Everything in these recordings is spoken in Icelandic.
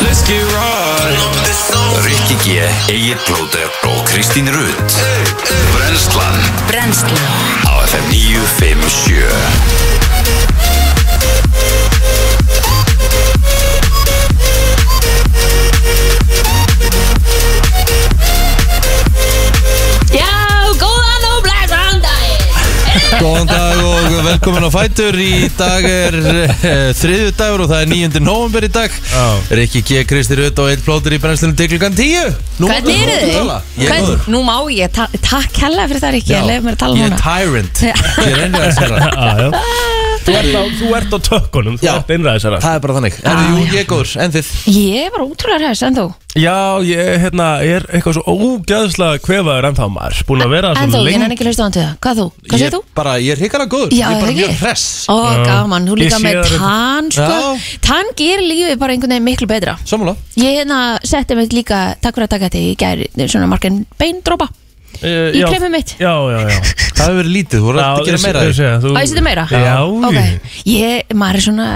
Let's get right Rikki G, Egil Blóter og Kristín Rutt Brenslan Brennslan á FM 957 Já, góðan og blæsan daginn Góðan dag og velkomin á Fætur Í dag er uh, þriðu dagur og það er 9. november í dag Já. Rikki G, Kristi Rutt og Eitt Plótur í brennslunum til klukkan 10 Nú Hvernig mátt eru þú þið? tala. Ég er Hvern- góður Nú má ég, ta takk hella fyrir það ekki, Já. ég lef mér að tala Ég er núna tyrant Ég er einræðisherra Já, já Þú ert á, þú ert á tökkunum, þú Já. ert innræðisara Það er bara þannig Ah. Erðu, jú, ég er góður, en þið Ég var ótrúlega hræðis en þú Já, ég hérna, er eitthvað svo ógæðslega kvefaður ennþá maður Búin að vera En svo þú, ég lengi nenni ekki að hlusta á hann til það Hvað þú? Hvað Ég segir þú? Bara, ég er hikara góður Já, Ég er það bara ekki. mjög hress Ó, Já. gaman, þú líka Ég sé með það. tann sko. Já. Tann gerir lífið bara einhvern veginn miklu betra Sammála Ég hérna setti mig líka, takk fyrir að taka þetta Ég gæri svona margin beindrópa Eh, Í já. kremið mitt Já, já, já Það hefur verið lítið, þú voru Já, að gera ég- meira ég af því. sé að þú- Á, ég seti meira? Já, Ok, ég, maður er svona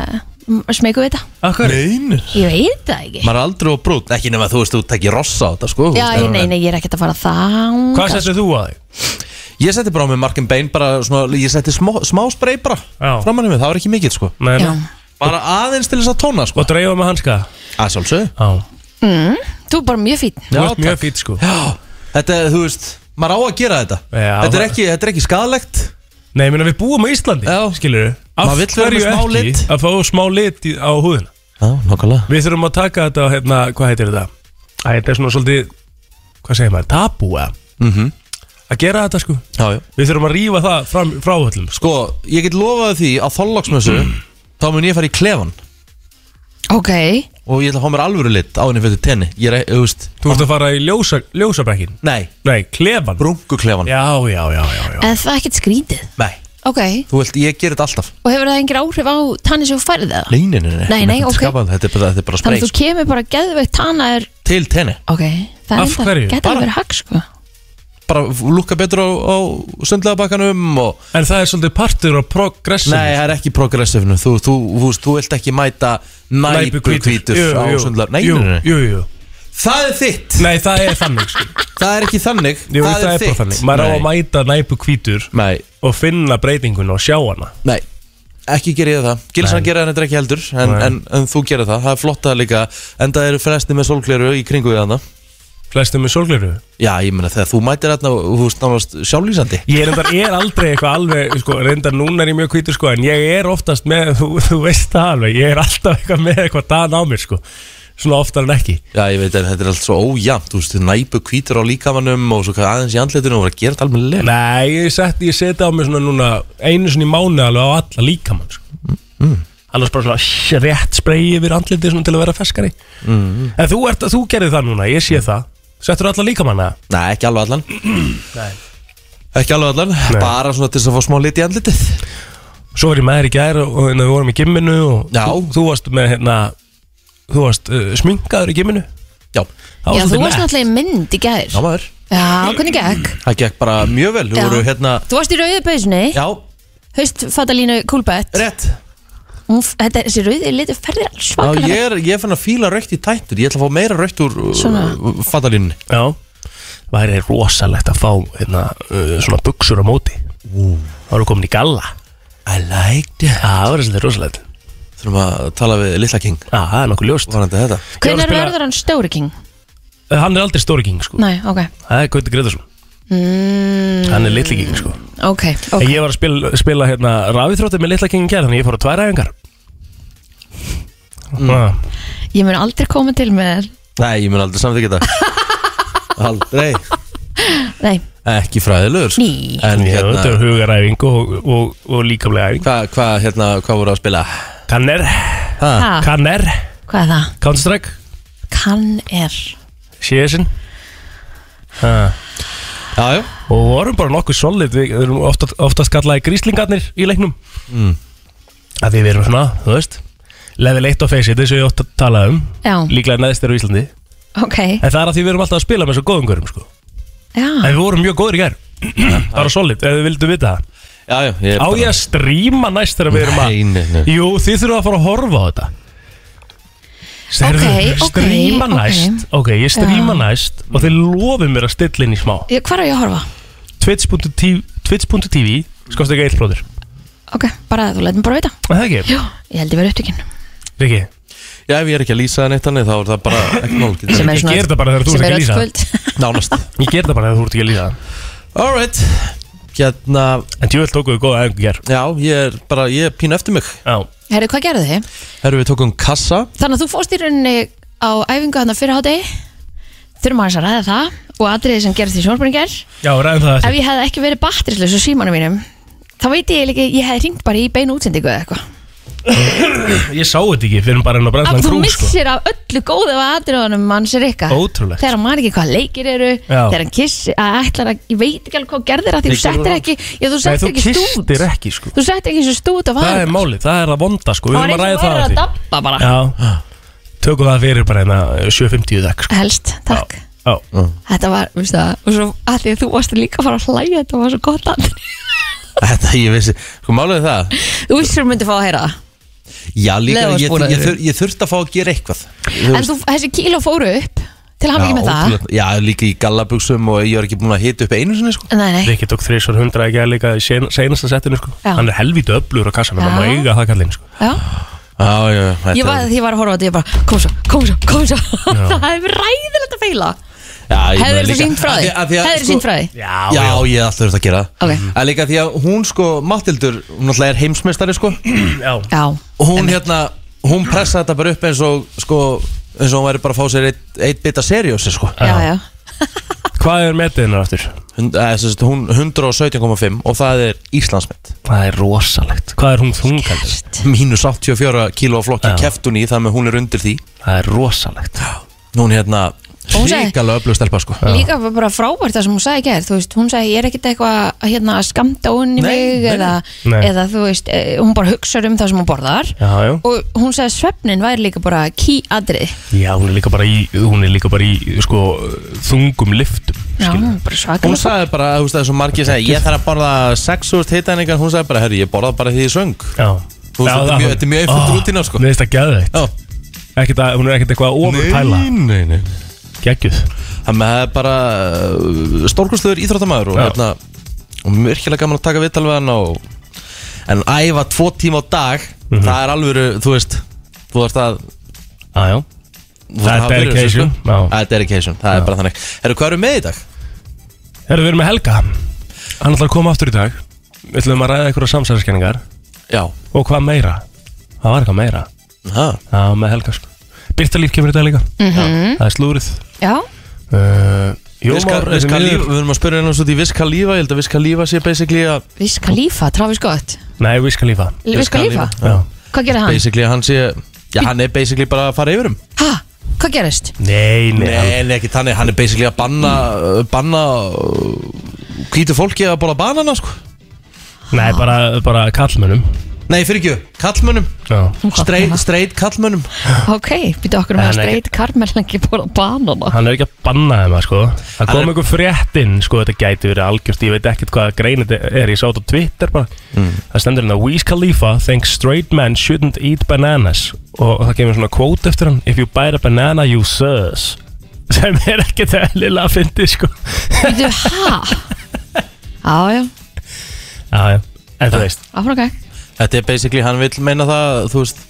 Smegu við þetta Akkur Nein Ég veit það ekki Maður er aldrei á brún, ekki nema þú veist, þú tekir rossa á þetta sko þú Já, veist, ég, en- nei, nei, ég er ekkert að fara þá Hvað settir þú að þig? Ég setti bara á mig Markin Bain bara svona, ég setti smá, smá spray bara Já. framan í mig, það var ekki mikið sko Nei, Já, nei. bara aðeins til þess að tóna sko Og dreifa með hanska að sjálfsögðu Já Mm, þú er bara mjög fín Þú Já, ert mjög takk. fýtt sko Já, þetta, er, þú veist, maður á að gera þetta Já, þetta, er það- ekki, þetta er ekki skadalegt Nei, ég meina við búum á Íslandi Já. Skilur við Maður vill vera með smá lit. Að fá smá lit í- á húðina Já, nokkulega Við þurfum að taka þetta á, hérna, hvað heitir þetta? Æ, þetta er svona svolítið, hvað segir maður, tabú eða? Mhm. -hmm. Að gera þetta sko Já, já Við þurfum að rífa það fram, frá öllum sko. Sko, ég get lofaði því að þollagsmessu þá mun ég fara í klefan Ok, og ég ætla að fá mér alvöru lit á henni fyrir tenni ég er, þú veist, Þú ert að fara í ljósa, ljósabekkin nei, Nei, klefan brunkuklefan Já, já, já, já, já. en það er ekkert skrítið Nei, Ok, þú veist, ég ger þetta alltaf og hefur það engir áhrif á tanni sem þú færði það? Nei, nei, nei, nei, Nei, nei, þetta er ok. skapað, þetta, er bara, þetta er bara Þannig að spreik þú kemur bara geðveikt tanna er til tenni Ok, það Af er hverju? enda, getur Bara- verið hagg sko bara lukka betur á, á sundlegabakkanum og En það er svolítið partur á progressinu Nei, það er ekki progressivinu Þú, þú, þú, veist, þú vilt ekki mæta næpu kvítur Jú, á jú. sundlar Nei, jú, nei, nei, nei jú, jú Það er þitt Nei, það er þannig sko. Það er ekki þannig Jú, það, er, bara þitt þannig Maður á að Nei. mæta næpu hvítur Nei, og finna breytingun og sjá hana nei Ekki gera ég það Gilsan Nei. gera hann þetta ekki heldur en, Nei. en, en þú gera það Það er flott að líka Enda eru fresti með sólgleru í kringu við hana Flestum með sorgleiru Já, ég meina þegar þú mætir hérna og Þú veist nánast sjálflýsandi Ég er, reyndar, ég er aldrei eitthvað alveg, sko, reyndar núna er ég mjög hvítur, sko, en ég er oftast með, þú, þú veist það alveg, ég er alltaf eitthvað með eitthvað dan á mér, sko, svona oftar en ekki. Já, ég veit að þetta er allt svo ójæmt Þú veist, næpu kvítur á líkamanum Og svo hvað aðeins í andletinu og vera að gera þetta alveg leil Nei, ég seti, ég seti á mig svona núna einu svona í mánu alveg á alla líkamann, sko. Mm. Annars bara svona sh- rétt spreyi yfir andlitið svona til að vera feskari. Mm-hmm. Mm. En þú, ert, þú gerir það núna, ég sé það. Settur alla líkamann, eða? Mm. Nei, ekki alveg allan Nei. Ekki alveg allan, bara svona til þess að fá smá lit í andlitið Svo var ég með þér í gær og, og hérna, við vorum í gimminu og Já. þú, þú varst með, hérna, þú varst uh, sminkaður í gimminu. Já, Það var Já, þú svolítið varst nett. náttúrulega í mynd í gær já maður Já, hvernig gekk? Það gekk bara mjög vel, þú Já. voru hérna Þú varst í rauðu pausinni, Já, haustfatalínu Kúlbett rétt Hún f- Þetta er þessi rauði litur ferðir alls Já, svakalega ég er, ég er fann að fíla raukt í tættur Ég ætla að fá meira raukt úr Svona. uh, fatalínunni Já væri rosalegt að fá hérna, uh, svona buksur á móti þá eru komin í galla I liked it það var svolítið rosalegt Þurfum að tala við Lilla King Já, það er nokkuð ljóst Varandi þetta Ég var að Hvernig spila- verður hann stóri king? Eh, hann er aldrei stóri king sko Nei, ok það er Gauti Gretarsson mm, hann er litli king sko Ok, En ok ég var að spila, spila hérna, rafithrótið með litla king kjær þannig ég fór á tvær æfingar mm. Ég mun aldrei koma til með Nei, ég mun aldrei samþykja þetta Aldrei Nei, Ekki fræðilegur sko. Ný. En ég, þetta hérna er hugaræfing og, og, og líkamlega æfing Hvað hva, hérna, hva voru að spila? kanner, Ha? Ah, ha, kanner hvað er það? Counter-Strike, Kann er CS-in Já, já og við vorum bara nokkuð solid við við erum oftast, oftast kallaði gríslingarnir í leiknum Mm. að við erum svona, þú veist level 1 á face-it eins og ég ótt að tala um Já, líklega neðstir á Íslandi en ok það er að því við erum alltaf að spila með svo góðum görum sko. en Já, við vorum mjög góður í gær bara solid, ef þið vildu vita það Já, já, ég er á ég að stríma næst þegar við erum að Nei, nei, nei. jú, þið þurfum að fara að horfa á þetta Serðu, Ok, ok, stríma ok. næst Ok, ég stríma næst Og þeir lofið mér að stilla inn í smá Ég- Hvar er ég að horfa? Twitch.tv Twitch.tv Skoðst ekki eitthvað Ok, bara þú leit mér bara vita Það er ekki, Já, ég held ég verið upptökin Riki Já, ef ég er ekki að lýsa það neitt þannig þá er það bara ekki mál getur Sem er- verið. Ég geri þetta bara þegar þú ert sem ekki að öll lýsa. kvöld. Nánast Ég ger það bara þegar þú ert ekki að líða Alright Hérna, En djúvel tókuðu góða engur ger já, ég er bara, ég er pínu eftir mig Já Herru, hvað gerðu þið? Herru, við tókum kassa Þannig að þú fórst í rauninni á æfingu þarna fyrir hádegi Þurfum aðeins að ræða það og atriði sem gerðist í sjónarbyrning ger Já, ræðum það Ef ég hefði ekki verið batterislaus á símanum mínum þá veit ég ekki, ég hefði ringt bara í beinu útsendingu eða eitthvað eftir Ég sá þetta ekki fyrir bara enn að Af bræðslan þú krú sko. missir af öllu góðu af atriðunum manns er ykkar Ótrúlegt. Þegar hann man ekki hvað leikir eru Já. Þegar hann kiss, að ætlar að, ég veit ekki alveg hvað þú gerðir að því þú Leikir settir voru- ekki Já, Nei, þú þú settir ekki stút kistir ekki sko Þú settir ekki eins og stút á Það er varum málið, það er að vonda sko Við Það erum var að ræða eins og það varir að eftir. dabba bara Já Tökum það fyrir bara hérna 7.50 þekk sko Helst, takk Já Þetta var, veistu það, og svo að því að þú varst líka að fara að hlæja, þetta var svo gott að Þetta, ég vissi, sko málið er það Þú vissir að þú myndi fá að heyra það. Já, líka, Leðurvars ég, búnaður. ég, þur, ég þurfti að fá að gera eitthvað En þú, þessi kíló fóru upp, til að hafa ekki með það. ótrúlega. Já, líka í gallabuxum og ég er ekki búin að hita upp einu sinni sko. Nei, nei, Rikki tók 300 ekki að líka í sen- seinasta settinu sko Já. Hann er helvítu öflugur á kassanum Já. Það má eiga það kallinn sko já. Já, já, þetta Ég var að því ég var að horfa á þetta, ég bara, kom svo, kom svo, kom svo. það hefur ræðilegt að feila. Já, ég meina Hefur þú líka- sínt frá Af því? því- af því að, Hefur þú sko, sínt frá því? Já, Já, ég hef alltaf þurft að gera það Ok. En líka því að hún sko, Mattildur, hún alltaf er heimsmeistari sko já Já, Og hún hérna, hún pressaði þetta bara upp eins og sko eins og hún væri bara að fá sér eitt, eitt bita seriósi sko já, já. Hvað er metið hennar aftur? Hund, eh, sem sagt, hún 117,5 og það er Íslandsmet Það er rosalegt Hvað er hún þungandi? mínus 84 kíló á flokki Já. keft hún í það með hún er undir því Það er rosalegt hún hérna Hún sagði- ríkala öflug stelpa sko Líka var bara frábært það sem hún sagði gerð, þú veist, hún sagði ég er ekkert eitthvað að, hérna, að skamta hún Nei, í mig nei, eða, nei. Nei. eða þú veist, eh, hún bara hugsar um það sem hún borðar Já, já og hún sagði að svefnin væri líka bara key atrið. Já, hún er líka bara í, hún er líka bara í sko, þungum liftum Já, skilurðu. hún er bara hún svakalega sagði bara, þú veist það er svo margir sagði, ég þarf að borða 6.000 hitæningar hún sagði bara, herri, ég borða bara því ég söng Já Þú veist, þetta Já, er það- mjög- þetta er mjög einföld Ah, rútína, sko. Mér finnst það geðveikt Já. Ekkert að, hún er ekkert eitthvað að ofurpæla nei, nei Geggjuð Þannig að það er bara uh, stórkursluður íþróttamæður og Já. hérna og myrkilega gaman að taka viðtal við hann og, en æfa tvo tíma á dag Mhm. það er alvöru, þú veist þú þarft að Já, já þú þarft Það að er hafa fyrir þessu, dedication, sko. já. Það er dedication, það er bara þannig Herru, hvað eru með í dag? Herru, við erum með Helga Hann ætlar að koma aftur í dag Við ætlum að ræða einhverja samsæðiskenningar Já Og hvað meira? Það var eitthvað meira ha. Já, með Helga sko Byrtalíf kemur í dag líka Mhm. -hmm. Það er slúrið Já, uh, Viska, Jómar, viska lífa, við erum að spyrja hennar svo því Viska lífa, ég held að Viska lífa sé basically að Viska Lífa, Travis Scott Nei, viska lífa Viska, Wiz Viska Khalifa. Lífa, Já sko hvað gerir hann? basically að hann sé Já, hann er basically bara að fara yfir um Ha, hvað gerist? Nei, nei, nei. Nei, nei, ekki þannig, hann er basically að banna banna uh, hvítu fólki að bóla banana, sko nei bara, bara kallmönnum Nei, fyrir ekki, kallmönnum Já Streit, streit kallmönnum hérna. Ok, býtu okkur með Hann að er streit Karmel ekki bóla banana Hann er ekki að banna þeim að sko Það er- kom einhver fréttin sko Þetta gæti verið algjört Ég veit ekkert hvað grein þetta er Ég sá þetta á Twitter bara Mm. Það stendur hérna Wiz Khalifa thinks straight men shouldn't eat bananas Og það kemur svona quote eftir hann If you bite a banana you sus Sem er ekkert eðlilega að fyndi sko Býtu, ha? Á, já, Já, já En þú veist áfram gang Þetta er basically, hann vil meina það, þú veist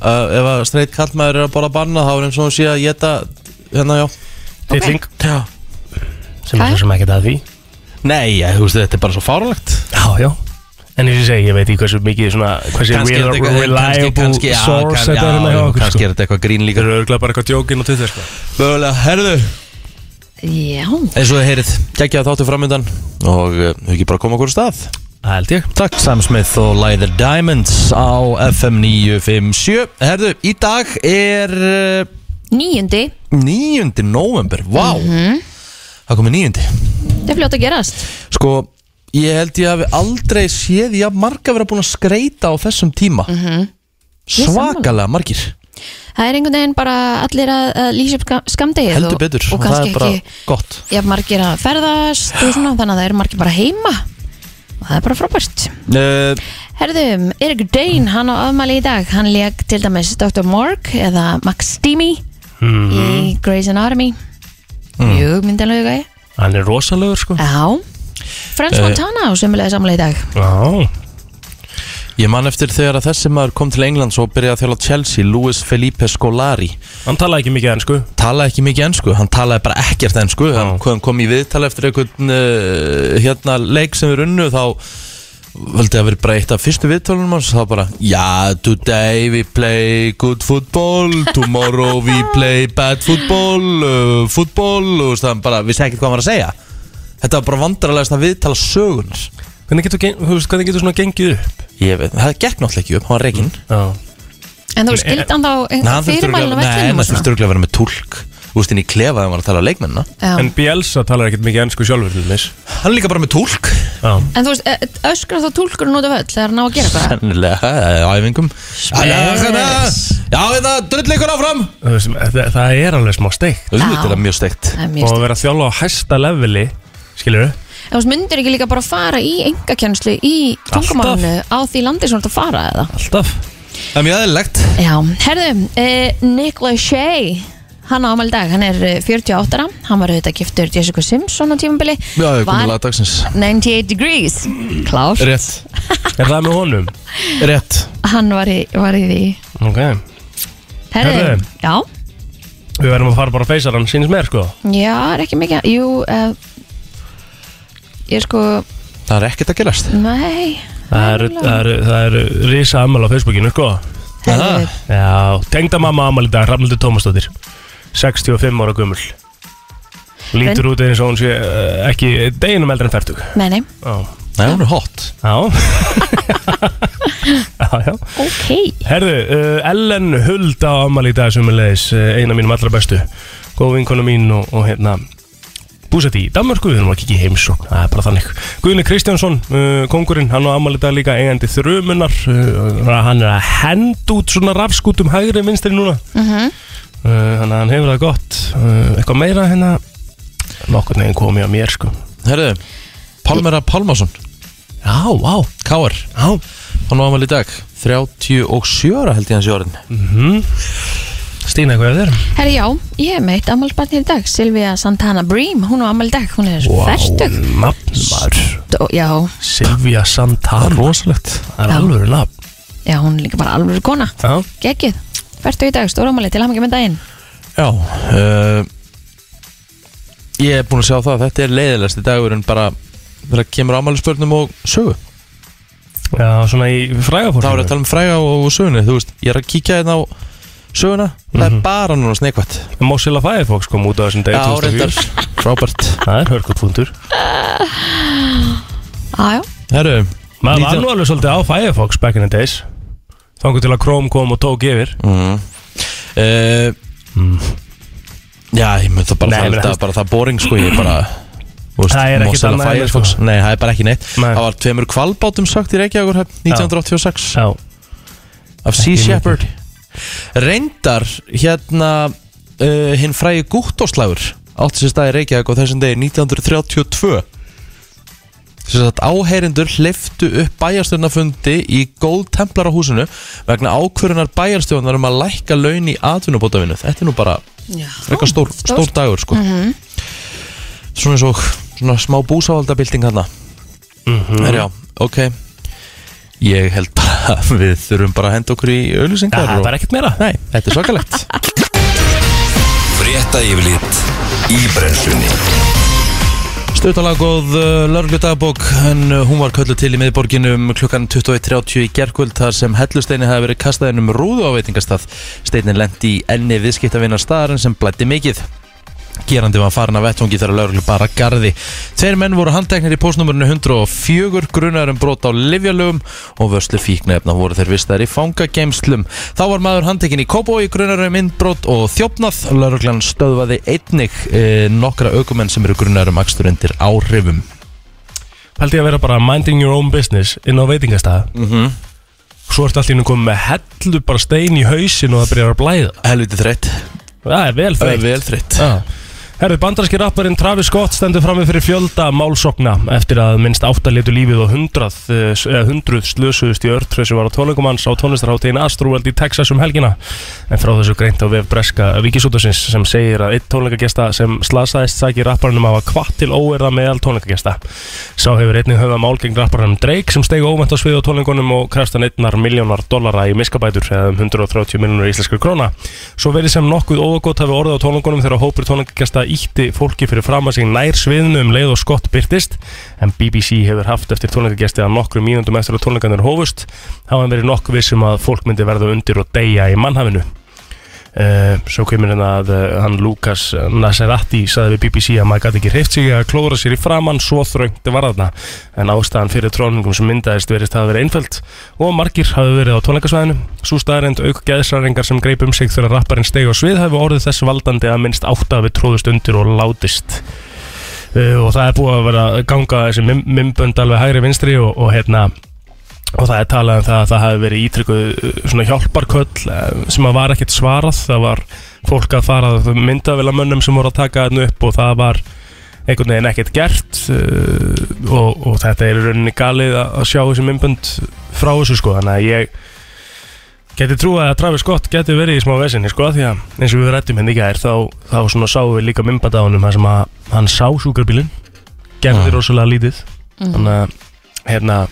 uh, Ef að streit kallmæður er að bóla banana Þá er eins og hún sé að geta Hérna, já, Tilling já. Sem er Jæja. svo sem ekkert að því Nei, já, þú veist, þetta er bara svo fáralegt Já, já En eins og ég segi, ég veit ekki hversu mikið svona Hversu Kannski er real, þetta eitthvað- reliable kannski- kannski- já, source kann- þetta er já, hérna hjá já, okkur Kannski sko. er þetta eitthvað grín líka Þeir eru örgulega bara eitthvað djókin og til þess sko. Mögulega, herðu Já, Eins og þið heyrið, geggja þáttu framöndan Og uh, við ekki bara að koma okkur á stað Það held ég Takk Sam Smith og Læðir Diamonds á FM 957 Herðu, í dag er uh, níundi 9. november Vá, það komið 9. Það er fljótt að gerast Sko, ég held ég hafi aldrei séð Ég haf marga verið búin að skreita á þessum tíma Mhm. Ég er sammála. Svakalega margir Það er einhvern veginn bara allir að, að lýsa upp skam- skammdegið Heldur og- betur, Og það er kannski bara ekki gott Já, margir að ferðast og svona Þannig að það eru margir bara heima Og það er bara frábært uh, Herðum, Erik Dane, hann á afmæli í dag Hann leik til dæmis Dr. Morg eða Max Steamy Hmm. Mm. Mhm. í Grey's Anatomy Mjög myndalögu gæði Hann er rosalögur sko Já Frans Montana á sömulega samlega í dag Já, Ég man eftir þegar að þessi maður kom til Englands og byrjaði að þjála Chelsea, Luis Felipe Scolari hann talaði ekki mikið ennsku talaði ekki mikið ennsku, hann talaði bara ekkert ennsku hann, hann kom í viðtal eftir einhvern uh, hérna leik sem við runnu þá völdi að vera bara eitt af fyrstu viðtalunum hans þá bara Já, today we play good football tomorrow we play bad football uh, football og það bara, vissi ekkert hvað hann var að segja Þetta var bara vandrarlegast að viðtala sögunar Hvernig getur, gen- þú veist, hvernig getur svona gengið upp? Mm, Ég veit, það gekk náttúrulega ekki upp, hann var reikinn Já En þú skildi hann þá fyrirmælinu Nei, vellinum það þurftur örugglega að vera með tólk Þú veist, inn í klefa þegar hann var að tala á leikmennina En Bielsa talar ekkert mikið ennsku sjálfur til þess Hann er líka bara með tólk Já En þú veist, e- e- öskrar þá tólkurinn út af öll þegar hann á að gera eitthvað Eh, Sennilega, eða á æfingum Spes. Já, þetta, drull ykkur áfram Þú veist, það, það er alveg smá steikt Þetta er mjög steikt Það er Og mjög að stöð vera að þjála á hæsta leveli Skilur við? En þú veist, myndir ekki líka bara fara í engakjenslu í tungumálinu á því landi sem þú ert að fara eða Alltaf Það er mjög aðeinlegt Já, herðu, eh, Nick Lachey hann á ámæli dag, hann er eh, 48 ára, hann var auðvitað giftur Jessica Simpson á tímabili Já, ég komið var lagdagsins 98 degrees klár, Rétt, Er það með honum? rétt hann var í, var í því Ok herðu, Herðu. já, Við verðum að fara bara að feysa hann, sínist mér sko já, er ekki mikið jú, eh, ég er sko Það er ekkert að gerast nei, Það eru, það eru, það eru risa ammæli á Facebookinu sko herðu, Já, tengda mamma ammæli í dag, Rafnildur Tómasdóttir 65 ára gömul Lítur út eins og hún sé uh, ekki deginum eldri en færtug nei, nei Já, Nei, hún er hot já Já, já ok, Herðu, uh, Ellen Huld á ammali í dag sumulegis, uh, eina mínum allra bestu góð vinkona mín og, og hérna búsett í Danmörku, við erum að kikið heimsókn það er bara þannig. Guðni Kristjánsson uh, kongurinn, hann á ammali í dag líka eigandi þrumunar, uh, hann er að henda út svona rafskútum hægri vinstri núna, uh, þannig að hann hefur það gott, uh, eitthvað meira hérna, nokkur neginn komið á mér sko. Herðu, Pálmera Pálmason Já, vá, Káar já Hann var amal í dag 37 ára held ég hans í orðin Mhm. Stína, hvað er þér? herðu, já, ég er meitt ammálsbarnir í dag, Silvia Santana Bream hún á ámæli í dag, hún er wow. færtug nafn var já, Silvia Santana Rosalegt Það er Já. alveg nafn já, hún er líka bara alveg kona Já, Gekkið, færtu í dag, stóra ámali til hamingi með daginn Já uh, Ég er búin að sjá það að þetta er leiðilegst í dagur en bara þegar kemur amal spörnum og sögu já svona í frægafórnum Þá er að tala um fræga og, og söguna Þú veist, ég er að kíkja hérna á söguna Það Mhm. er bara núna sneikvætt tala Mozilla Firefox kom út á þessum degi Já, reyndar, frábært Það er hörkupundur Aðjá, Herru, Maður var Nítján- nú alveg svolítið á Firefox back in the days Þangur til að Chrome kom og tók yfir Mm. Mm. uh, Já, ég mynd það bara um Nei, það menn, Það þú- er bara það boring, sko Ég bara þú veist, Það er ekkit Mozilla annað en það, Firefox. sko. Nei, það er bara ekki neitt Nei. Það var tveimur kvalbátum sagt í Reykjavíkur 1986 Já, Af Sea mikið. Shepherd Reyndar, hérna uh, Hinn frægi gúttóslægur Átti sér staði Reykjavík á þessum degi 1932 Sér sagt áheyrindur hleyftu upp bæjarstjórnafundi í góð templar á húsinu vegna ákvörunar bæjarstjórnar um að lækka laun í atvinnubótavinu. Þetta er nú bara frekar stór, stór dagur sko. Svona eins og svona smá búsávaldabilding þarna. Mhm. Herra, já, ok. Ég held bara að við þurfum bara að henda okkur í auðlýsingar. það var ekkert meira Nei, þetta er svakalegt. Frétta yfirlit í brennslunni Stöðtalag og lörglu dagbók en uh, hún var kölluð til í miðborginu um klukkan 21.30 í gerkvöld þar sem hellusteini hafi verið kastað inn um rúðu á veitingastað. Steinin lendi í enni viðskiptavinnar staðarinn sem blætti mikið. Gerandi var farin af vettvangi þegar lörglu bara garði. Tveir menn voru handteknir í postnumurinu 104 grunar um brot á livjalögum og vörslu fíknefna voru þeir vistaðir í fangageimslum. Þá var maður handtekinn í Kóboi grunar um innbrot og þjófnað. Lörglan stöðvaði einnig e, nokkra aukumenn sem eru grunar um akstur undir áhrifum. Paldi að vera bara minding your own business inn á veitingastæða Mhm. Svo ertu allir komið með hellu bara stein í hausin og það byrjar að blæða Helviti þreytt. Það er Það vel er þreytt vel þreytt. Já. Herðu, bandarski rapparinn Travis Scott stendur frammi fyrir fjölda málsokna eftir að minnst áttalitu lífið og hundrað, eh, hundruð slösuðust í örtröð sem var á tónleikumanns á tónlistarháttíðin Astroworld í Texas um helgina. En frá þessu greint á vef Breska Ríkisútasins sem segir að eitt tónleikagesta sem slasaðist sækir rapparinn um að hafa kvatt til óerða meðal tónleikagesta. Sá hefur einnig höfða málgeng rapparinn Drake sem steig óvænt á svið á tónleikunum og krefst hann einnar miljónar dollara í miskabætur eða um 130 miljónur íslenskar króna. Svo verið sem nokkuð ógótt hafi orðið á tónleikunum þegar hópur tónleikagesta ítti fólki fyrir fram að sig nær sviðinu um leið og skott byrtist en BBC hefur haft eftir tónleikagesti að nokkru mínundum eftir að tónleikanir hófust hafa hann verið nokkuð vissum að fólk myndi verða undir og deyja í mannhafinu. Uh, svo kemur hérna að uh, hann Lukas Nasserati saði við BBC að maður gæti ekki hreift sig að klóra sér í framann svo þröngt var þarna en ástæðan fyrir tróningum sem myndaðist verist hafa verið einföld og margir hafi verið á tónleikasvæðinu svo staðarind auk geðsræringar sem greip um sig þegar rapparinn steig á svið hafi orðið þess valdandi að minnst átta hafi tróðust undir og látist uh, og það er búið að vera að ganga þessi mim- mimbönd alveg hægri vinstri og, og hérna og það er talað um það að það hafi verið ítrykkuð uh, svona hjálparköll eh, sem að var ekkert svarað, það var fólk að fara að myndavila mönnum sem voru að taka þarna upp og það var einhvern veginn ekkert gert uh, og, og þetta er í rauninni galið að að sjá þessi myndbönd frá þessu sko, þannig að ég geti trúið að Travis Scott geti verið í smá vesinni sko, því að eins og við rættum henni í gær þá, þá svona sáum við líka myndbönd á honum þar sem að hann sá sjúkrabílinn gerði Ah. rosalega lítið Mhm. þannig að hérna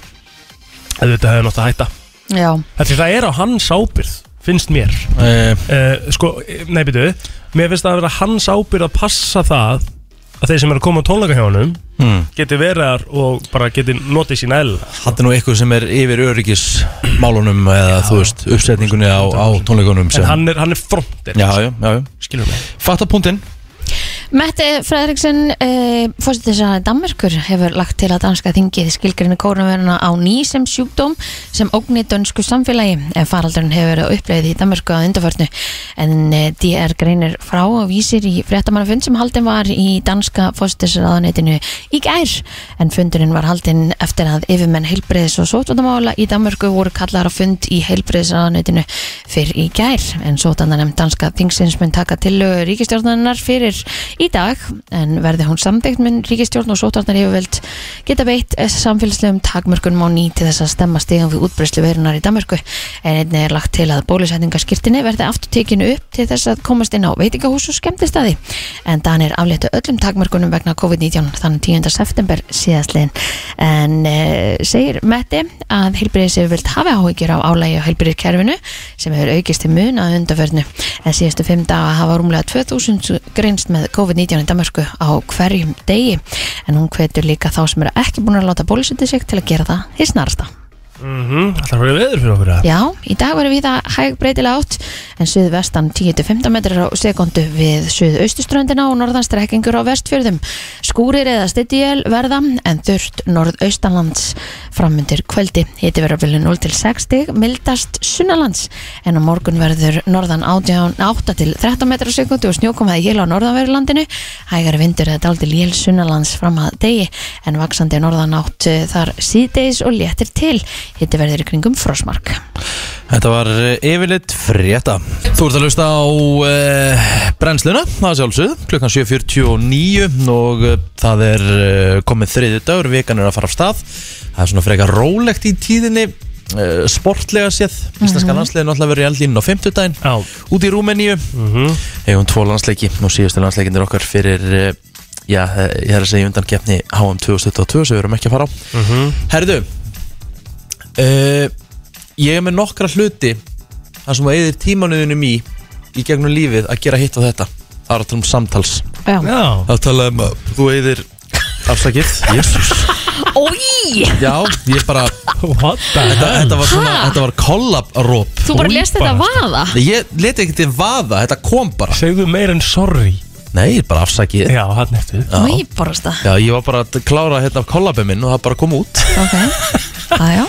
auðvitað hefði nátt að hætta já, Þetta það er á hans ábyrð, finnst mér Eh, uh, Sko, nei býtu Mér finnst það að vera hans ábyrð að passa það að þeir sem eru að koma á tónleika hjá honum hmm. geti verið þar og bara geti notið sín el Þetta er nú eitthvað sem er yfir öryggismálunum eða þú veist, uppsetningunni á, á tónleikunum sem En hann er, hann er frontir, Já, já, já, já skilur mig Fatta punktinn Mette Fredriksson, uh, fórsetisraðan Danmerkur, hefur lagt til að danska þingið skilgrinni kórnveruna á ný sem sjúkdóm sem ógni dönsku samfélagi en faraldurinn hefur verið uppleið í Danmörku að undarförnu en eh, DR greinir frá og vísir í fréttamannafund sem haldin var í danska fórsetisraðanetinu í gær en fundurinn var haldin eftir að yfirmenn heilbreiðis og sótvandamála í Danmörku voru kallar á fund í heilbreiðisraðanetinu fyrr í gær en sótvandanemnd danska þingsins mun taka tillögu ríkistjórnarinnar fyrir í dag en verði hún samþykkt mun ríkistjórn og sótvarnar yfirvöld geta beitt samfélagslegum takmörkunum á ný til þess að stemma stegum við útbreyslu verunar í Danmörku en einnig er lagt til að bólusetningaskirtinni verði aftur tekinu upp til þess að komast inn á veitingahús og skemmtistæði en Danir afléttu öllum takmörkunum vegna COVID-19 þannig 10. september síðastliðin en e, segir Metti að heilbriðis yfirvöld hafi áhyggjur á álægi á heilbriðiskerfinu sem hefur aukist til mun að undarförnu en síðustu fimm daga hafa rúmlega 2000 greinst með COVID-19 í Danmarku á hverjum degi en hún hvetur líka þá sem eru ekki búin að láta bólusetja sig til að gera það hins snarasta. mm -hmm. Það er verið veður fyrir okkur að Já, í dag verður við það hæg breytilega átt en suðvestan 10-15 metrar á sekundu við suðaustuströndina og norðanstrekkingur á vestfjörðum. Skúrir eða styttiél verða en þurft norðaustanlands framundir kvöldi. Hiti verður vilja 0-60, mildast sunnalands en á morgun verður norðan 18 8-13 metrar á sekundu og snjókum hefði jél á norðanverðurlandinu. Hægar vindur eða daldi lél sunnalands fram að degi en vaksandi norðan átt eh, þar síðdeis og léttir til. Hiti verður í kringum frosmark. Þetta var eh, yfirleitt frétta Þú ert að hlusta á uh, brennsluna, það er sjálfsögð klukkan 7.49 og uh, það er uh, komið þriði dagur vikan er að fara af stað það er svona frekar rólegt í tíðinni uh, sportlega séð, íslenska landslegin alltaf verið í eldlínu á 50 daginn Já, út í Rúmeníu hefum tvo landsleiki og síðustu landsleikindir okkar fyrir eh, já, eh, ég er að segja undan keppni HM 2022 sem við erum ekki að fara á Herðu uh, ég er með nokkra hluti þar sem þú eigðir tímanuðinum í í gegnum lífið að gera hitt á þetta það er að tala um samtals Já. já, það er að tala um að þú eigðir afsakið, jésús Ói, já, ég bara, what the þetta, hell þetta var svona Ha? þetta var kollabróp þú bara lest þetta vaða ég leti ekkert til vaða, þetta kom bara Segðu meir en sorry nei, bara afsakið Já, hann eftir Ói, borast það Já, ég var bara að klára hérna kollabið minn og það bara kom út Ok, aðjá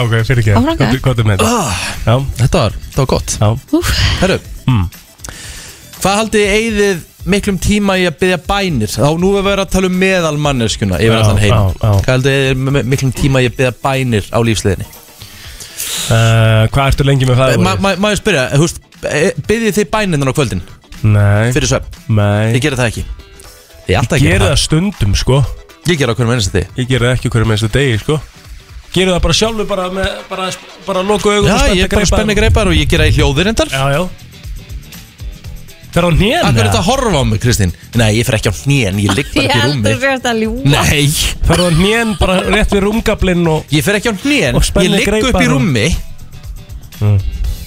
Ok, fyrir ekki Áfram, ok. Hvað er með þetta? Já, Ah. Þetta var, þetta var gott já Herru, Mm. hvað haldið þið eigðið miklum tíma í að byggja bænir? Þá nú er verið að tala um meðal manneskuna yfir Já, allan heim já, já. Hvað haldið þið eigið mi- miklum tíma í að byggja bænir á lífsliðinni? Uh, Hvað ertu lengi með það? Eh, Ma- ma- Má ég eh, spyrja, húst, byggðið þið bæninnar á kvöldin Nei, fyrir svefn? nei Ég gerði það ekki Ég er alltaf Ég að gera gera það stundum sko það Ég gera okkur með einstu Ég gera það ekki hverju með þessu degi sko Gera það bara sjálfur bara með bara, bara loku augun Já, og ég er bara spenni greipar og ég gera í hljóðir endar Já, já Fer á hnén Akkur er þetta eða? að horfa á mig, Kristín? Nei, ég fer ekki á hnén, ég ligg bara Ég ekki í held rúmi þú sérst að ljúa Nei, Fer á hnén bara rétt við rúmgablinn og ég fer ekki á hnén Og Ég spennir ligg upp í greiparnar. rúmi Mm.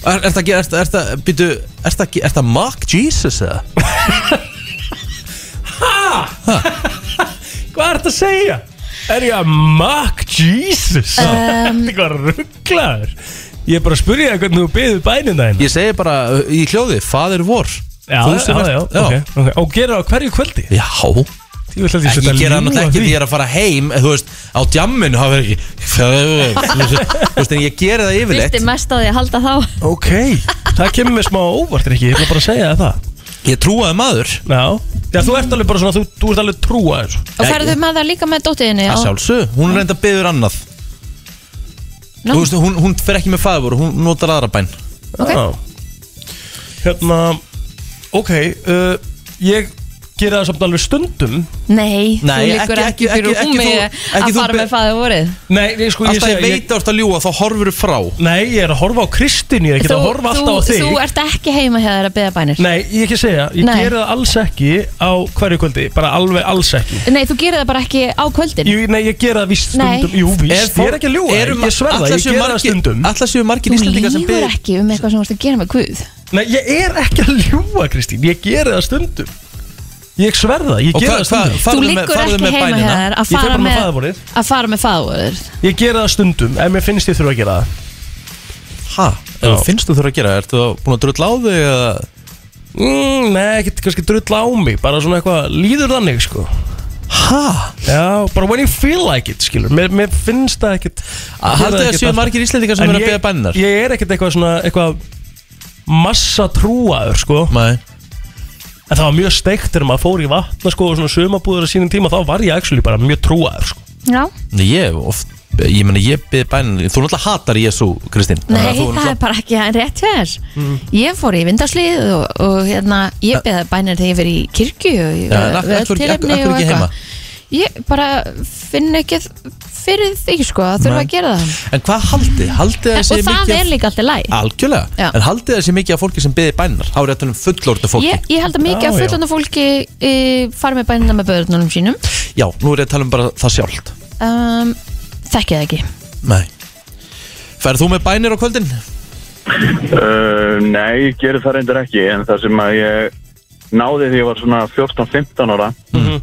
Er er þetta ekki, er þetta, er þetta, er þetta, er þetta mock Jesus eða? Ah! Hvað er þetta að segja? Er ég að makk Jesus? Um, þetta er hvað rugglaður Ég er bara að spyrja það hvernig þú byggðu bænina hérna Ég segi bara uh, í hljóði, faðir vor Já, Þú sem já, já, ert- ok, ok. Og gera það á hverju kvöldi? Já, Ég vil að ég en setja ég gera það náttúrulega ekki því ég því er að fara heim eh, Þú veist, á djamminu hafa ekki Þú veist, en ég gera það Vilti yfirleitt mest á því að halda þá Ok, það kemur mér smá óvart ekki, ég ætla bara að segja þér það Ég trúaði maður Já, já þú ert alveg bara svona, þú, þú ert alveg trúa þessu Og ferðu með það líka með dóttiðinni Að sjálfsög, hún reynda byður annað Nú. Þú veist, hún, hún fer ekki með faðir Hún notar aðra bæn Ok. já. Hérna, ok, uh, ég gera það samt alveg stundum Nei, þú Nei, liggur ekki- ekki ekki- fyrir ekki- um ekki mig þú- að ekki þú fara be- með fæðu vorið Nei, nei, sko, ég Alltaf segja ég veit að þú ert að ljúa, þá horfur þú frá Nei, ég er að horfa á Kristínu, ég er ekki að horfa alltaf á þú, þig þú ert ekki heima hjá þér að beða bænir Nei, Nei, ég ekki að segja, ég Nei. gera það alls ekki á hverju kvöldi, bara alveg alls ekki þú gerir það bara ekki á kvöldin Jú, nei, ég gera það víst Nei. stundum Jú, víst, ég er ekki að ljúga, Erum- ég sverða, ætla ég séu gera það margir- stundum Ætla séu margir Þú íslendingar sem lífur byður ekki um eitthvað sem þú ert að gera með Guð Nei, ég er ekki að ljúga, Kristín, ég gera það stundum Ég sverða, ég Og gera það hvað- stundum hvað- Þú Farðu með- liggur farðu ekki með heima hjá bænina. þér að Ég fer fara bara með með fæðurvorið. að fara með fæðvorið Ég gera það stundum, ef mér finnst ég þurfa að gera það Hæ? Já. Finnst þú þurfa að gera? Ertu þá búin að drull á þig? eða? mm, Nei, ekkert kannski drull á mig, bara svona eitthvað, líður þannig, sko Hæ? Já, bara when you feel like it, skilur Mér, mér finnst það ekkert gera Haldið það að ekkert séu alltaf. margir íslendingar sem En eru að ég- byða bænar? Ég er ekkert eitthvað svona, eitthvað massa trúaður, sko Nei En það var mjög steikt þegar maður fór í vatna, sko og svona sumabúður á sínum tíma, þá var ég actually bara mjög trúaður, sko Já, Nei, Ég oft Ég meina, ég byði bænar Þú náttúrulega hatar Jésu, Kristín Þannig nei, að þú Mhm. það er náttúrulega- bara ekki rétt hjá þér Ég fór í vindarslið og, og hérna, ég beða bænir þegar ég fyrir í kirkju og ég- Já, en af- af við hverju ekki- tilefni af hverju og ekki heima? eitthvað. Ég bara finn ekki fyrir því sko að þurfa Nei. að gera það En hvað haldið? Haldið að Og séu það mikið er líka alltaf læg Algjörlega Já. En haldið að séu mikið af fólki sem byði bænar? Há er þetta um fullorðna fólki ég, ég held að mikið Já, af fullanda fólki e, fari með bænina með börnunum sínum Já, nú er ég að tala um bara það sjálft um, Þekki það ekki Nei Ferð þú með bænir á kvöldin? Uh, nei, ég gerir það reyndar ekki en það sem að ég náði því ég var svona 14-15 ára Mhm.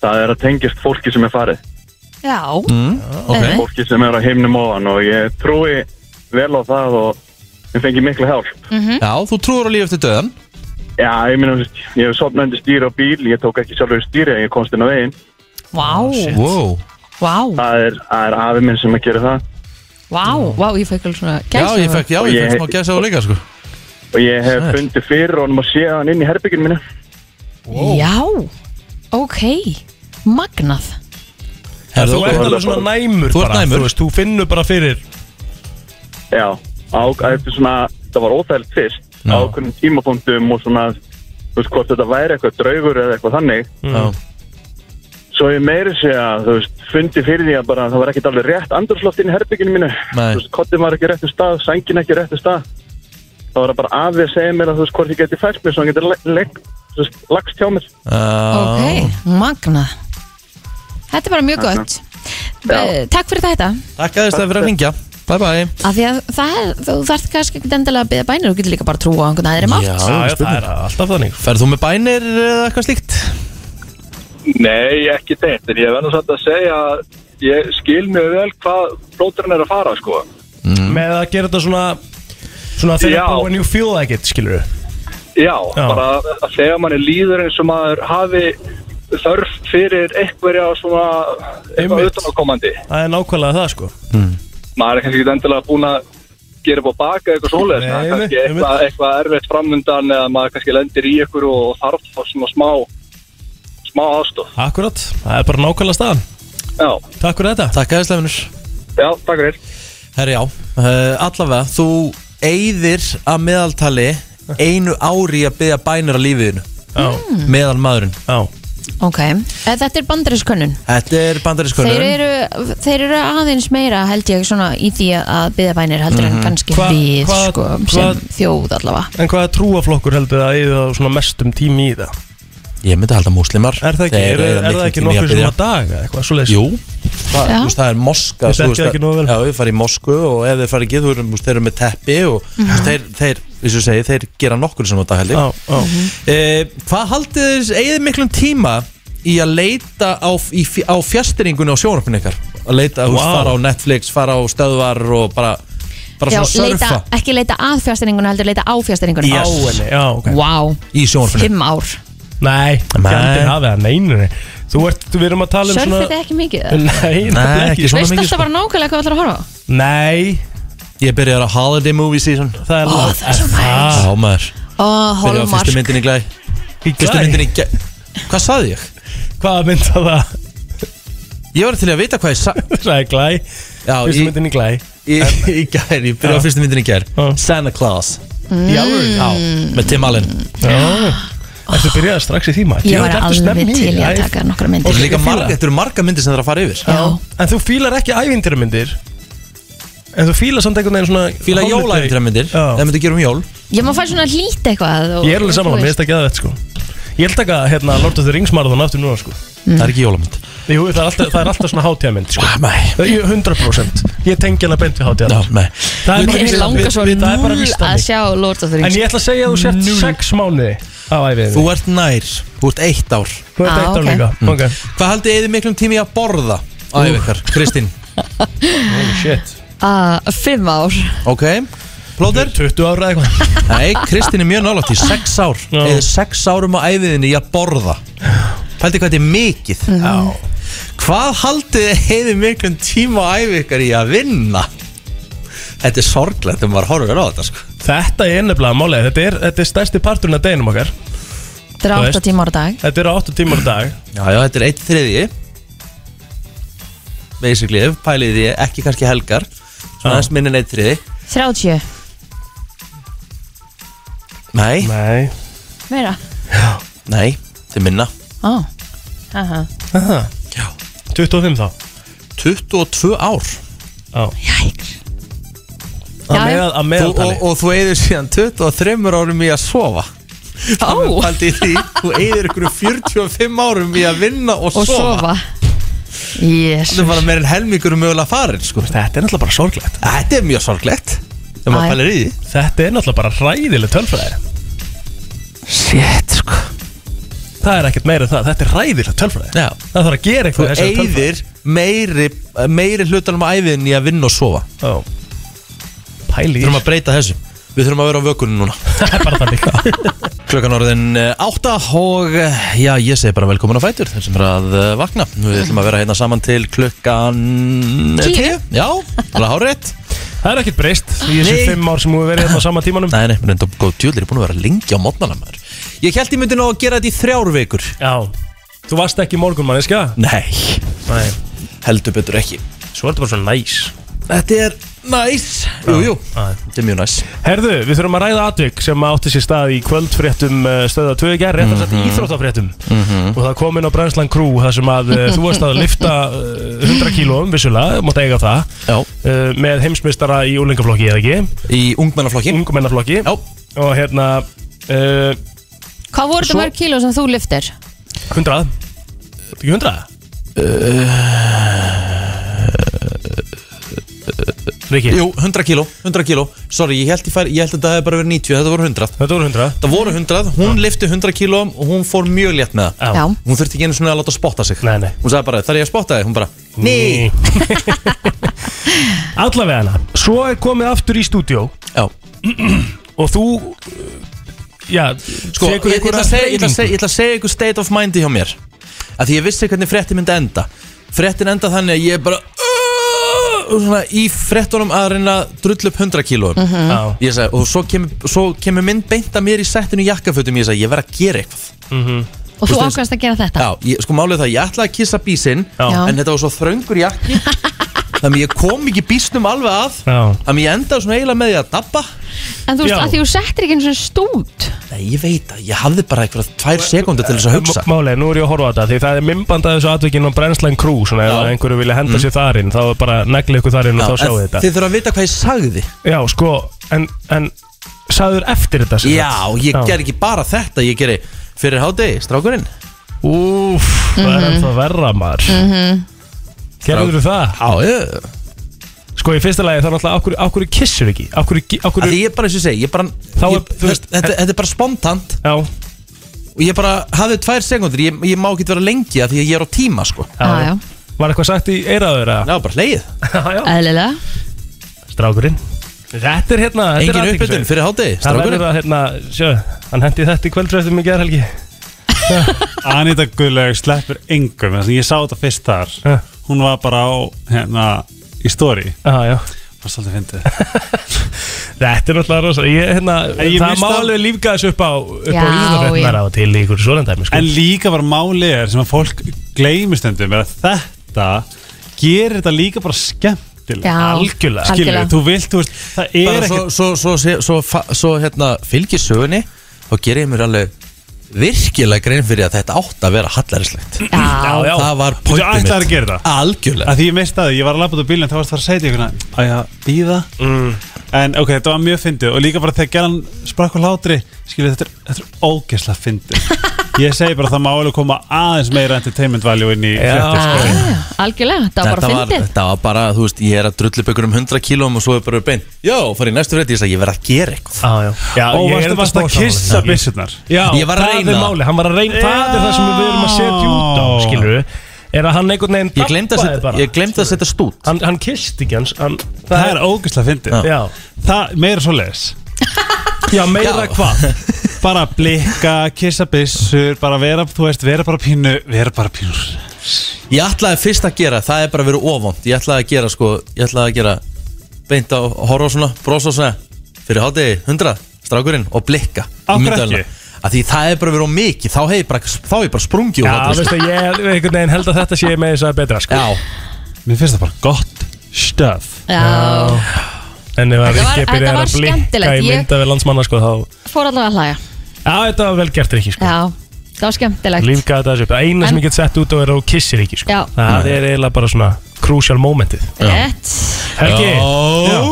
það er að tengjast fólki sem er farið Já, Mm, Ok Nei. fólki sem er á heimnum ofan og ég trúi vel á það og ég fengi miklu hjálp Mhm. Já, þú trúur á líf eftir döðan Já, ég minna, ég hef sopnað undir stýri á bíl ég tók ekki sjálfur stýri en ég komst inn á veginn vá, Wow vá, það er, það er afi minn sem að gera það vá, vá, ég fekk alveg svona Já, gæsa ég fekk, já, Og ég ég- fekk smá gæsa á líka, sko og ég hef fundið fyrir honum að sé hann inn í herbygginu mínu Já, ok, magnað En þú ert þú- alveg svona næmur Þú ert bara, næmur. Þú veist, þú finnur bara fyrir Já, á, eftir svona, það var óþægilegt fyrst Já. á okkurinn tímapunktum og svona þú veist hvort þetta væri eitthvað draugur eða eitthvað þannig mm, Já. svo ég meiri segja, þú veist, fundi fyrir því að bara það var ekkert alveg rétt andrúrsloft inn í herbygginu mínu Nei. þú veist, kottin var ekki réttu stað, sængin ekki réttu stað það var bara afi að segja mér að þú veist hvort ég geti fært mér svo hann geti le- le- þú veist, lagst hjá mér Uh, Ok, magnað Þetta er bara mjög gott Já. Eh, Takk fyrir þetta Takk að þið stæði fyrir að ringja Bye bye Af því að það, er- þú þarft kannski ekki endilega að byggja bænir Þú getur líka bara að trúa á einhvern aðri mátt Já, það er alltaf þannig Ferð þú með bænir eða eitthvað slíkt? Nei, ekki tengt, en ég verður samt að segja að ég skil mjög vel hvað blóturinn er að fara, sko. Mm. Með að gera þetta svona Svona þegar Já. bara when you feel like it, skilur Já, Já. bara að þegar manni líður eins og maður hafi þörf fyrir einhverja svona eitthvað Einmitt. utanakomandi. Það er nákvæmlega það, sko Mm. Maður er kannski ekki endilega búin að gera upp á baka eitthvað svoleiðis, Nei, maður er kannski einmitt, eitthvað, eitthvað erfitt framundan eða maður kannski lendir í ykkur og þarf þá svona smá, smá aðstof. Akkurat, það er bara nákvæmlega staðan Já, Takk fyrir þetta Takk að þið stæðinur já, takk fyrir. Herri já, uh, allavega þú eyðir að meðaltali einu ári í að byggja bænir að lífiðinu Já, Mm. meðal maðurinn já Ok, Eh, þetta er bandarískönnun Þetta er Þeir bandarískonur eru, þeir eru aðeins meira held ég svona í því að byðabænir heldur en kannski Hva- við hva- sko, hva- sem þjóð allavega En hvaða trúaflokkur heldur það að eyða svona mestum tími í það? Ég myndi halda múslimar Er það ekki, Þeir er, er, eyða miklum það ekki tíma í að nokkuð biðja. svona dag eða eitthvað svo leiðis? Jú, það, Já. þú veist, það er moska Ég þú veist, þekki það ekki nógu vel. Já, við farið í mosku og ef þeir farið ekki þú veist, þeir eru með teppi og þú Mhm. veist, þeir, þeir, eins og ég segi, þeir gera nokkur sem þetta held Já, ég já. Mhm. e, Hvað haldið þið, eigið þið miklum tíma í að leita á, í, á fjastringunni á sjónarpunni ykkar að leita, þú veist, Vá. fara á Netflix, fara á stöðvar og bara, bara Já, svona leita, surfa ekki leita að fjárstæringuna heldur leita á fjárstæringuna Á henni, já, ok. Vá, í sjónarpunni fimm ár Nei, Nei. gældin hafið það, neinu nei. Þú ert, við erum að tala um Sörfið þið svona ekki mikið það? Nei, Nei, nefnilega ekki svona Veist mikið alltaf sko. bara nákvæmlega hvað ætlar að horfa á? Nei, Ég byrjar á Holiday Movie Season það er langt það er svo það- Já, maður Ó, Byrjar á Hallmark fyrstu myndinni í glæ Fyrstu Glæ. myndinni í gæ Hvað saði ég? Hvaða mynd það það? Ég var til að vita hvað ég sa Það er glæ Já, Fyrstu í, myndin í glæ í, í gær, ég byrjaði á fyrstu myndin í gær Já. Santa Claus Já, Mm. Mm. já með Tim Allen Oh. Ertu byrjað strax í því maður? Ég var Djöfull, ertu alveg snemma í til í því. að taka nokkra og myndir Ok. líka ég fíla. marg, þetta eru marga myndir sem það er að fara yfir Já, En þú fílar ekki ævintýramyndir En þú fílar samt einhvern veginn svona fíla holiday- jólæfintira myndir, Já. það myndi gera um jól ég má fæ svona lít eitthvað og- Ég er alveg saman, þú mér veist. finnst ekki að þetta sko Ég held ekki að hérna, Lord of the Rings marathon aftur núna sko það er ekki jólamynd Ah, Jú, það er alltaf, það er alltaf svona hátíðamynd sko nei, Ég- 100% Ég tengi hana beint við Já, hátíðamynd nei Það er bara Mér víst- langar svo það er bara núl víst að þannig sjá Lord of the En Rings ég ætla að segja að þú sért 6 mánuði á æfiðinni þú ert nær, þú ert eitt ár Mm. Þú ert Ah, eitt ok. ár líka Ok, hvað haldið eða miklum tími í að borða á yfir ykkar, Kristín holy shit Ah, Fimm ár ok, plóður 20 ára eða eitthvað nei, Kristín er mjög nálátt í sex ár Já. eða sex árum á æfiðinni í að borða pældi hvað þetta er mikið hvað haldið þið heiði miklum tíma á æfi ykkar í að vinna þetta er sorglegt þegar maður horfir á þetta sko. Þetta er nefnilega málega Þetta er, þetta er stærsti parturinn af deginum okkar Þetta er Þú 8 veist. tíma ára dag Þetta eru 8 tímar á dag já, já, þetta er eitt þriði basically, ef pælið því ekki kannski helgar Já. svona aðeins minni en eitt þriði 30 nei, Nei Meira nei, þetta er minna Ó Aha. 25 þá 22 ár Já Jæks Að Já, já. meðal- að þú, og, meðaltali og þú eigður síðan 23 árum í að sofa Ó. Haldið því, þú eigður ykkur 45 árum í að vinna og, Og sofa Jésus Þetta er bara meira en helmingur um mögulega farin sko. Þetta er náttúrulega bara sorglegt Þetta er mjög sorglegt Þegar maður Æ. pælir í því Þetta er náttúrulega bara ræðileg tölfræði Shit sko Það er ekkert meira en það, þetta er ræðileg tölfræði Já. Það þarf að gera Þú eitthvað í þessari tölfræði. eigðir meiri, eh, meiri hlutanum á æfiðin í að vinna og sofa Við Já. Pæli í þurfum að breyta þessu Við þurfum að vera á vökunum núna Það er bara þannig Klukkan orðin eh, átta og eh, já, ég segi bara velkomin á Fætur þeir sem er að eh, vakna. Við ætlum að vera hérna saman til klukkan... eh, Tíu. Já, alveg hárétt. Það er ekkert breyst í þessum Nei. fimm ár sem við verið hérna á sama tímanum Nei, nei, reynda góð djúlir, ég er búin að vera lengi á mótnana maður. Ég held ég myndi nú að gera þetta í þrjár vikur. Já Þú varst ekki morgun manneska Nei, Nei heldur betur ekki. Svo er þetta bara svo næs Þetta er næs. Jú, jú, Já. þetta er mjög næs. Herðu, við þurfum að ræða atvik sem átti sér stað í kvöldfréttum eh, stöða 2 í gerð, réttar sett Mhm. mm íþróttafréttum og það kom inn á Brænslan Crew þar sem að eh, þú varst að lifta eh, 100 kílóum vissulega, mátt eiga það Já. eh, með heimsmystara í úlingaflokki eða ekki, Í ungmennaflokki. ungumennaflokki Já. og hérna uh, Hvað voru Svo- þetta mörg kíló sem þú liftir? 100 Þetta ekki 100? Riki, Jú, 100 kíló, 100 kíló. Sorry, ég held, ég fær, ég held að þetta hefði bara verið 90, þetta voru 100. þetta voru 100 Þetta voru 100, hún lifti 100 kílóum og hún fór mjög létt með það. Já. Já Hún þurfti ekki einu svona að láta spotta sig. Nei, nei. Hún sagði bara, þar er ég að spotta þig? Hún bara, ný. Allavega hana Svo er komið aftur í stúdíó Já. og þú eh, já, Sko, ég, ég, ætla að segja, ég, ætla að segja, ég ætla að segja ykkur state of mind hjá mér. Af því ég vissi hvernig frettin myndi enda. Frettin enda þannig að ég bara, uh, og svona í frettunum að reyna að drullu upp 100 kílóum. Já, Ég sagði, og svo kemur, svo kemur mynd beint að mér í settinu í jakkafötum. Ég sagði, ég verð að gera eitthvað. Mhm. Og þú Þú veist- ákvæmst að gera þetta Já, ég, sko málið er það, ég ætlaði að kissa bísinn Já. En þetta var svo þröngur jakki Þannig ég kom ekki býstum alveg að Já. Þannig ég endaði svona eiginlega með því að dabba En þú veist, Já. að því þú settir ekki eins og stút Nei, ég veit að ég hafði bara einhverja tvær sekundu til þess að hugsa Málega, nú Eh, er ég að horfa á þetta Því það er mymband að þessu atvikinn á brennslan krú Svona ef Já. Mm. einhverju vilja henda sér þar inn Þá er bara negli ykkur þar inn og þá en sjáu þetta Þið þurfa að vita hvað ég sagði Já, sko, en, en Sæður eftir þetta sem Já, sagt? ég ger ekki bara þetta Ég geri fyrir hádegi, strákurinn Úff, það Mhm. er ennþá verra maður mm Mhm. Gerður það? Já, ég Sko, í fyrsta lagi þá náttúrulega Akkur, akkur kissur ekki Akkur, akkur, Af Því ég bara, eins og ég segi, ég bara Þá er- ég, þú veist- þetta, þetta er bara spontant já, Og ég bara hafði tvær sekundur Ég, ég má ekki vera lengi að því að ég er á tíma, sko já, Já, já. Var eitthvað sagt í eiraður að Já, bara leið Já, já. Æðlilega Strákurinn Þetta er hérna þetta er Engin athyglisverð. uppbytun fyrir hádegi, Það verður strákurinn að hérna, sjö, hann hendi þetta í kvöldfræstum í gerðhelgi Anita Guðlaug sleppur engum þannig að ég sá þetta fyrst þar Já. hún var bara á hérna í stóri, Já, já var svolítið fyndið Þetta er náttúrulega rosa Ég, hérna, En ég Það mista- má alveg lífga þessu upp á upp á Já, íþjóðfrættunar já. á til í ykkur svolandæmi sko. en líka bara málið er sem að fólk gleymistendum er að þetta gerir þetta líka bara skemmtilega Já, Algjörlega. skilur, algjörlega. þú vilt, þú veist, það er Bara ekki svo, svo, svo, svo, svo, fa- svo hérna, fylgir sögunni Og gerir ég mér alveg virkilega grein fyrir að þetta átt að vera hallarinslegt Já, já. Það var þú pointið ætlaðir að gera það Algjörlega að því ég misti að því, ég var að labba út á bílinn þá varst það að segja ykkur að já, býða mm. en ok, þetta var mjög fyndið og líka bara þegar gerðan sprakk á hlátri skilur þetta, er- þetta er ógeðslega fyndið ég segi bara að það má alveg koma aðeins meira entertainment value inn í fréttir sko. Já, já, Algjörlega, það var bara var, fyndið þetta var bara, þú veist, ég er að drullu byggur um 100 kílóum og svo er bara bein Já, farið í næstu frétt, ég sagði, ég verð að gera eitthvað Já, já, já og ég er varstu enda varst að stór kissa sammála því. byssunar Já, Ég var að það reyna er það. máli, hann var að reyna Það er það sem við erum að setja út á, Já. skilur Er að hann einhvern veginn Ég glemdi að dabbaði setja, bara, ég glemdi að skilurðu. setja stút Hann, hann kist ekki hans hann, það er ógeðslega fyndið Já, það meira svo les já meira Já. hvað bara blikka, kissa byssur bara vera, þú veist, vera bara pínu vera bara pínu Ég ætlaði fyrst að gera, það er bara verið ofond Ég ætlaði að gera, sko, ég ætlaði að gera Beint á horfa svona, brosa svona Fyrir hátegi, 100, strákurinn og blikka Af hverju ekki? Að því það er bara verið of mikið, þá hef ég bara, þá hef ég bara sprungið úr Já, hlátri, sko. veistu, ég er einhvern veginn held að þetta sé með þess að betra sko. Já, mér finnst það bara gott stöf Já, En ef að Þetta var- Rikki þetta byrjar var að blikka skemmtilegt. í Ég- mynda við landsmanna sko, þá, fór allavega að hlæja Já, þetta var vel gert Rikki sko. Já, það var skemmtilegt Lífgaði þetta þessu upp Það eina sem En- ég get sett út á er að þú kissir ekki sko. Já. Það er eiginlega bara svona crucial momentið Rétt Helgi, Oh.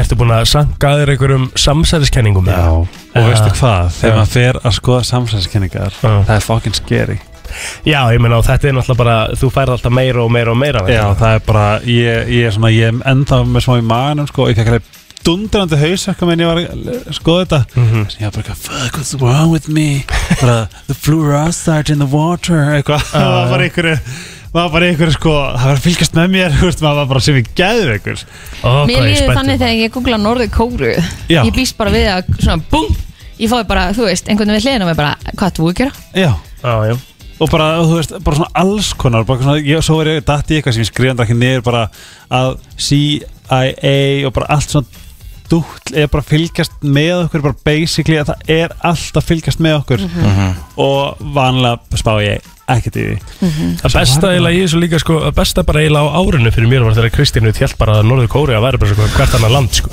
ertu búin að sanga þér einhverjum samsæðiskenningum? Já, og Já. veistu hvað, þegar Já. maður fer að skoða samsæðiskenningar, Já. það er fucking scary Já, ég meina og þetta er náttúrulega bara Þú færð alltaf meira og meira og meira Já, það er bara, ég, ég er svona, ég er ennþá með smá í maganum, sko, ég fekk alveg dundrandi hausökkum en ég var að l- skoða þetta ég var bara eitthvað, fuck, what's wrong with me bara, the fluorosite in the water eitthvað, það var bara einhverju það var bara einhverju, sko, það var að fylgjast með mér þú veist, maður var bara sem ég gæði einhver Ó, Mér hvað ég líður spenntur, þannig maður. þegar ég googla norður kóru Já. Ég býst bara við að svona búm Ég fái bara, þú veist, einhvern veginn við hliðin og mér bara, hvað ættu að gera? já, Já, já og bara, þú veist, bara svona alls konar bara svona, ég, svo er ég datt í eitthvað sem ég skrifandi ekki niður bara að CIA og bara allt svona dúll er bara að fylgjast með okkur bara basically að það er allt að fylgjast með okkur og vanlega spá ég ekkert í því Mhm. Það besta eiginlega í þessu líka sko, að besta bara eiginlega á árinu fyrir mér var þegar Kristínu tjált bara að Norður Kóri að væri bara svona hvert annar land sko.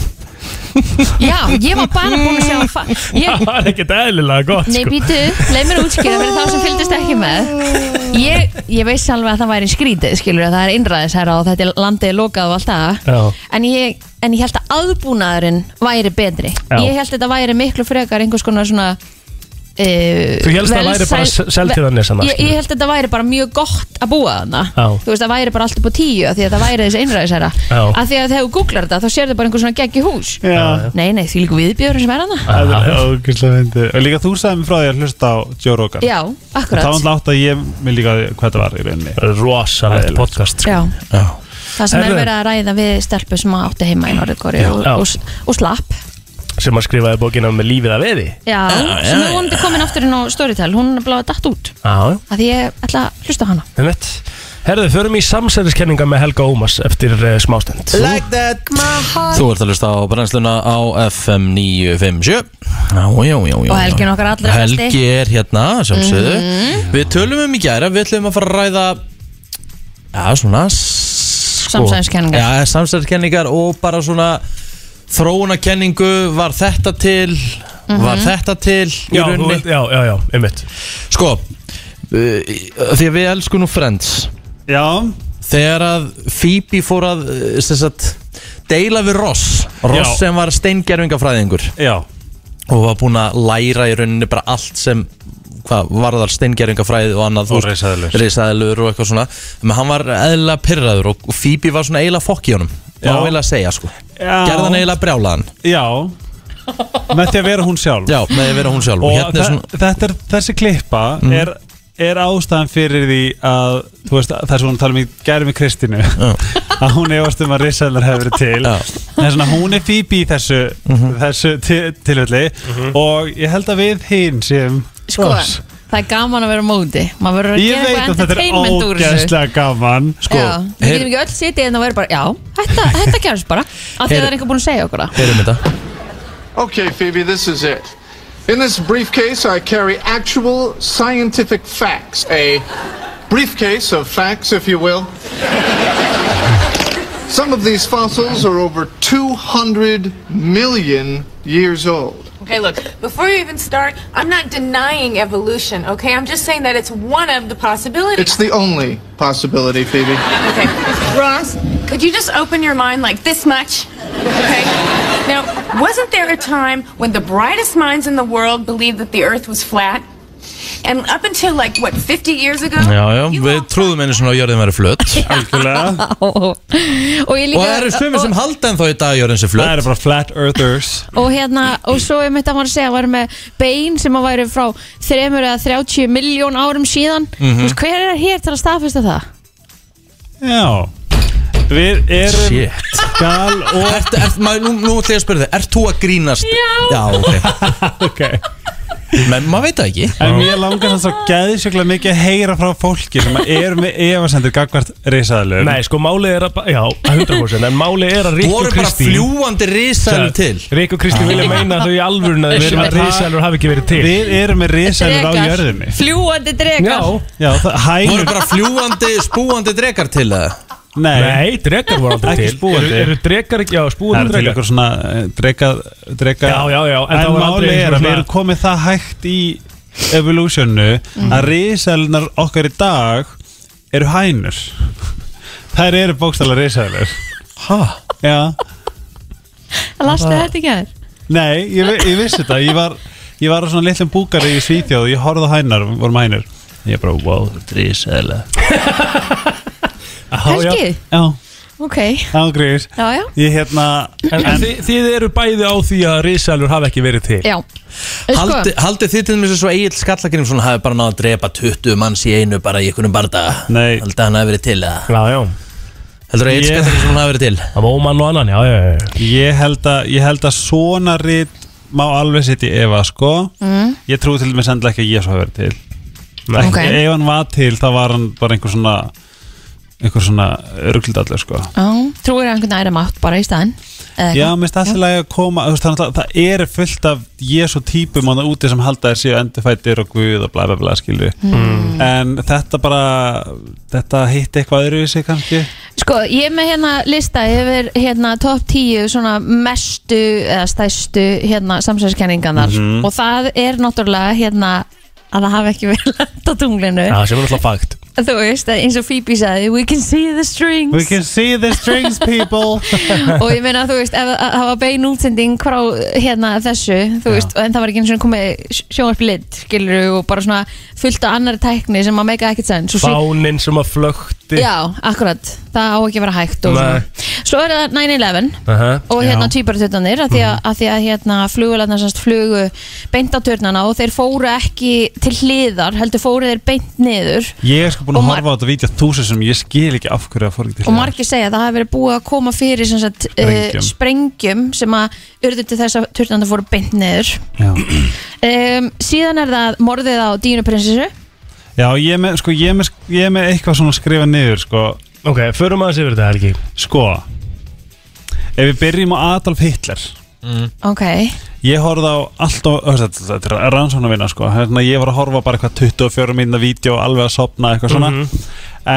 Já, ég var bara búin að sjá hann fa- ég, Það var ekkert eðlilega gott Nei, sko. býtu, leið mér að útskýra fyrir þá sem fylgdist ekki með Ég, ég veist alveg að það væri skrítið, skilur að það er innræðis hér á þetta er- landið er lokað og allt það Já. en ég, en ég held að aðbúnaðurinn væri betri Já. Ég held að þetta væri miklu frekar einhvers konar svona Uh, Þú hélst að það væri bara Seltjarnarnes annars, ég, ég held að þetta væri bara mjög gott að búa þarna Já. Þú veist, það væri bara allt upp á tíu af Því að það væri þessi einræðisæra Já. Af því að þegar þú googlar þetta, þá sér þau bara einhver svona geggi hús já, Nei, nei, því líka viðbjörn sem er hana Ah. það er ógæslega myndið og líka þú sagði mér frá því að hlusta á Joe Rogan Já, og akkurat þá var átt að ég mér líka hvað það var í rauninni Rosalegt Eðlilegt. podcast sko. Já. Já. Það sem er Herðu. verið að ræða við stelpu sem átti heima í Norðurkóri og, Já. og, og slapp sem að skrifaði bókina með lífið að veði Já, Ah, sem er vonandi komin aftur inn á Storytel hún er bláða datt út Já, af því ég ætla að hlusta á hana einmitt Herðu, förum í samsæðiskenninga með Helga Ómas eftir uh, smástund Like that Þú ert að hlusta á brennsluna á FM 957 Já, já, já, já Og Helgi er okkar allra Helgi besti. Mhm. er hérna, sjálfsögðu Við tölum um í gæra, við ætlum að fara að ræða Já, svona s- sko. Samsæðiskenningar. Já, samsæðiskenningar og bara svona þróunakenningu, var þetta til Mhm. var þetta til í Já, þú rauninni veit, já, já, já, einmitt Sko, uh, því að við elskum nú Friends Já, Þegar að Phoebe fór að uh, sem sagt, deila við Ross Ross Já. sem var steingervingafræðingur já og var búinn að læra í rauninni bara allt sem hvað varðar steingervingafræði og annað Og risaeðlur. risaðilur og eitthvað svona Menn hann var eðlilega pyrraður og og Phoebe var svona eiginlega fokk í honum Já. Já. var eiginlega að segja sko Já. gerðan eiginlega brjálaðan Já Með því að vera hún sjálf Já, með því að vera hún sjálf Og og hérna þe- er svona Mhm. þetta er, þessi klippa er, er ástæðan fyrir því að þú veist, það er svona að tala um í gæri með Kristínu að hún efast um að risaðlar hefur verið til Já. Mhm. það er svona hún er Phoebe í þessu, þessu til, tilfelli og ég held að við hinn sem Sko, það er gaman að vera á móti Maður verður að ég gera veit eitthvað að þetta er entertainment úr þessu ógeðslega gaman Sko, Já, við heyr- getum ekki öll sitið en það verður bara, já, þetta, þetta gerist bara af því að Heyr- það er einhver búin að segja okkur það Heyrum þetta Okay, Phoebe, this is it. In this briefcase, I carry actual scientific facts. A briefcase of facts, if you will. Some of these fossils are over 200 million years old. Okay, look, before you even start, I'm not denying evolution, okay? I'm just saying that it's one of the possibilities. It's the only possibility, Phoebe. Okay. Ross, could you just open your mind like this much? Okay. Now, wasn't there a time when the brightest minds in the world believed that the earth was flat? And up until like what, 50 years ago? Já, já, you við all- trúðum einu svona að jörðin verið flött Algjörlega. Og ég Og líka það eru sumir sem halda en þá í dag að jörðin sé það flött eru bara flat earthers og hérna, og svo er mitt að maður að segja að væri með bein sem að væri frá 3 eða 30 miljón árum síðan Mhm. þú veist, hver er hér til að staðfesta það? já við erum Shit skal og Ert, ert, maður, nú, nú ætla ég að spyrja þig, ert þú að grínast? Já Já, ok okay. Men maður veit það ekki En mér langar það svo gæðisjökla mikið að heyra frá fólki sem er með efasendur gagvart risaðalum Nei, sko, málið er að, ba- já, 100% En málið er að Rík og Voru bara Kristín fljúandi risaðum til Rík og Kristín vilja meina þau í alvörun að við erum að risalur hafi ekki verið til Við erum með risaðalur á jörðinni fljúandi drekar Já, Já, það Voru hænur bara fljúandi, spúandi drekar til það Nei, nei, drekar voru aldrei Ekki til spúandi. Eru- Eru drekar, já, það eru spúandi til drekar ykkur svona eh, dreka, dreka Já, já, já, en En, það var aldrei málið er eitthvað að svona- við erum komið það hægt í evolutionu Mm. að risaðalunar okkar í dag eru hænur Þær eru bókstala risaðalur Hæ? Já Lastu þetta ekki að þér? Nei, ég, vi- ég vissi þetta Ég var, ég var á svona litlum búkari í Svíþjóð Ég horfði á hænar, vorum hænur Ég bara, wow, drísæðilega Helgi? Já, Ok, ágrís já, já Ég hérna, En, en þið, þið eru bæði á því að risalur hafi ekki verið til Já, sko, Haldi, haldið þið til þess að svo Egil Skallagrimsson hafi bara náða að drepa 20 manns í einu bara í einhvernum barda Nei. Haldið hann hafi verið til eða? Já, já, Heldur að Ég- Egil Skallagrimsson hafi verið til það var ómann og annan, já, já, já ég held að Ég held að svona rít Má alveg sitt í Eva, sko Ég trúi til dæmis endilega ekki að ég svo hafi verið til Nei, Ok. Ef hann var til, þá var hann bara einhver svona Einhver svona ruglidallur, sko Já, trúir að einhvern æra mátt bara í staðinn Eða Já, eitthvað. mér finnst alltaf að koma þú veist, þannig, að það er fullt af jesu típum á það úti sem halda þér síðan endurfættir og guð og bla bla bla skilu Mm. en þetta bara þetta hitt eitthvað öðruvísi kannski Sko, ég er með hérna lista yfir hérna top 10 svona mestu eða stæstu hérna samsæðiskenningarnar Mhm. og það er náttúrulega hérna að það hafi ekki verið lent á tunglinu Já, sem er alltaf fakt þú veist, að eins og Phoebe sagði we can see the strings We can see the strings people og ég meina, þú veist, ef að- það var bein útsending frá hérna þessu, þú veist en það var ekki eins og komið sjónvarp lit skilur og bara svona fullt af annari tækni sem að meika ekkert sens og svo- Fáninn sem að flökti Já, akkurat, það á ekki að vera hægt og Nei. svona. Svo er það 9-11 Aha. og hérna týpartutnanir að því að, að, því að hérna, flugularnar semst flugu beint á turnana og þeir fóru ekki til hliðar heldur fóru þeir beint niður Ég er sko búin Og að mar- horfa á þetta vídeo þúsund sem ég skil ekki af hverju að fór ekki til og hliðar. margir segja að það hafi verið búið að koma fyrir sem sagt, uh, Sprengjum. sprengjum sem að urðu til þess að turnana fóru beint niður Já, um, síðan er það morðið á Dínu prinsessu Já ég, er með, sko, ég, er með, ég er með eitthvað svona að skrifa niður sko, Ok, förum aðeins yfir þetta, Helgi sko ef við byrjum á Adolf Hitler ok, Ég horfði á allt og þetta, þetta er rannsónavinna sko hérna, ég var að horfa bara eitthvað 24 mínna vídeo alveg að sopna eitthvað svona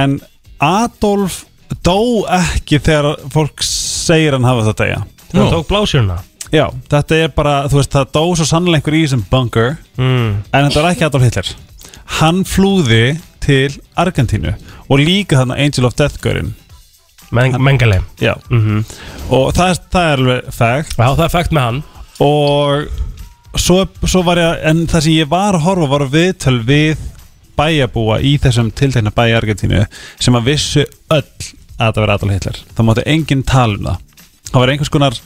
en Adolf dó ekki þegar fólk segir hann hafa þetta eiga Þegar hann tók blásjörna Já, þetta er bara, þú veist, það dó svo sannlega einhver í þessum bunker Mm. En þetta var ekki Adolf Hitler Hann flúði til Argentínu Og líka þarna Angel of Death-görinn Men, Mengele Mhm. Já Og það, er- það er alveg fact Já, það er fægt með hann Og svo, svo var ég, að- en það sem ég var að horfa var viðtöl við bæjabúa í þessum tiltekna bæ í Argentínu sem að vissu öll að þetta verið Adolf Hitler. Það mátti enginn tala um það. Það var einhvers konar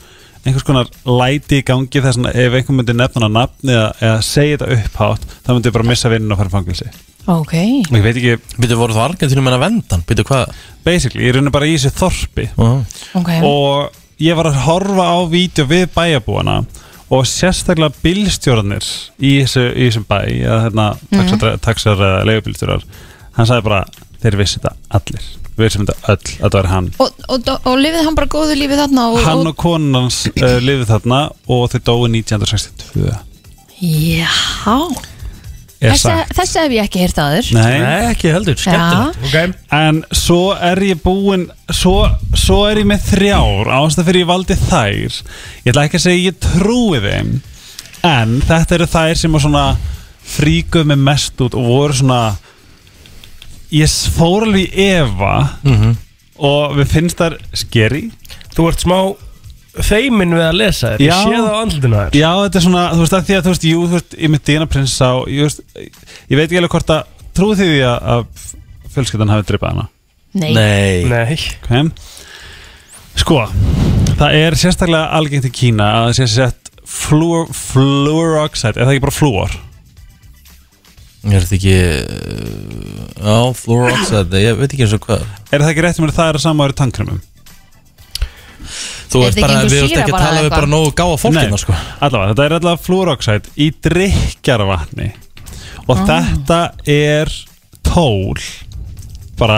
einhvers konar læti í gangi þess að ef einhver myndi nefna hana nafn eða, eða segja þetta upphátt, það myndi bara missa vinnun og fara í fangelsi. Ok, Og ég veit ekki, Býtu voru þú Argentinum en að venda hann? Býtu hvað? basically, ég raunar bara í þessu þorpi Uh, ok og ég var að horfa á vídeo við bæjarbúana og sérstaklega bílstjórnir í, þessu, í þessum bæ eða hérna, taxar, taxar eða leigubílstjórar hann sagði bara, þeir vissi þetta allir við vissum þetta öll, að það var hann Og, og, og, lifið hann bara góðu lífið þarna og, hann og konan hans uh, lifið þarna og þau dói 1962 Já er Þessi, sagt þessi hef ég ekki heyrt aður Nei, Nei, ekki heldur, skemmtilegt Ok, en svo er ég búinn svo, svo er ég með þrjár ástæð fyrir ég valdi þær ég ætla ekki að segja ég trúi þeim en þetta eru þær sem að svona fríkuð mig mest út og voru svona ég s- fór alveg í Eva og við finnst þær skeri Mhm. þú ert smá feimin við að lesa þér Ég Já. sé það á andlutinu þér já þetta er svona, þú veist að því að þú veist, jú, þú veist, ég með Dina Prinsa og ég, veist, ég veit ekki alveg hvort að trúið því að, að fjölskyldan hafi dripað hana Nei, nei. Nei, okay. Sko, það er sérstaklega algengt í Kína að það sé sett fluor, fluoroxide, er það ekki bara flúor? Er þetta ekki uh, Já, fluoroxide Ég veit ekki eins og hvað Er það ekki rétt með það er að sama eru tannkremum? Þú Er ert þetta bara, ekki einhver við ert sýra ekki að bara tala eða við bara eitthvað? nógu gáða fólkina sko allavega, þetta er allavega fluoroxide í drikjarvatni Ah. og þetta er tól bara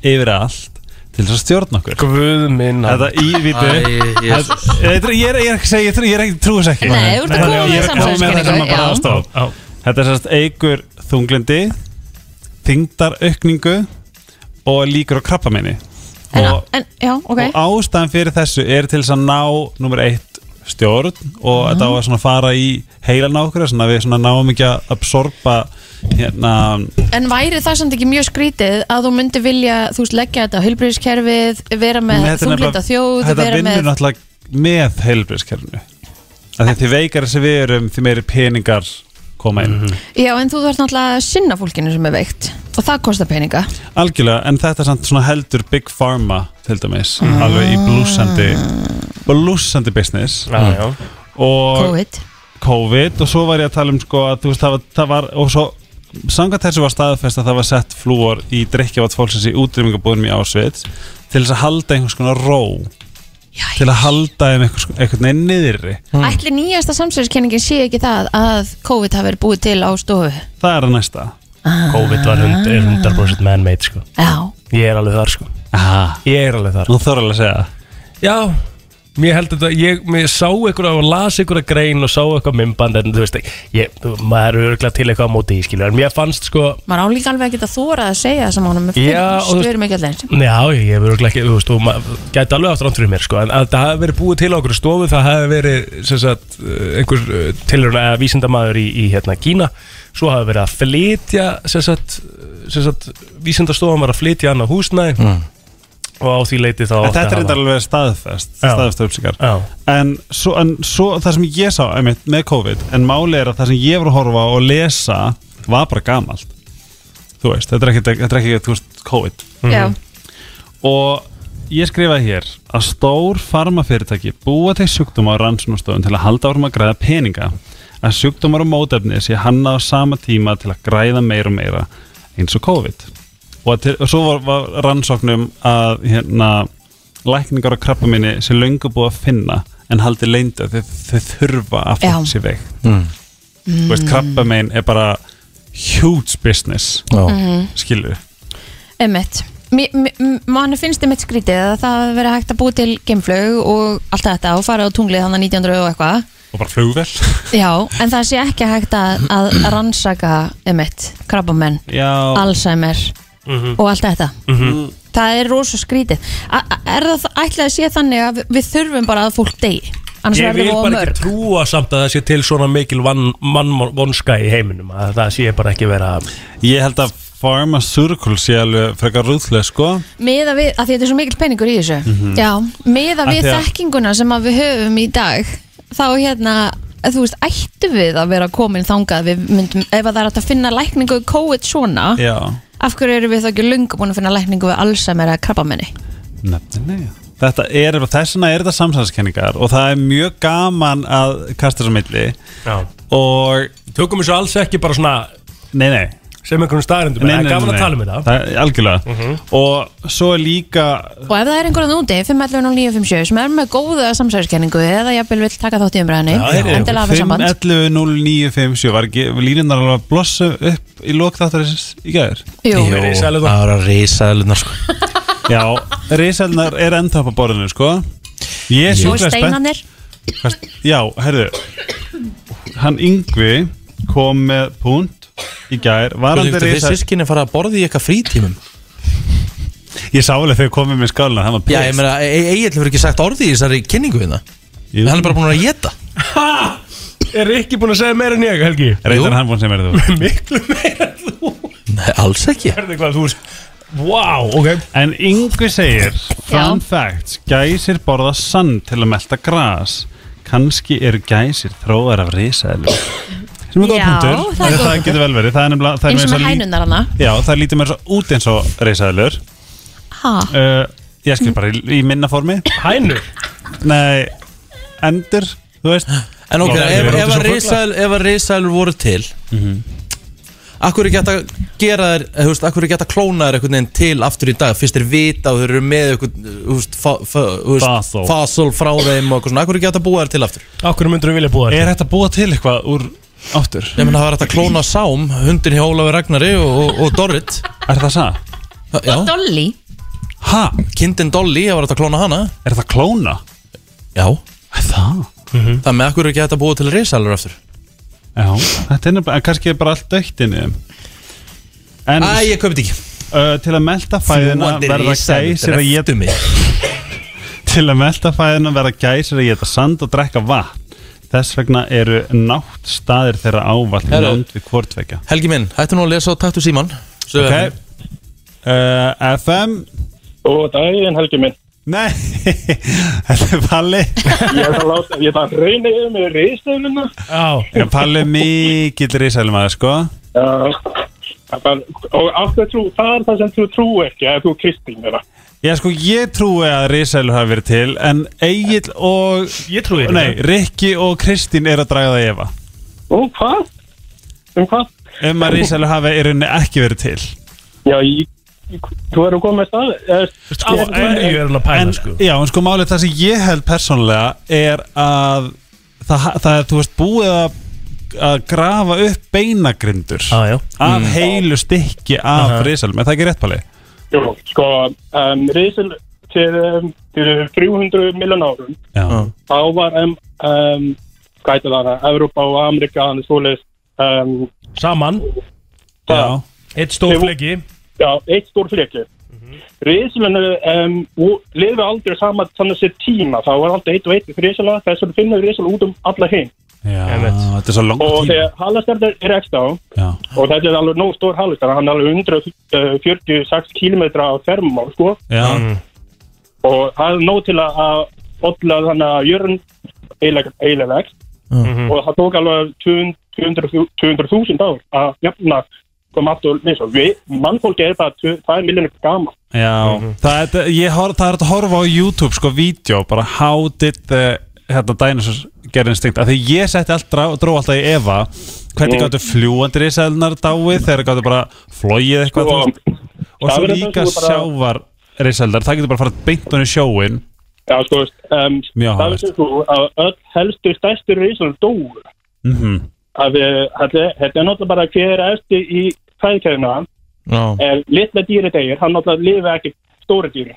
yfir allt til þess að stjórna okkur guð minn Þetta ívítu Æ, Þetta- þetta- Ég er ég er ekki að segja, ég trú- ég er ekki trúið ekki Nei, þú ert að koma Ég er að með koma með þetta sem að bara samsæðiskenningu aðstof Þetta er sérst eigur þunglindi þyngdaraukningu og líkur á krabbaminni en, og, en, já, ok og ástæðan fyrir þessu er til þess að ná nummer eitt stjórn og Mhm. þetta á að svona fara í heilan á okkur svona að við svona náum ekki að absorba hérna En væri það samt ekki mjög skrítið að þú myndi vilja, þú veist, leggja þetta á heilbriðiskerfið, vera með þetta er þunglinda nefnilega- þjóð, þetta vera vinnur með náttúrulega með heilbríðskerfinu af því að því veikar sem við erum því meiri peningar koma inn Já, en þú þarf náttúrulega að sinna fólkinu sem er veikt og það kostar peninga Algjörlega, en þetta er samt svona heldur Big Pharma til dæmis alveg í blúsandi blúsandi business Mm. Já, og COVID COVID og svo var ég að tala um sko að þú veist það var, það var og svo samkvæmt þessu var staðfest að það var sett flúor í drikkjavat fólksins í útrýmingabúðum í ásveit til þess að halda einhvers konar ró til að halda þeim einhvers, einhvern veginn niðri Ætli nýjasta samsverðiskenningin sé ekki það að COVID hafi verið búið til á stofu það er að næsta COVID var hund, er 100% man-made sko. Já, Ég er alveg þar sko. Aha. Ég er alveg þar nú þarf alveg að segja Já, ég held að þetta- ég, ég sá ykkur og las ykkur að grein og sá eitthvað mymband en þú veist, ég, maður er örgla til eitthvað á móti í skilur, en mér fannst sko maður á líka alveg að geta þórað að segja þessum honum með Já, og þú- fyrst, við erum ekki allir eins. Já, ég hefur örugglega ekki, þú veist, og maður gæti alveg aftur ándur í mér, sko, en að það hefði verið búið til okkur stofu, það hefði verið, sem sagt, eh, einhver tilhörna eða vísindamaður í, í hérna, Kína, svo hefði verið að flytja, sem sagt, eh, sem sagt, vísindastofan var að flytja annað húsnæði og á því leiti Mm. þá... En þetta er átti að þetta hafa- alveg staðfest, Já. staðfest upplýsingar Já. en, svo, en svo, það sem ég sá einmitt, með COVID, en máli er að það sem ég var að horfa á og lesa var bara gamalt þú veist, þetta er ekki, þetta er ekki þú veist, COVID Já, Mhm. og ég skrifaði hér að stór farmafyrirtæki búa til sjúkdóma á rannsónastofun til að halda árum að græða peninga að sjúkdómar og mótefni sé hanna á sama tíma til að græða meira og meira eins og COVID og, að til, og svo var, var rannsóknum að hérna, lækningar á krabba minni sé löngu búið að finna en haldi leindu þau, þau þurfa að fólk Já. sé veikt mm. veist, krabba minn er bara huge business Já. skilur Emmett mann finnst einmitt skrítið að það hafi verið hægt að búið til geimflög og allt þetta og fara á tunglið hann að 1900 og eitthvað og bara flugvel Já, en það sé ekki hægt að, að rannsaka emitt, krabbamenn, Já, Mhm. Mm. Alzheimer og allt þetta það er rosa skrítið A a- er það þa- ætli að sé þannig að við- við þurfum bara að fólk degi annars Ég vil verður það bara mörg ekki trúa samt að það sé til svona mikil vann- mann vonska í heiminum að það sé bara ekki vera Ég held að pharmaceutical sé alveg frekar rúðlega sko miða við, að því þetta er svo mikil peningur í þessu já, miða Mhm. Af við því að- þekkinguna sem að við höfum í dag þá hérna, þú veist, ættu við að vera komin þangað við myndum, ef að það er hægt að finna lækningu við COVID Ah. svona, Já, af hverju eru við þá ekki lunga búin að finna lækningu við Alzheimer eða krabbamenni nefnilega Þetta er, þess vegna er þetta samsæðiskenningar og það er mjög gaman að kasta þessu á milli Já. og, Tökum þessu alls ekki bara svona nei nei sem einhvern staðarindum Nei, Það nei, er gaman nei, að nei. tala um þetta Mhm. Það er algjörlega Og svo er líka Og ef það er einhverjan úti, 511 og 957 sem er með góða samsæðiskenningu eða jafnvel vill taka þátt í umræðinni endilega hafa samband 511-0957 Var ekki línunar alveg að blossa upp í lók þáttarins í gæður? Jú, Jú, það risaeðlurnar. var að risaðlunar sko. Já, reiselnar er enda upp á borðinu sko Ég er svo er sjúklega spennt steinanir Hvað- Já, herðu Hann Yngvi kom með púnt í gær Varandi Þeir reisal sískinni fara að borða í eitthvað frítímum Ég sá alveg þegar komið með skálina Hann var Já, ég pist meina, Egil hefur ekki sagt orði í þessari kynningu hérna Jú. Hann er bara búin að geta Er ekki búin að segja meira en ég, Helgi? Reyndar Jú. hann búinn sem er þú Miklu meira en þú Nei, alls ekki Herði hvað þú Vá, ok En Yngvi segir Fun fact, gæsir borða sand til að melta gras Kanski eru gæsir þróar af risaðlum Sem er góð Já, punktur það er En góð það punktur. getur vel verið Það er nefnilega það er eins og meira svo með lí- hænundar hana Já, það lítur mér svo út eins og risaðlur ha. uh, Ég skil bara í, í minna formi Hænur Nei, endur, þú veist En ok, Já, ég er ef, ef, svo Mhm. að risaðl- ef að risaðlur voru til Akkur er geta að gera þær eh, Þú veist, akkur er geta að klóna þær einhvern veginn til aftur í dag Fyrst þeir vita og þeir eru með einhvern eh, Þú veist, fa- fa- þú veist, Fossil. fasul frá þeim og eitthvað svona Akkur er geta að búa þær til aftur Akkur myndur við vilja búa þetta Er þetta búa til eitthvað úr áttur? Ég menn það var hægt að klóna Sám, hundin hjá Ólafur Ragnari og, og, og Dorrit Er það það? Já, Dolly Ha? kindin Dolly, það var hægt að klóna hana Er það klóna? Já, Er það? það með akkur er ekki hægt að búa til risalur aftur Já, þetta er nefnilega, kannski er bara allt dögt inni í þeim. En Æ, ég köpti ekki uh, til að melta fæðina verða gæsir að geta mig Til að melta fæðina verða gæsir að geta sand og drekka vatn Þess vegna eru nátt staðir þeirra ávallt Herru. nánd við hvortvekja Helgi minn, hættu nú að lesa og taktu síman Ok uh, FM Og daginn helgi minn Nei, þetta er Palli Ég ætla að láta, ég ætla að reyna yfir með reistöfluna Já Já, Palli er mikill risælum aðeins sko Og af hverju trú, það er það sem þú trú ekki að þú kristin vera Já sko, ég trúi að risælur hafi verið til En Egil og Ég trúi því Nei, Rikki og Kristín eru að draga það í efa Ó, hvað? Um hvað? um að risælur hafi í rauninni ekki verið til Já, ég, ég- þú erum komið með eh, stað eða- Af hverju er hann að pæla en, sko já, en sko málið það sem ég held persónlega er að það, það er, þú veist, búið að að grafa upp beinagrindur Ah, Já, já. af heilu stykki af uh Aha. risælum, er það ekki rétt palið? Jú, sko, um, risil til, um, til 300 miljón árum Já, þá var um, um, hvað heitir það, hana, Evrópa og Amerika þannig svoleiðis um, Saman já. Eitt stór fleki já, eitt stór fleki mm um, og lifi aldrei saman þannig sér tíma, þá var aldrei eitt og eitt risala, þess að finna risala út um alla heim já Einmitt. þetta er svo langt og tíma þegar halastjarnar er ekki á Já. og þetta er alveg nóg stór halastjarnar, hann er alveg eh, 146 km á fermum sko Já. og það er nóg til að að olla þannig að jörn eiginlega vext Oh. Mhm. og það tók alveg 200 200 200.000 ár að jafna koma aftur með svo við, mannfólki er bara 2 miljonir gama Já, Mhm. það, er, þetta- ég hor, það er hægt að horfa á YouTube sko, vídeo, bara how did the hérna, dinosaurs get instinct af því ég setti allt, drá, dró alltaf í Eva hvernig Mm. gáttu fljúandi risaðlunar dáið þegar gáttu bara flóið eitthvað þú og veist. og Sko, það svo verður líka kannski bara- sjávar risaðlunar, það getur bara farið beint honum í sjóin já, sko, um, Mjög það áhugavert. er svo að öll helstu stærstu reisum dóu mm að við- þetta þetta er náttúrulega bara hver eftir í fæðkæðina Já, en litla dýri degir, hann náttúrulega lifi ekki stóri dýri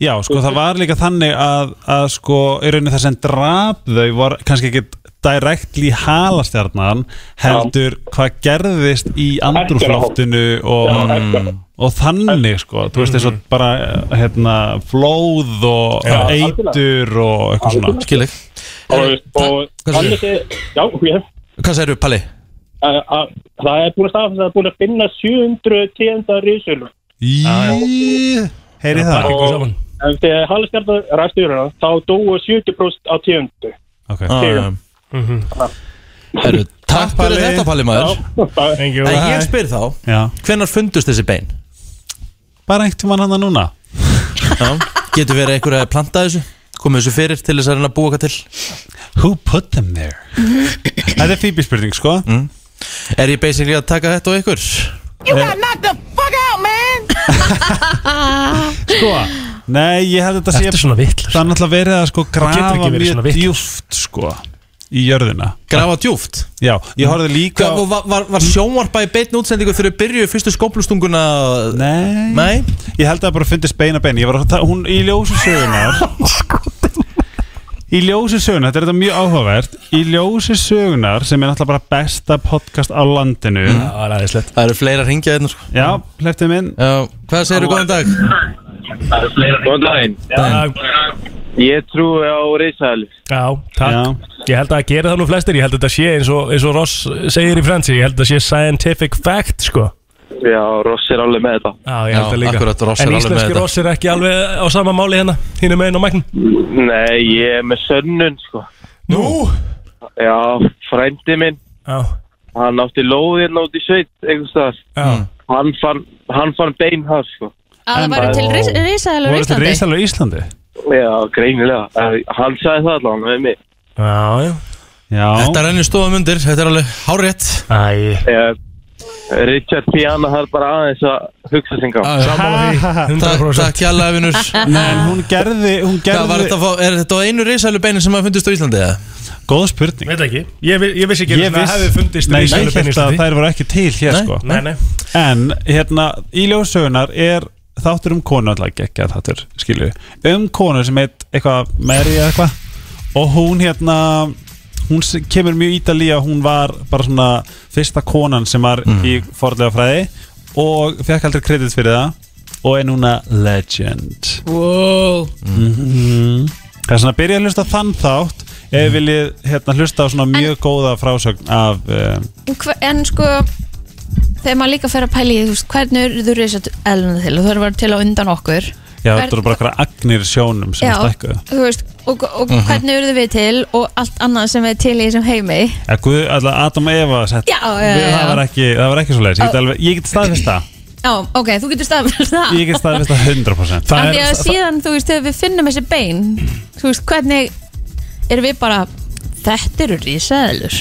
Já, sko, það var líka þannig að, að sko, í rauninni það sem drap þau var kannski ekki direktli halastjarnan heldur hvað gerðist í andrúsloftinu og, mm, Já, eftir á. og þannig sko, þú veist eins Mm. og bara hérna, flóð og Já. eitur og eitthvað svona Skileg og, og Eh, Hvað hann segirðu? þessi, já, ég, Hvað segirðu, Palli? að, að, það er búin að staða það er búin að finna 700 tíðenda risur Í, heyri það Gengur saman. en þegar halvstjarnar ræstu jörðina þá dóu 70% á tíðendu okay. Skileg. Mhm. Heru, Ah, Takk Palli. fyrir þetta, Palli maður það Thank you. En ég spyr þá, Já, hvenær fundust þessi bein? bara einhvern tímann hann núna Já. Getur verið einhver að planta þessu? Komið þessu fyrir til þess að reyna að búa eitthvað til? Who put them there? Þetta er Phoebe spurning sko Mm. Er ég basically að taka þetta á ykkur? Sko, nei, ég held að þetta sé Þetta er svona vittlust Það er náttúrulega verið að sko getur grafa ekki verið svona mjög vitlaust. djúft sko í jörðina Grafa djúft? Já, ég horfði líka Hva, var, var, var sjónvarpa í beinn útsendingu þegar þau byrjuðu fyrstu skóplustunguna? Nei, Nei? ég held að bara fyndist beina bein Ég var að það, hún í ljósu sögunar Í ljósu sögunar, þetta er þetta mjög áhugavert Í ljósu sögunar sem er náttúrulega bara besta podcast á landinu Það er aðeinslegt Það eru fleira að ringja hérna sko. Já, hlæftu minn Já, hvað segirðu góðan dag? Góðan daginn Já, Ég trúi á reysæli já, takk Já. Ég held að það gera það nú flestir Ég held að þetta sé eins og, eins og Ross segir í fransi Ég held að þetta sé scientific fact sko Já, Ross er alveg með þetta Já, ég held Já, að líka akkurat, Ross er En alveg með íslenski þetta. Ross er ekki alveg á sama máli hérna Hínu megin á mæknum Nei, ég er með sönnun sko Nú? Já, frændi minn Já, Hann átti lóðirna út í sveit einhvers staðar. já Hann fann, hann fann bein þar sko að það væri til ris- risaðalur í Voru þetta Íslandi reysalur í Íslandi? Já, greinilega Eh, Hann sagði það allan með mig Já, já Já, Þetta rennir stóðum undir, þetta er alveg hárétt Æ, Eh, Richard Piana þarf bara aðeins að hugsa sig á sammála því 100% Ah, Takk hjálega vinur Hvað en hún gerði, hún var þetta gerði að fá, er þetta á einu reysælu beinin sem að fundist á Íslandi eða? Góð spurning Veit ekki Ég, vi- ég vissi ekki Ég að það viss, hefði fundist nei, ég risaeðlur bein í held að Íslandi. þær voru ekki til hér Nei. sko Nei, nei En hérna í ljósögunar er þáttur um konu alltaf ekki að þáttur skilju um konu sem heit eitthvað Mary eða eitthvað og hún hérna hún s- kemur mjög ítalí að hún var bara svona fyrsta konan sem var í forðlega fræði og fekk aldrei kredit fyrir það og er núna legend wow. Mhm. Það er svona að byrja að hlusta á þann þátt ef við viljið hérna, hlusta á svona mjög góða frásögn af um, En hva- en sko þegar maður líka fer að pæla í því, þú veist, hvernig eru risaðalurna til og það eru til á undan okkur já, Hvern- þetta eru bara eitthvað agnir sjónum sem Mhm. Já, stækkuðu þú veist, og, og hvernig urðu við til og allt annað sem er til í þessum heimi Já, Guð, alltaf Adam og Eva sett Já, já, Við- já, Það já. var ekki, það var ekki svo leiðis Ég get, alveg, ég get staðfist það Já, ok, þú getur staðfæst það Ég get staðfist það 100% Það Af því að er, síðan, þú veist, þegar við finnum þessi bein Þú veist, hvernig erum við bara Þetta eru risaðalur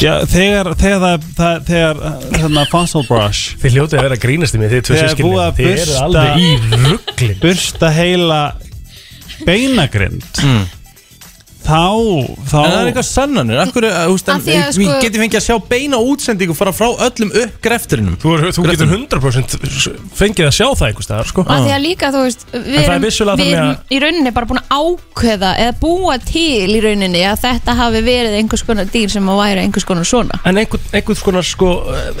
Já, þegar, þegar það, það þegar uh, hérna, fossil brush Þið hljótið að vera að grínast í mig, þið tvö Þið er sískinni búið að Þið eru bursta- alveg í rugglin bursta heila beinagrind Mm. þá, þá En það er eitthvað sannanir, akkur, eh, úst, en, Af því að, við sko- getum fengið að sjá beina útsendingu fara frá öllum uppgrefturinnum Þú, er, þú getur 100% fengið að sjá það einhvers staðar sko. Af því Ah. að líka, þú veist, við En það er erum, vissulega við þannig erum að- í rauninni bara búin að ákveða eða búa til í rauninni að þetta hafi verið einhvers konar dýr sem að væri einhvers konar svona En einhvern, einhvern skonar sko eh,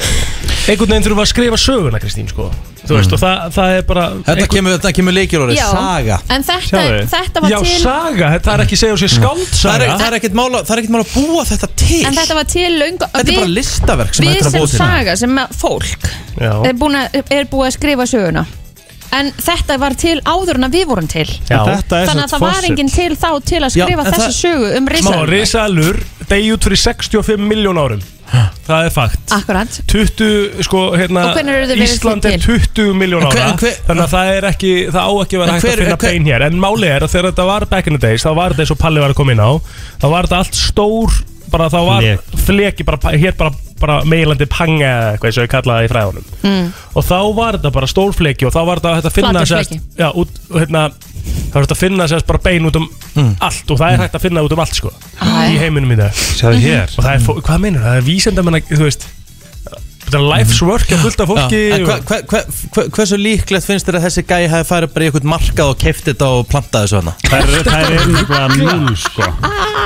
Einhvern veginn þurfum við að skrifa söguna Kristín sko Þú veist og það, það er bara Þetta kemur, þetta kemur leikilorið, Já, saga Mm. en þetta, Sjáðu. þetta var Já til saga, það er ekki Mm. segja sér Það er, skáldsaga það er ekkert mála, það er ekkert mála að búa þetta til En þetta var til löngu Þetta er bara listaverk sem Við hægt er að sem búa til saga, sem að fólk Já. er, búin að, er búið að skrifa söguna En þetta var til áður en að við vorum til Já. Þetta er Þannig að það var enginn til þá til að Já, skrifa en þessa það- sögu um Smá risaðalur risalur, degi út fyrir 65 miljón árum Það er fakt Akkurat 20, sko, hérna Og hvenær eru þau verið Ísland til? er 20 miljón En hver- ára en hver- Þannig að það er ekki, það á ekki að vera En hægt hver- að finna en hver- bein hér En máli er að þegar þetta var back in the days Þá var þetta eins og Palli var að koma inn á Þá var þetta allt stór, bara þá var Flek. Fleki, bara, hér bara, bara meilandi panga eða eitthvað eins og ég kallaði það í fræðunum mm. Og þá var þetta bara stór fleki Og þá var þetta hægt að finna Flatur sérst- fleki. Já, út, og hérna Það var þetta að finna sérst bara bein út um Mm. allt Og það er hægt að finna út um allt, sko Æ. Mhm. Í heiminum í dag Sjáðu hér Mm. og það er, fó- hvað meinur það, er vísendamenn að- þú veist Þetta er life's work að fullta fólki Mm. En hva, og- hva, hva, hva, hversu líklegt finnst þér að þessi gæi hafi farið bara í eitthvað markað og keift þetta og plantað þessu hana? Þær þær eru nefnilega núl sko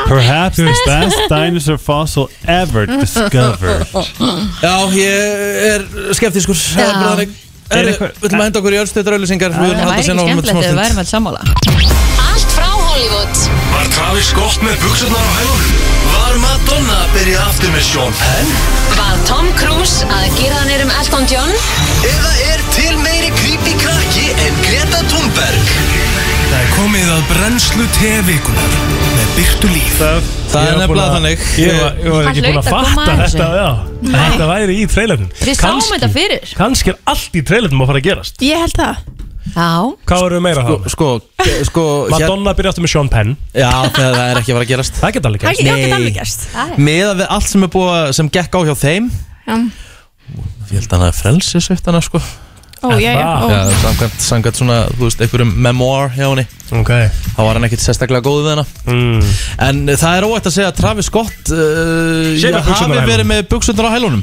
Perhaps the best dinosaur fossil ever discovered Uh-huh. Já, ég er skeptískur Það er Já. bara þannig. Herru, eitthvað- Við ætlum að henda okkur í öllstöðar auðlýsingar Við viljum Það væri halda ekki sér náum skemmtilegt ef við smá værum stund alls sammála Allt frá Hollywood Var Travis Scott með buksurnar á hælunum? Var Madonna að byrja aftur með Sean Penn? Var Tom Cruise að gera hann erum Elton John Eða er til meiri creepy krakki en Greta Thunberg? Það er komið að brennslu tevikunar með byrtu líf Það er Ég var búin nefnilega að- þannig Ég var, ég var Hann ekki búin að hlaut að koma fatta að þessu. þetta já, að Þetta væri í trailerinn Við sáum þetta fyrir Kanski er allt í trailerinn að fara að gerast Ég held það Já, Hvað eru meira það? Sko, sko, sko hér, Madonna byrja aftur með Sean Penn Já, það það er ekki að fara að gerast Það geta alveg Það gerst er ekki Nei. alveg gerst Meða við allt sem er búið að- sem gekk á hjá þeim Já. Ég held að hann að frelsi sveitt hana sko Ó, Er já, já, það? ó. Já, samkvæmt, samkvæmt svona, þú veist, einhverjum memoir hjá henni Ok þá var hann ekkert sérstaklega góð við hana mm. En eh, það er óætt að segja að Travis Scott uh, Sé ég með buxurnar á hafi hælunum. verið með buksundar á hælunum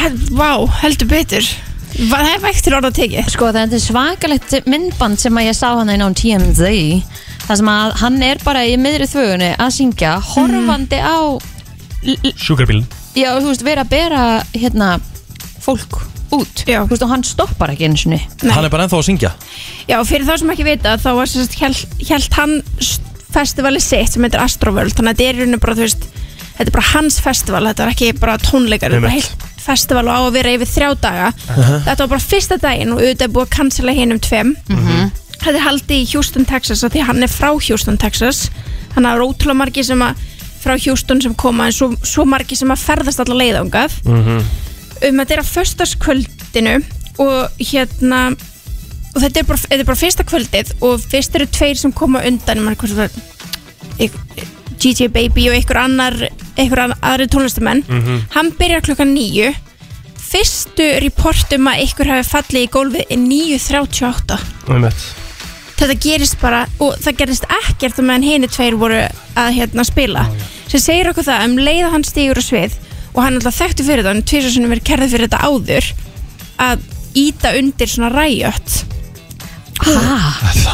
Hel- Vá, heldur betur Var það er vægt til orða að teki Sko það er svakalegt myndband sem að ég sá hann inn á TMZ Það sem að hann er bara í miðri þvögunni að syngja Mhm. horfandi á Sjúkrabílinn Já, þú veist, vera að bera hérna fólk út Já. Þú veist, og hann stoppar ekki einu sinni Nei. Hann er bara ennþá að syngja Já, fyrir þá sem ekki vita þá var sérst held, held hann s- festivali sitt sem heitir Astroworld þannig að þetta er í rauninni bara, þú veist þetta er bara hans festival, þetta er ekki bara tónleikar þetta er bara Einmitt. heilt festival og á að vera yfir þrjá daga þetta var bara fyrsta daginn og auðvitað er búið að cancela hinum tveim þetta er haldið í Houston, Texas af því að hann er frá Houston, Texas þannig að það er ótrúlega margi sem að frá Houston sem koma en svo, svo margi sem að ferðast alla leiðangað um þetta er á föstaskvöldinu og hérna og þetta er bara, þetta er bara fyrsta kvöldið og fyrst eru tveir sem koma undan um hvort það ykk- GJ Baby og einhver annar einhver ann- aðri tónlistamenn Mm. hann byrjar klokkan nýju fyrstu reportum að einhver hafi fallið í gólfið er 9.38 Það þetta gerist bara og það gerist ekkert á meðan hini tveir voru að hérna spila sem segir okkur það um leiða hann stígur á svið og hann er alltaf þekktu fyrir það hann tvisar sinni verið kerðið fyrir þetta áður að íta undir svona ræjött Ha,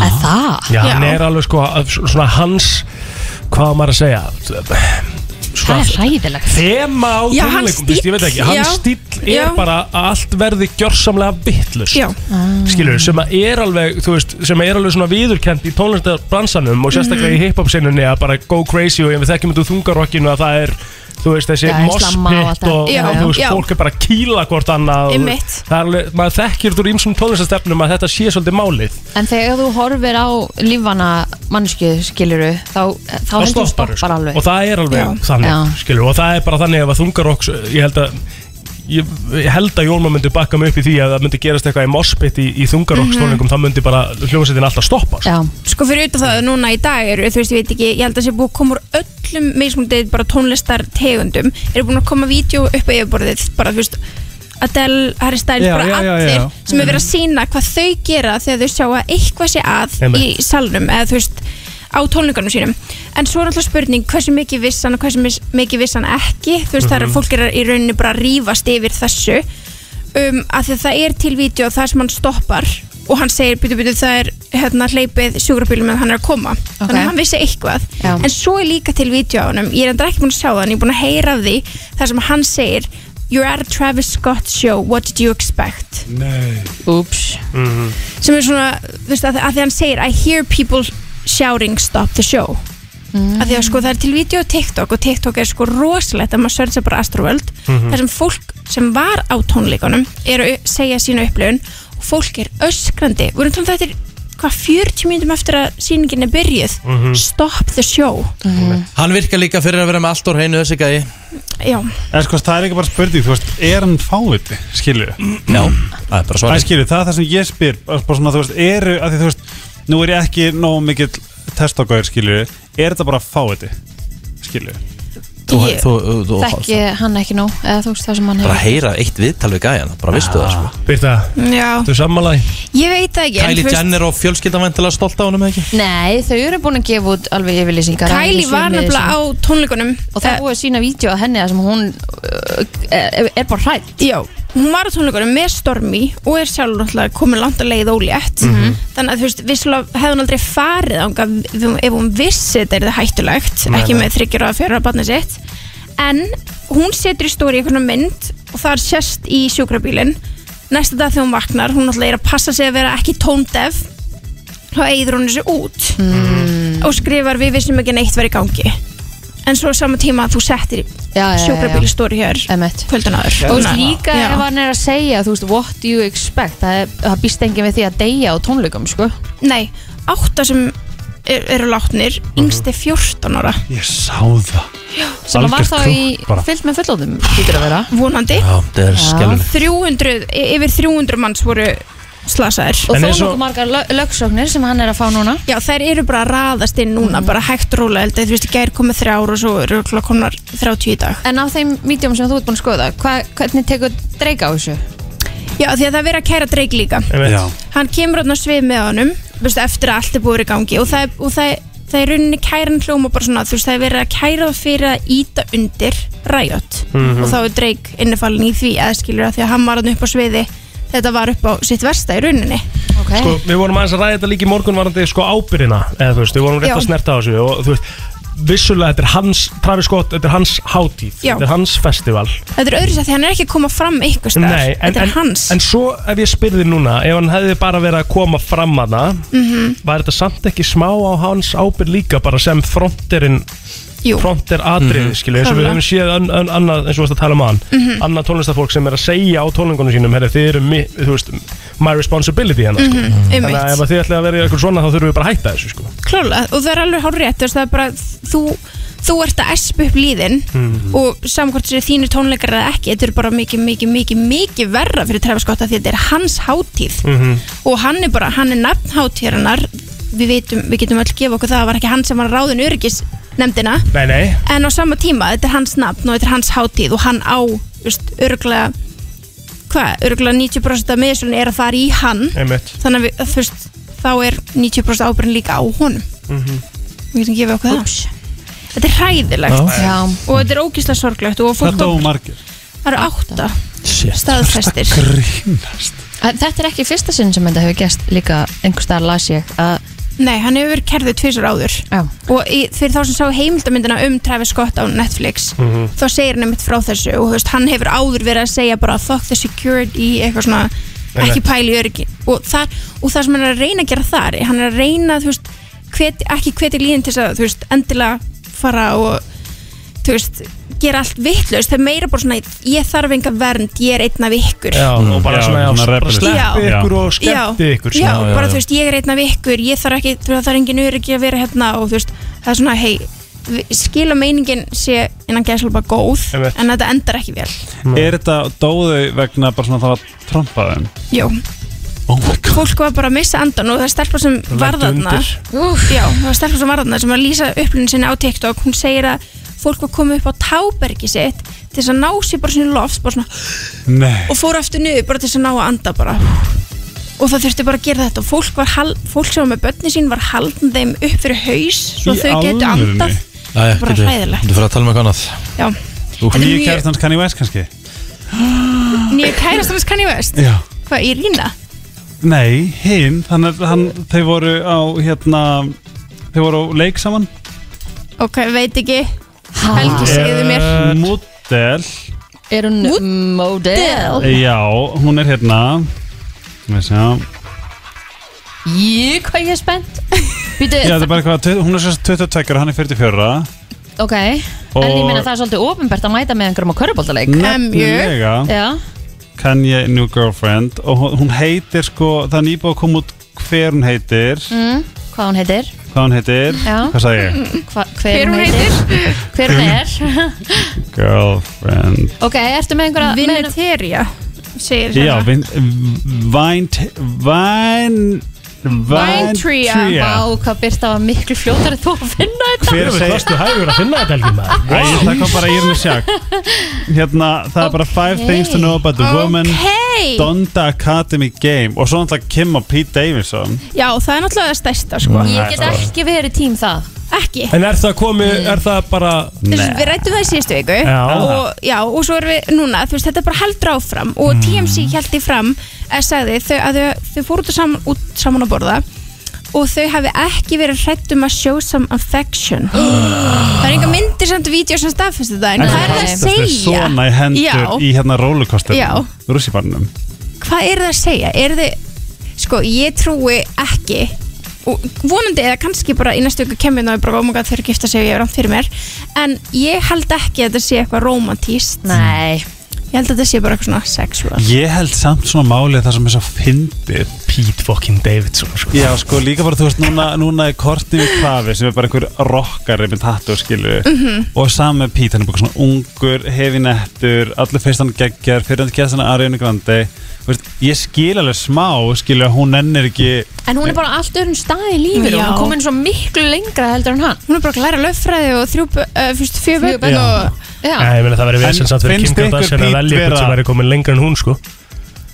er það? Já, Já. hann er alveg sko að- svona hans hvað á maður að segja Sko, Það er hræðilegt Þema á Já, hans tónleikum, þú veist, ég veit ekki stíll, Hans já. stíll er Já. bara að allt verði gjörsamlega vittlust já skilur, sem að er alveg þú veist, sem að er alveg svona viðurkend í tónlistarbransanum og sérstaklega Mhm. í hip-hop sinunni að bara go crazy og ef við þekkjum þetta úr þungarokkinu að það er þú veist, þessi Já, slamma og allt mosspit það. og, Já, og þú veist, já. fólk er bara að kýla hvort annað og, Einmitt. það er alveg, maður þekkir þú ímsum tónlistastefnum að þetta sé svolítið málið En þegar þú horfir á lífana mannsku skiluru þá, þá þá heldur þú stoppar sko. stoppar alveg og það er alveg Já. þannig, Já. skilur, og það er bara þannig ef að þungarokks, ég held að ég ég held að Jónma myndi bakka mig upp í því að það myndi gerast eitthvað í mospit í, í Mhm. þungarokkstóningum, þá myndi bara hljómsveitin alltaf stoppa sko. Já, Sko fyrir auðvitað það að núna í dag eru, þú veist, ég veit ekki, ég held að sé búið að koma úr öllum mismundið bara tónlistartegundum, eru búin að koma vídeo upp á yfirborðið, bara þú veist, Adele, Harry Styles, Já, bara já, já, allir já. Mhm. sem er verið að sína hvað þau gera þegar þau sjá að eitthvað sé að í Einmitt. salnum eða þú veist, á tónleikunum sínum. En svo er alltaf spurning hversu mikið vissan og hversu mis- mikið vissan ekki, þú veist, það er Mhm. að fólk er í rauninni bara að rífast yfir þessu um, að því að það er til vídeo þar sem hann stoppar og hann segir byrju byrju það er hérna hleypið sjúkrabílum en hann er að koma þannig að hann vissi eitthvað Já. en svo er líka til vídeo á hann ég er endur ekki búin að sjá það en ég er búin að heyra af því þar sem hann segir You're at a Travis Scott show, what did you expect? úps sem er svona, þú veist, að, að því hann segir I hear people shouting stop the show að því að sko það er til vídeo á TikTok og TikTok er sko rosalegt að maður sörja bara Astroworld þar sem fólk sem var á tónleikunum er að segja sína upplöfun og fólk er öskrandi við erum tónlega þetta er hvað 40 mínútum eftir að síningin er byrjuð stop the show Hann virkar líka fyrir að vera með allt úr hreinu þessi gæi já, En sko það er ekki bara spurning, þú veist, er hann fáviti, skilur Já, það er bara Það svarið skilur, það er það sem ég spyr bara svona, þú veist, eru, að því þú veist nú er ég ekki nóg mikill testókaður, skilur er þetta bara fáviti skilur Þú, Ég þú, þú, Þekki hann ekki nóg eða þú veist það sem hann bara hefur heyra eitt viðtal við gæjan bara vistu það sko Byrta, já, þú sammálaði ég veit það ekki en þú Kylie veist- Jenner og fjölskyldan væntilega stolt á honum eða ekki Nei, þau eru búin að gefa út alveg yfirlýsingar Kylie var nefnilega á tónleikunum og það er Eh, búið að sína vídeo að henni þar sem hún uh, eh, er er bara hrætt Já, hún var á tónleikunum með Stormi og er sjálf náttúrulega komin langt að leið ólétt Mhm. þannig að þú veist, vissulega hefði hún aldrei farið ánga ef hún vissi þetta er það hættulegt Nei, ekki nei. með þryggjur og að fjara barni sitt en hún setur í stóri einhvern mynd og þar sérst í sjúkrabílinn næsta dag þegar hún vaknar, hún náttúrulega er að passa sig að vera ekki tóndef þá eigður hún þessu út Mm. og skrifar við vissum ekki neitt verið í gangi en svo á sama tíma að þú settir já, já. sjúkrabílistóri hér kvöldun áður Og þú veist líka Já. ef hann er að segja, þú veist, what do you expect það, er, það býst enginn við því að deyja á tónleikum, sko Nei, átta sem er, eru látnir, yngsti 14 ára Ég sá það sem var Algjört þá krútt í bara. fyllt með fullóðum hýtur að vera vonandi Já, þetta er skelfilegt. 300, y- yfir 300 manns voru slasaðir Og En þó eins og- nokkuð margar lögsóknir sem hann er að fá núna Mhm. Já, þær eru bara að raðast inn núna bara hægt og rólega, þú veist, í gær komið þrjár og svo eru örugglega komnar 30 í dag En á þeim vídjum sem þú ert búin að skoða hva, hvernig tekur dreika á þessu? Já, því að það er verið að kæra dreik líka Einmitt. Já. Hann kemur hann á svið með honum veist, eftir að allt er búið í gangi og það, er- og það, er- það er í rauninni kæran hljóma bara svona, þú veist, það er verið að kæra það fyrir að íta undir ræjot Mhm. og þá er dreik innifalinn í því eða skilur að því að hann var hann upp á sviði þetta var upp á sitt versta í rauninni okay. Sko, við vorum aðeins að ræða þetta líka í morgun varandi sko ábyrðina eða þú veist, við vorum rétt að Já. snerta á þessu og þú veist, vissulega þetta er hans Travis Scott, þetta er hans hátíð Já. þetta er hans festival Þetta er öðru sér því hann er ekki að koma fram ykkur stað Nei, en, Þetta er en, hann en svo ef ég spyrði núna ef hann hefði bara verið að koma fram að það Mhm. var þetta samt ekki smá á hans ábyrð líka bara sem fronterinn Jú. fronter Mhm. atriði, skilu, eins og við Klárlega. höfum séð an, an, annað, eins og við varst að tala um hann Mhm. annað tónlistafólk sem er að segja á tónlingunum sínum herri, þið eru, mi, þú veist, my responsibility hérna, sko. Mhm, þannig að einmitt. ef að þið ætlaði að vera í eitthvað svona þá þurfum við bara að hætta þessu, sko Klálega, og það er alveg hár rétt það er bara, þú, þú ert að espa upp líðin Mhm. og samkvæmt sér þínir tónleikar eða ekki, þetta er bara mikið, mikið, mikið, mikið verra fyrir Travis Scott að því að þetta er hans hátíð Mm. og hann er bara, hann er nafn hátíðarinnar við vitum, við getum öll gefa okkur það það var ekki hann sem var ráðin öryggis nefndina Nei, nei, en á sama tíma, þetta er hans nafn og þetta er hans hátíð og hann á, veist, örgulega hvað, örgulega 90% af meðsölun er að fara í hann einmitt þannig að við, þú veist, þá er 90% ábyrðin líka á honum við getum gefið okkur það þetta er hræðilegt Já. Já. og þetta er ógislega sorglegt og Það fólk dóu margir það eru átta Shit, staðfestir grínast Að Þetta er ekki fyrsta sinn sem þetta hefur gæst líka einhvers staðar las ég að Nei, hann hefur verið kerðið tvisar áður Já. og í, fyrir þá sem sá heimildamyndina um Travis Scott á Netflix Mm. Mhm. þá segir hann einmitt frá þessu og þú veist, hann hefur áður verið að segja bara fuck the security, eitthvað svona Einmitt. ekki pæli öryggi og, þar, og það sem hann er að reyna að gera þar er hann er að reyna, þú veist, hvet, ekki hveti líðin til þess að, þú veist, endilega fara og, þú veist gera allt vitlaust, það er meira bara svona ég þarf enga vernd, ég er einn af ykkur Já, Mm. og bara Já, svona, svona já, bara rebelist. sleppi Já. ykkur og skemmti já, ykkur sko. já, svona. bara þú veist, ég er einn af ykkur ég þarf ekki, þú veist, það er engin öryggi að vera hérna og þú veist, það er svona, hei skila meiningin sé innan gæðslega bara góð, Einmitt. en þetta endar ekki vel Er þetta dóðu vegna bara svona það var trampaðum? Jó, Oh my god fólk var bara að missa andan og það er stelpa sem Lenti varðarna undir. já, það var stelpa sem varðarna sem var að lýsa upplunum sinni á TikTok, hún segir að fólk var komið upp á tábergi sitt til þess að ná sér bara svona í loft bara svona, Nei og fór aftur niður bara til þess að ná að anda bara og það þurfti bara að gera þetta og fólk, var, hal- fólk sem var með börni sín var haldin þeim upp fyrir haus svo þau getu andað Jæja, Bara getum við- hræðilegt. getum við farið að tala um eitthvað annað já, Og Þetta er nýju mjög- kærastans kann ég veist kannski? nýju kærast hans kann ég veist Já hvað, Irina? Nei, hinn, hann, er- hann, þeir voru á hérna Þeir voru á leik saman ok, veit ekki Helgi segðu mér Eh, Model Er hún model? Já, hún er hérna Við sjá Jú, hvað ég er spennt Býtu, Já, þetta er bara eitthvað, tve- hún er sérst 22 og hann er 44 ok En ég meina það er svolítið ofinbært að mæta með einhverjum á körubóltaleik Nefnilega. Já, Kanye New Girlfriend og hún- hún heitir sko, það er nýbúið að koma út hver hún heitir, mm, hvað hún heitir Mm. hvað hún heitir Já. hvað sagði ég? Hva, hver, hún heitir Hver hún er Girlfriend Ok, ertu með einhverja Vinneteria segir Já, vin- Vine Vine Vine Vá, hvað Birta var miklu fljótari þú að finna þetta Hver segir Varstu hægur að finna þetta, Helgi maður? Æ, það kom bara í hérna sjakk Hérna, það er bara Five things to know about the woman Ókei. Donda Academy Game Og svo náttúrulega Kim og Pete Davidson já, það er náttúrulega það stærsta sko. Ég Ég get ekki verið tím það ekki En er það komið, er það bara Þú veist, Við rættum það í síðustu viku Já. og, já, og svo erum við núna þú veist, Þetta bara heldur áfram Mm. og TMC held í fram að sagði þau, að þau, þau fóru út, sam, út saman að borða og þau hafi ekki verið hrætt um að show some affection Það er enga myndir samt og vídeo sem staðfestu það en hvað er það að segja? Svona í hendur Já. í hérna rollercoaster Já. Rússibarnum hvað er það að segja? Er þið, sko, ég trúi ekki og vonandi eða kannski bara í næstu ykkur kemur og ég bara "Oh ómuga þau eru að gifta sig og ég er rátt fyrir mér en ég held ekki að þetta sé eitthvað romantíst Nei Ég held að þetta sé bara eitthvað svona sexual Ég held samt svona málið það sem er svo fyndið Pete fucking Davidson sko. Já sko líka bara þú veist núna, núna er Courtney Kravi sem er bara einhver rockari með tattu skilju Mhm. og sami Pete hann er bara svona ungur hefi nettur, allir fyrst hann geggjar fyrir hann gerðs hann að Ariðinu Grandi Þú veist, ég skil alveg smá skilju að hún nennir ekki En hún er bara á allt öðrum stað í lífinu Já. Hún komin svo miklu lengra heldur en hann Hún er bara að læra löffræði og þrjú, bö- uh, fyrst fjö Fjögur bönn börn. og Já. Nei, ég meina það verið En vesensamt fyrir Kim finnst ykkur Kardashian Pete að velja eitthvað vera- sem væri komin lengra en hún sko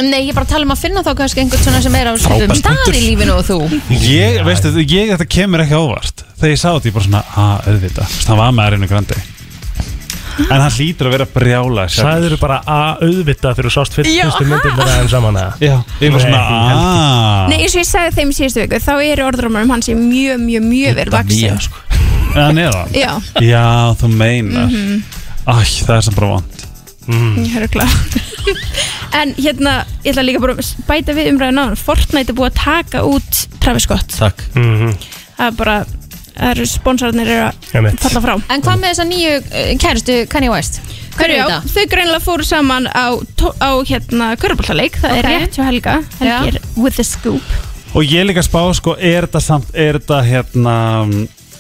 Nei, ég er bara að tala um að finna þá kannski einhvern svona sem er á svipum Frábær stað punktur. í lífinu og þú Ég, veistu, ég, þetta kemur ekki ávart Þegar ég sá þetta, ég bara svona, að, auðvita Það var með Ariðinu Grandi En hann hlýtur að vera brjála Sæður bara að auðvita þegar þú sást fyrst Já, fyrstu myndin þeirra þeim saman eða? Já, ég var Nei, svona, "Ah." ég held ekki. aaaah Nei, eins og ég sagði þeim í síðustu viku þá eru orðrumar um hans í mjög, mjög, mjög verið vaksin sko. Hann er það? Já, Mhm. Já, þú meinar Æ, það er sem bara vond ég höfðu klá En hérna, ég ætla líka bara að bæta við umræðin á hann Fortnite er búið að taka út Travis Scott Takk Mhm, það er bara það eru sponsorarnir eru að einmitt. falla frá En hvað með þessa nýju eh, kærustu Kanye West? Hver Hverju, er já, þetta? þau greinlega fóru saman á, tó- á hérna köruboltaleik, það Ok. er rétt hjá Helga Helgi er with the scoop Og ég er líka að spá, sko, er þetta samt Er þetta, hérna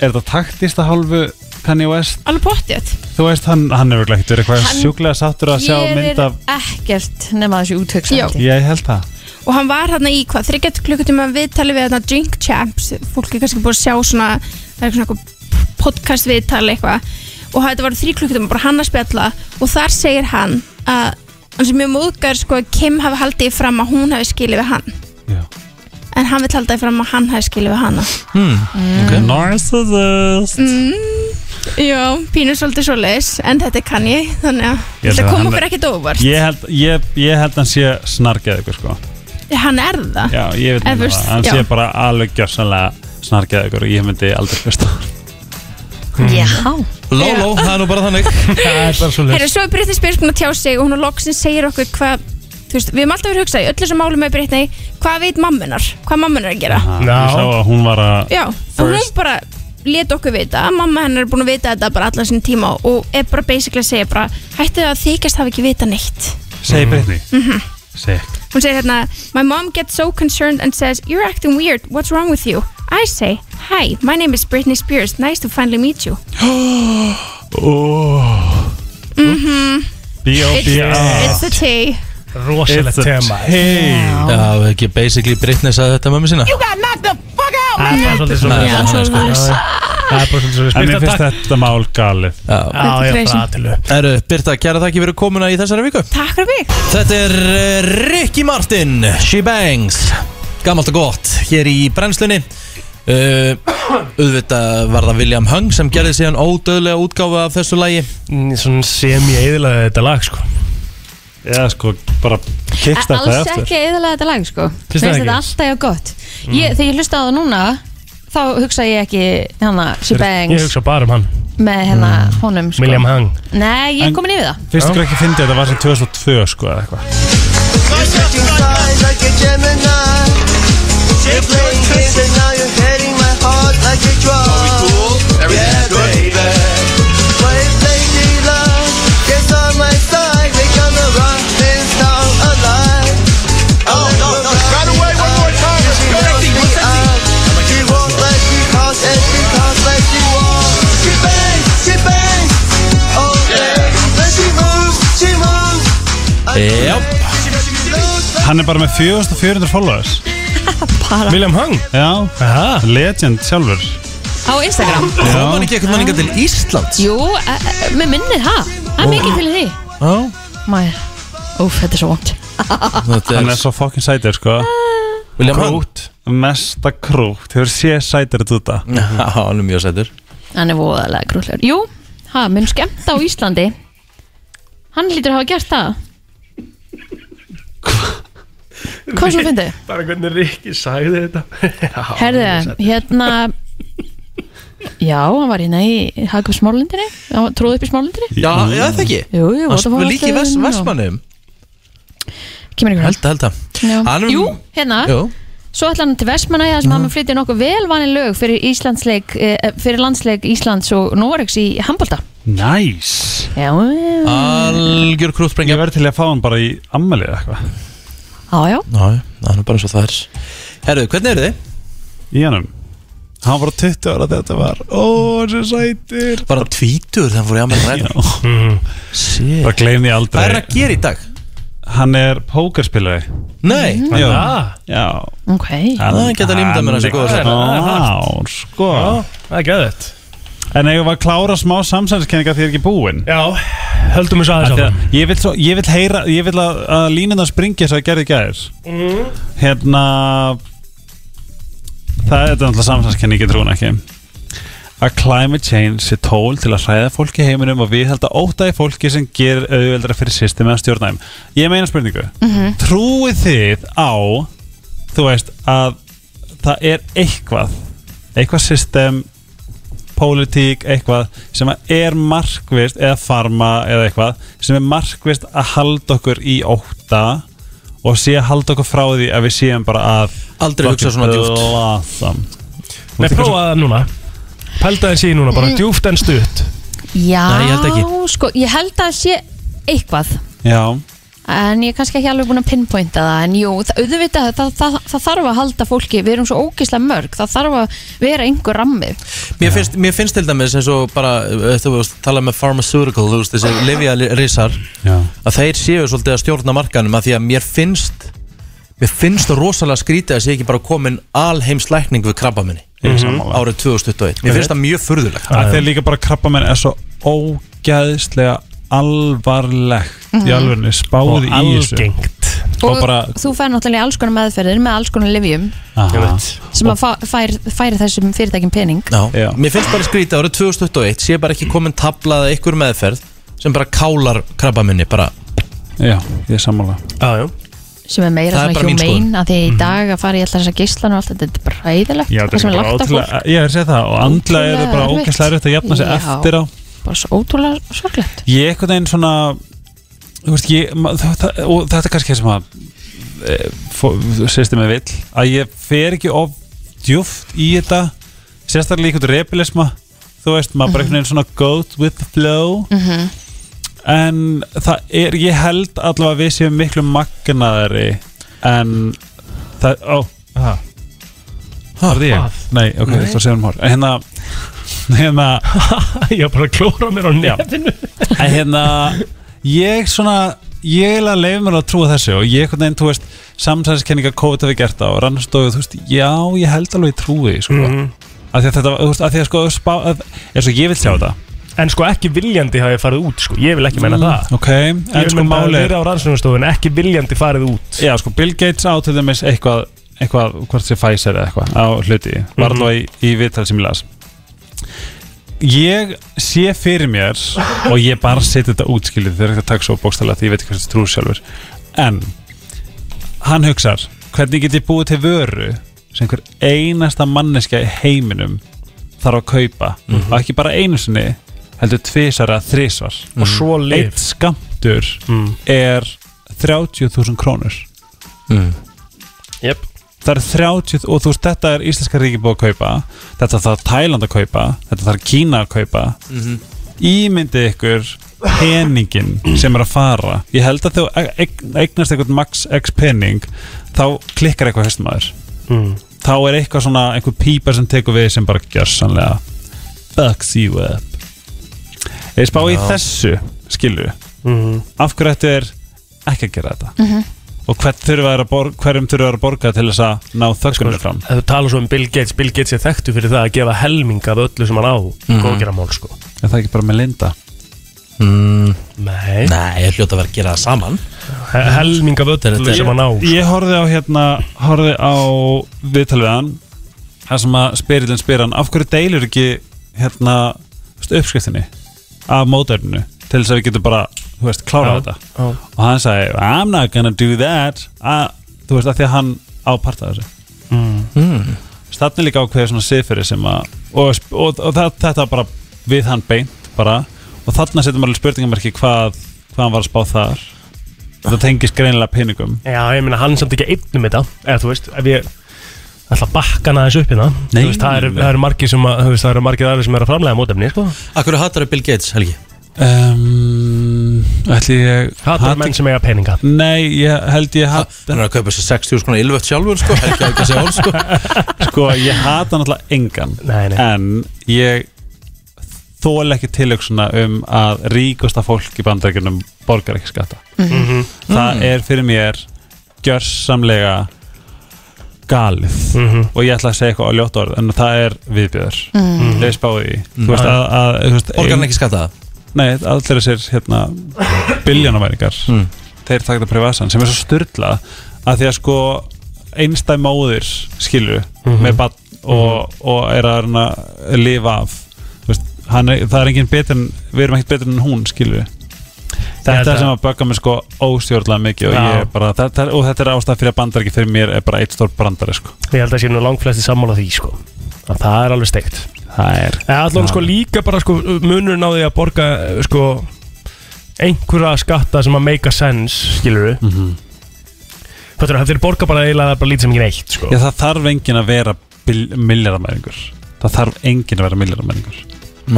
Er þetta taktist að hálfu Kanye West alveg pottið Þú veist, hann, hann hefur ekki verið eitthvað Hann- sjúklega sáttur að sjá mynd Ég er af ekkert nema þessu útöksa Já. Ég held það og hann var hérna í hvað, þryggjart klukkutíma viðtali við hérna Drink Champs fólk er kannski búið að sjá svona það er svona eitthvað podcast viðtali eitthvað og þetta var þrý klukkutíma bara hann að spjalla og þar segir hann að hann sem mjög móðgar sko að Kim hafi haldið fram að hún hafi skilið við hann Já. en hann vil haldið fram að hann hafi skilið við hana Mm. Narcissist Mm, já, pínur svolítið svo leis en þetta kann ég þannig að Ég held þetta að kom hann- okkur ekkert óvart Ég held, ég, ég held hann sé snargeð ykkur sko hann er það Já, ég veit Eða, um veist, það Hann já. sé bara alveg gjörsanlega snargeð ykkur og ég myndi aldrei hlusta á hann. Já Lóló, Mm. það er nú bara þannig Það er bara svo Herra, svo er Brittany Spears búin að tjá sig og hún á loksin segir okkur hvað þú veist, við erum alltaf verið að hugsa í öllu sem málum með Brittany hvað veit mammunar, hvað mammunar er að gera Hann- Já. Ég sá að hún var að já, og hún bara let okkur vita að mamma hennar er búin að vita þetta bara allan sinni tíma og er bara basically að segja bara hættu það að þykjast hafa ekki vita neitt Segir Brittany Mhm. Segir Hún segir hérna My mom gets so concerned and says You're acting weird, what's wrong with you? I say, hi, my name is Britney Spears Nice to finally meet you Mm-hmm. It's, B.O.B.A. it's the tea Ah. rosalegt tema Hey Já, við ekki basically Britney sagði þetta mömmu sína Það er bara svolítið svona sko. Já, Það er bara svolítið svona En mér Spyrta finnst takk þetta mál galið Já Já, ég er bara aðtölu Herru, Birta, kæra þakki fyrir komuna í þessari viku Takk fyrir mig Þetta er eh, Ricky Martin She Bangs Gammalt og gott Hér í brennslunni uh, Auðvitað var það William Hung sem gerði síðan ódöðlega útgáfa af þessu lagi Mm, Svona sem ég eðilaði þetta lag sko Já sko, bara kikst þetta Alls eftir ekki eðalega þetta lag sko Finnst Finnst þér ekki? þetta alltaf já gott ég, Þegar ég hlusta á það núna Þá hugsa ég ekki hana She Ég Bangs hugsa bara um hann með hérna honum sko William Hung Nei, ég En- er komin yfir það Fyrst ykkur ekki fyndi að þetta var sem 2002 sko eða eitthvað like a Gemini. You're playing games and now you're hitting my heart like a drum. Are we cool? yeah, baby. Play, play, love. Guess on my side, we're gonna rock this town alive. Oh, no, no, right away, one more time. Let's go. She walks like she talks and she talks like she walks. She bangs, she bangs. Oh, yeah. Then she moves, she moves. Já, Hann er bara með 4400 followers William Hung Já, Aha. legend sjálfur Á Instagram kom hann Já, ekki eitthvað manninga til Íslands Jú, e- e- með minnið það Það er mikið til í því Já, Mæður Úf, þetta er svo vond þetta hann er er svo fucking sætir sko William Hung Krút Mesta krút, hefur séð sætir þetta Já, hann er mjög sætur Hann er voðalega krúllur Jú, hann mun skemmta á Íslandi Hann lítur að hafa gert það Hvað svo fyndið? Bara hvernig Rikki sagði þetta Herðu, hérna Já, hann var hérna í Hagum smálindinni, hann var tróð upp í smálindinni Já, já, það ekki Jú, jú, Hann spil líki Vodafone- vest, vestmannum Kemur ykkur Held að, held að Já. Hann er- Jú, hérna Jú, Svo ætla hann til Vestmanæja sem hann mun flytja nokkuð velvanni lög fyrir, Íslandsleik, eh, fyrir landsleik Íslands og Noregs í handbólta Næs Já, já, Algjör krútsprengi Ég verði til að fá hann bara í ammalið eitthvað já Ná, það er nú bara eins og það er Herðu, hvernig eru þið? Í hannum Hann var á 20 ára þegar þetta var Ó, hann er svo sætir Bara tvítur þegar hann fór í Ameríku Bara Mhm. gleymi ég aldrei Hvað er að gera í dag? Hann er pókerspilari Nei, Já, Ah, já ok það geta límda mér þessu góða sér Ná, sko já, það er gæðið En eigum við að klára smá samsæðiskenninga því ég er ekki búinn Já, höldum við svo aðeins áfram Ég vil, svo, ég vil heyra, ég vil að, að línuna springi þess að gerði gæðis mm. Hérna Það er þetta náttúrulega samsæðiskenning, ég trúin ekki Að climate change sé tól til að hræða fólki í heiminum og við held að ótaði fólki sem gerir auðveldra fyrir systemi að stjórna þeim Ég meina spurningu Trúið þið á, þú veist, að það er eitthvað eitthvað system pólitík, eitthvað sem að er markvist eða farma eða eitthvað sem er markvist að halda okkur í ótta og sé að halda okkur frá því að við séum bara að Aldrei hugsa svona djúpt lasam. Nei, prófa það núna Pælda þessi í núna, bara djúft en stutt Já, Nei, ég held ekki. sko, ég held að sé eitthvað Já, En ég er kannski ekki alveg búin að pinpointa það En jú, það, auðvitað, það, það, það þarf að halda fólki Við erum svo ógislega mörg Það þarf að vera einhver rammi Mér finnst, mér finnst til dæmis eins og bara eh, Þú veist, talað með pharmaceutical Þú veist, þessi Livia Rissar já, Að þeir séu svolítið að stjórna markanum að Því að mér finnst Mér finnst rosalega skrítið að sé ekki bara komin Alheimslækning við krabba minni ég er sammála Árið 2021 Mér finnst það mjög furðulegt að þeir líka bara krabba menn er svo ógæðslega alvarlegt Mhm. í alvörinu Og spáði í þessu algengt Og bara- þú fær náttúrulega í alls konar meðferðir Með alls konar livjum Aha. Sem að fa- fær, fær þessum fyrirtækjum pening Já. Já. Mér finnst bara skrítið árið 2021 Sé bara ekki komin tablaða ykkur meðferð Sem bara kálar krabba minni bara. Já, ég er sammála Já, já sem er meira Það er svona bara mín humane að því að í dag að fara í alltaf þessar gíslan og allt þetta, þetta er bara ræðilegt Já, það sem er bara lagt af fólk, ótrúlega- Ég er að segja það og andlega er það bara Ótrúlega erfitt. ógæslega erfitt að jafna sig Já. eftir á bara svo ótrúlega sorglegt Ég eitthvað einn svona þú veist, ég, ma- það, það, og þetta er kannski það sem að e, sérstu mig vill að ég fer ekki of djúft í þetta sérstaklega líka út repilisma þú veist, maður bara einhvern veginn svona goat with the flow en það er, ég held allavega að við séum miklu magnaðari en það, ó, aha Það er því ég? Nei, ok, þú stór séum hór Hérna, hérna Ég var bara að klóra mér á Já. nefninu að hérna ég svona ég er að leifa mér að trúa þessu og ég einhvern veginn, þú veist, samsæðiskenninga COVID hafi gert það og rannstofu, þú veist, já ég held alveg ég trúi, því, sko Mhm. af því að þetta, var- þú veist, af því að sko spá, að, er svo ég vil sjá þetta Mm, En sko ekki viljandi hafi farið út sko Ég vil ekki menna það ok, en Ég sko vil menna máli að vera á rannsóknastofun Ekki viljandi farið út já, sko, Bill Gates á til dæmis eitthvað, eitthvað hvort sé Pfizer eða eitthvað á hluti, var Mhm. alveg í, í viðtal sem ég las ég sé fyrir mér og ég bara setja þetta útskilið þegar þetta takk svo bókstæla því ég veit ekki hvað þetta trú sjálfur en hann hugsar hvernig get ég búið til vöru sem einhver einasta manneskja í heiminum þarf að kaupa Mhm. og ekki bara einu sinni heldur tvisar eða þrisvar Mhm. Og Mm. svo eitt liv skamtur Mm. er 30.000 krónur Jep það er 30 og þú veist þetta er íslenska ríki búið að kaupa þetta þarf Tæland að kaupa þetta þarf Kína að kaupa ímyndið ykkur peningin sem er að fara ég held að þú eign- eignast eitthvað max x pening þá klikkar eitthvað hestum aður Mm. þá er eitthvað svona einhver pípa sem tekur við sem bara gjör sannlega fucks you up ég spá í þessu skilu Mhm. af hverju þetta er ekki að gera þetta og hver þurfa þær að borga, hverjum þurfa þær að borga til þess að ná þöggunni fram Ef Þú tala svo um Bill Gates Bill Gates er þekktu fyrir það að gefa helming af öllu sem hann á Mhm. mm. Góðgera mál sko er það ekki bara með Linda mm, Nei, Nei, ég hljóta að vera að gera það saman He- Helming af öllu sem hann á sko. ég horfði á hérna horfði á viðtal við hann það sem að spyrillin spyr hann af hverju deilur ekki hérna, þú veist, uppskriftinni af mótefninu til þess að við getum bara þú veist, klárað Já, þetta og hann sagði, I'm not gonna do that að, þú veist, af því að hann ápartaði þessu Hmm. Mm. Þannig líka ákveðið svona siðferði sem að og, og, og það, þetta bara við hann beint bara og þarna setjum maður alveg spurningamarki hvað, hvað hann var að spá þar það tengist greinilega peningum Já, ég meina hann samt ekki einn um þetta eða þú veist, ef ég ætla að bakka hann aðeins upp hérna Nei. Þú veist, það eru er margir sem að, þú veist, það eru margir aðeins sem eru að framlega mótefni, sko Akkur hattar er Bill Gates, Helgi? um, Ætli ég Hattar menn sem eiga peninga Nei, ég held ég hat, Hann er að kaupa þessi 60 skona ylvött sjálfur, sko Helgi á ekki að segja orð, sko sko, ég hata náttúrulega engan Nei, nei. en ég þóla ekki tilöksuna um að ríkasta fólk í bandarækjunum borgar ekki skatta Mhm. það Mm. er fyrir mér gjörsamlega galið Mhm. og ég ætla að segja eitthvað á ljótt orð en það er viðbjöður Mhm. leið spáði í þú veist að, að þú veist, Mm. Borgar hann ekki skatta það? nei, allir þessir hérna, biljónaværingar Mm. Hmm. þeir taka þetta privatsan sem er svo styrla að því að sko einstæð móðir skilur Mhm. með bann og, og er að reyna að lifa af Þú veist, hann er, það er enginn betur en við erum ekkert betur en hún skilur Ég held þetta er að- sem að bögga mig sko óstjórnlega mikið og, Já. ég er bara, þetta, er- og þetta er ástæð fyrir að bandar ekki fyrir mér er bara eitt stór brandari sko. Ég held að sé nú langflesti sammála því, sko að það er alveg steikt það er Eða allan sko líka bara sko munurinn á því að borga eh, sko einhverja skatta sem að make a sense skilur við mm Mhm. -hmm. þeir borga bara eiginlega bara lítið sem ekki neitt sko. Já, það þarf enginn að vera milljaramæringur Það þarf enginn að vera milljaramæringur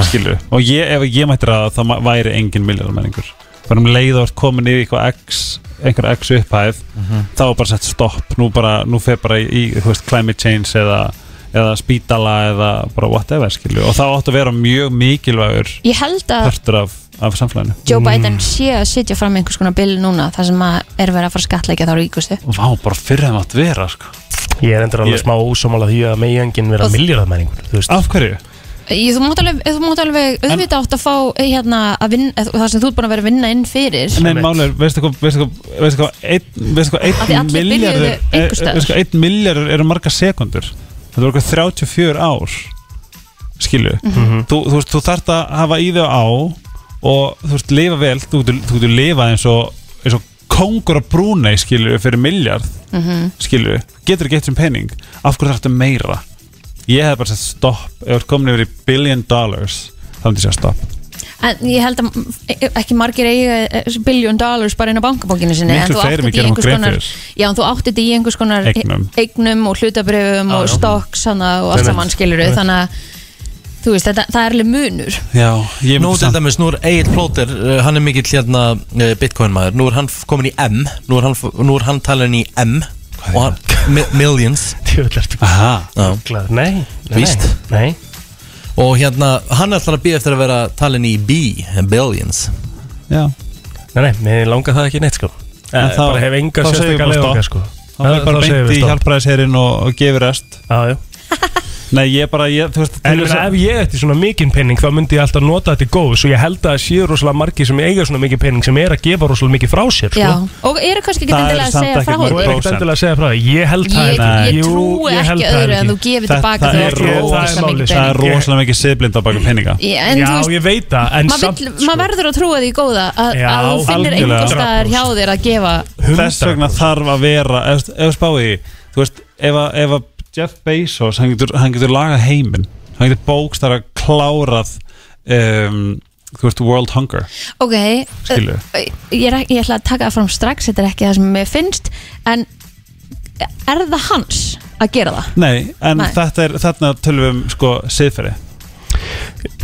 Skilur Og ég, ef ég mætti ráða þá ma- væri enginn milljaramæringur Bara um leið og ert komin í eitthvað x einhver x upphæð þá er bara sett stopp Nú, bara, nú fer bara í, þú veist, climate change eða, eða spítala eða bara whatever skilur Og þá áttu að vera mjög mikilvægur Ég held að partur af, af samfélaginu Joe Biden Mm. sé að sitja fram með einhvers konar bill núna þar sem að er verið að fara að skatleika þá ríkustu Vá, bara fyrir þeim átt vera sko. ég er endur alveg Ég- smá ósámála því að megi enginn vera Og- miljardmæringur þú veist Af hverju? Ég- Þú mátt alveg, þú mátt alveg auðvitað átt að fá eh, hérna, að vinna, eh, það sem þú ert búin að vera að vinna inn fyrir Nei, Einmitt. málið, er, veistu hvað veistu hvað- veistu hvað einn- veistu hvað Af því einn allir byrjuðu milljarður eh, einhvers staðar. veistu hvað einn milljarður eru marga sekundur þetta voru eitthvað 34 ár skilu Mhm. þú, þú, veist, þú þarft að hafa í þau á og þú veist, lifa vel þú getur, þú getur lifað eins og, eins og kongur að brúna í skilu fyrir milljarð mm Mhm. getur ekki eitt sem pening af hverju þarftu meira ég hef bara sett stopp ef þú ert komin yfir í billion dollars þá myndi ég segja stopp En ég held að eh, ekki margir eiga biljón dollars bara inn á bankabókinu sinni Miklu en þú fleiri átt en við þetta í gerum einhvers okkur grein konar fyrir. Já, en þú átt þetta í einhvers konar e- Eignum. eignum og hlutabrifum og stokks hana, og allt Einmitt. saman skilur Einmitt. þannig að þú veist, þetta, það er alveg munur já, ég myndi Nú til samt- dæmis, nú er Egil Plóter, uh, hann er mikill hérna uh, Bitcoin maður Nú er hann komin í M, nú er hann, nú er hann talin í M er Og hann, mi millions Djöfull ertu Aha. Já. glað. nei, nei, Víst. nei. Og hérna, hann ætlar að býja eftir að vera talin í B, billions já nei, nei, mér langar það ekki neitt sko En Eh, þá- bara hef enga þá segjum við sérstakar bara stopp. leiðokkar sko Það er bara beint í hjálpræðisherinn og, og gefur rest hjálp Nei, ég bara, ég, þú veist En til ég þess meina, að- ef ég ætti svona mikinn penning þá myndi ég alltaf nota þetta í góðs og ég held að það séu rosalega margir sem eiga svona mikinn penning sem er að gefa rosalega mikið frá sér sko. Já, og eru kannski ekki Það eru endilega að samt segja ekkert frá mörg Þú er því ekkert endilega að segja frá það Ég held það Ég, ekki. ég Jú, trúi ég held ekki það öðru en ekki. þú gefið Þetta- tilbaka það þegar er þú átt ro- það er málið, sko. rosa mikið það er pening. rosalega mikið siðblind á baku peninga Já, en Já, þú veist, ég veit það En maður samt sko. vill- maður verður að trúa því góða að, Já, að þú finnir algjörlega. einhvers staðar hjá þér að gefa Þess vegna þarf að vera ef, ef spáði, þú veist ef, að- ef að Jeff Bezos, hann getur, hann getur lagað heiminn, hann getur bókstar að klárað um, þú veist, world hunger Ok, eh, Skilur. ég, er, ekki- ég ætla að taka það fram strax þetta er ekki það sem mér finnst en er það hans að gera það? Nei, en Nei. þetta er þarna tölum við um sko siðferði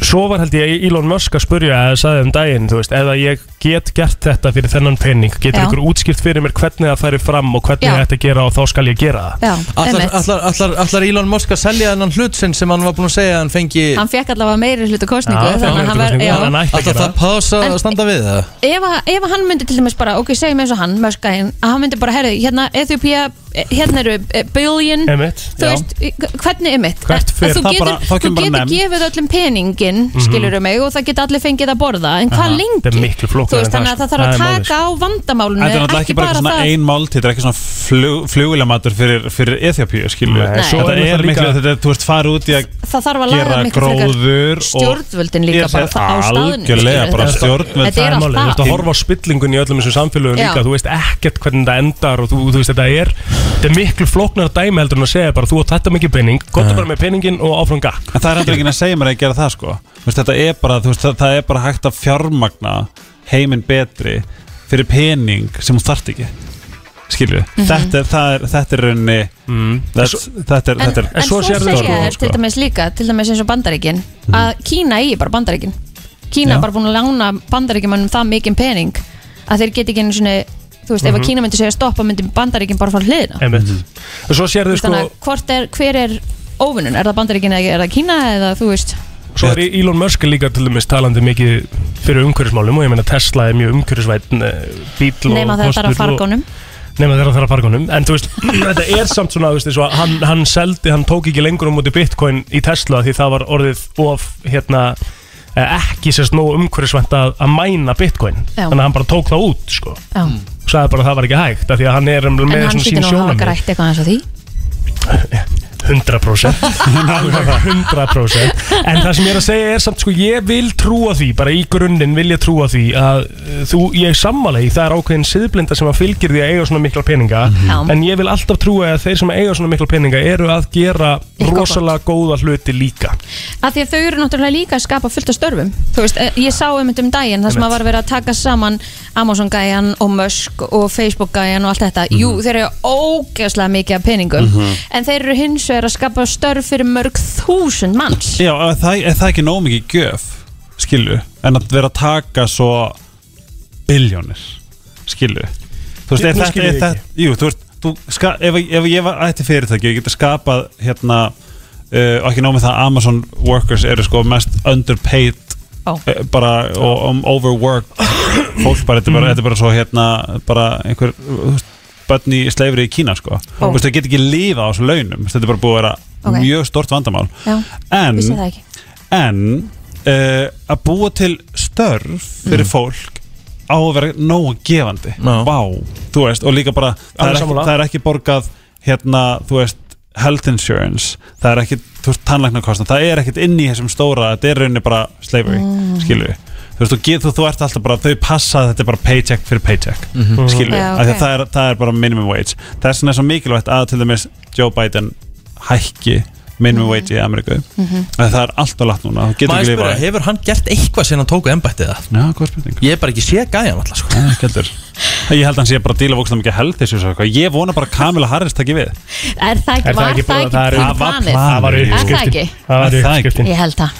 Svo var held ég Elon Musk að spurja eða sagði um daginn, þú veist, eða ég get gert þetta fyrir þennan penning, getur Já. ykkur útskipt fyrir mér hvernig það færi fram og hvernig Já. ég ætti að gera og þá skal ég gera það Já, Allar, einmitt. allar, allar, allar Elon Musk að selja hennan hlut sinn sem hann var búin að segja að hann fengi hann fekk allavega meiri hlutu kostningu Já, þannig að hann frekar verð, kosningu. já, Hann ætti að Alltaf gera það það pása En- að standa við það ef, að- ef að hann myndi til dæmis bara, ok, segjum eins og hann Möskæðin, að hann myndi bara, herri, hérna Ethiopia hérna eru eh, billion Einmitt, þú já. veist, eh, hvernig einmitt Hvert fer- þú það getur, bara- það þú kemur bara getur mem. gefið öllum peningin mm Mhm. mig og það geta allir fengið að borða en hvað Aha, lengi? þetta er miklu flóknara Þú en veist, það, þannig að það sko. þarf Það að er málið, sko. taka á vandamálinu Þetta er náttúrulega ekki bara eitthvað svona ein máltíð, þetta er ekki svona flug, flugilamatur fyrir, fyrir Eþjópíu, skilju. Nei, Þetta svo er er náttúrulega miklu, líka- þetta, er- þú ert farið út í að það þarf að laga gera miklu gróður frekar og- stjórnvöldin Ég líka bara segi það á staðinu algjörlega, skilurðu, bara þetta- stjórnvöld, þetta er Þú ert allt að það horfa á spillingun í öllum þessum samfélögum Já. líka Þú veist ekkert hvernig þetta endar og þú, þú veist þetta er Þetta er miklu flóknar dæmi heldur en að segja bara þú átt þetta mikið pening Gottu bara með peningin og áfram gakk En það er heldur ekki að segja mér að gera það sko Þú veist, Þetta er bara, þú veist, það, það er bara hægt að fjármagna heiminn betri fyrir pening sem hún þarft ekki Skilju, mm Mhm. þetta, er- það er- þetta er raunni mm. þetta, þetta er, En, þetta sko. er en svo segja þér til dæmis líka til dæmis eins og bandaríkin að Kína eigi bara bandaríkin Kína Já. er bara búin að lána bandaríkjumannum það mikinn pening að þeir geti ekki einu sinni þú veist, ef Mhm. að Kína myndi segja stoppa myndi bandaríkin bara fara hliðina Einmitt Mhm. En svo sérðu sko þannig að hvort er, hver er óvinnun er það bandaríkin eða er það Kína eða þú veist Svo er Elon Musk líka til dæmis talandi mikið fyrir umhverfismálum og ég meina Tesla er mjög umhverfisvætn bíl og nema þegar það er að kostur og- fargónum Nema þegar það er að fargónum En þú veist, þetta er samt svona, þú veist, svo, hann, hann seldi, hann tók ekki lengur á móti bitcoin í Tesla því það var orðið of, hérna, eh, ekki sérst nógu umhverfisvænt að, að mæna bitcoin Já. Þannig að hann bara tók það út, sko Já. og sagði bara að það var ekki hægt af því að hann er um, en með hann svona sín hlýtur nú að hafa sjónamið grætt eitthvað eins og því 100% Alveg 100% En það sem ég er að segja er samt sko Ég vil trúa því, bara í grunninn vil ég trúa því að uh, þú, ég sammála því það er ákveðin siðblinda sem að fylgir því að eiga svona mikla peninga Mhm. Já. en ég vil alltaf trúa að þeir sem eiga svona mikla peninga eru að gera rosalega góða hluti líka að því að þau eru náttúrulega líka að skapa fullt af störfum þú veist, eh, ég sá um um daginn þar sem Einmitt. að var verið að taka saman Amazon gæjan og Musk og Facebook gæjan og allt þetta, jú, þeir eru ógeðslega mikið af peningum, Mhm. en þeir eru hins vegar að skapa störf fyrir mörg þúsund manns Já, ef það, ef það er ekki nóg mikið gjöf skilju, en að vera að taka svo biljónir skilju þú veist, Nú ef skil þetta ég er ekki. þetta jú, þú veist, þú ska, ef, ef ég var ætti fyrirtæki, ég geti skapað hérna, uh, og ekki nóg með það Amazon workers eru sko mest underpaid uh, oh. bara og um, overworked fólk bara, þetta er bara, þetta er bara svo hérna, bara einhver þú veist, börn í sleifri í Kína sko Ó. þú veist, það get ekki lífa á þessu launum Þú veist, þetta er bara búið að vera Ok. mjög stort vandamál Já, en, vissi það ekki. en uh, að búa til störf fyrir Mm. fólk á að vera nógu gefandi no. þú veist, og líka bara það Alveg er, ekki, sammála. það er ekki borgað hérna, þú veist, health insurance það er ekki, þú veist, tannlæknarkostna það er ekkit inn í þessum stóra, þetta er rauninni bara slavery, Mm. mm. skilju þú veist, þú, get- þú, þú ert alltaf bara, þau passa að þetta er bara paycheck fyrir paycheck, mm Mhm. skilju Já, af því ok. að það er, það er bara minimum wage þess vegna er svo mikilvægt að til dæmis Joe Biden hækki minimum wage í Ameríku Mhm. Af því það er allt og látt núna, þú getur Maður ekki spyrja, lifað hefur hann gert eitthvað sem hann tóku embættið það? Já, góð spurning Ég er bara ekki sé gæjan alltaf sko Nei, ekki heldur. Ég held að hann sé bara að díla vókslega mikið held þessu svo eitthvað. Ég vona bara að Kamila Harris takki við er það ekki, Er það var ekki það búið- ekki það er- Það planið? var planið. Það var er það uppskriftin. ekki? Það var uppskriftin. ég held það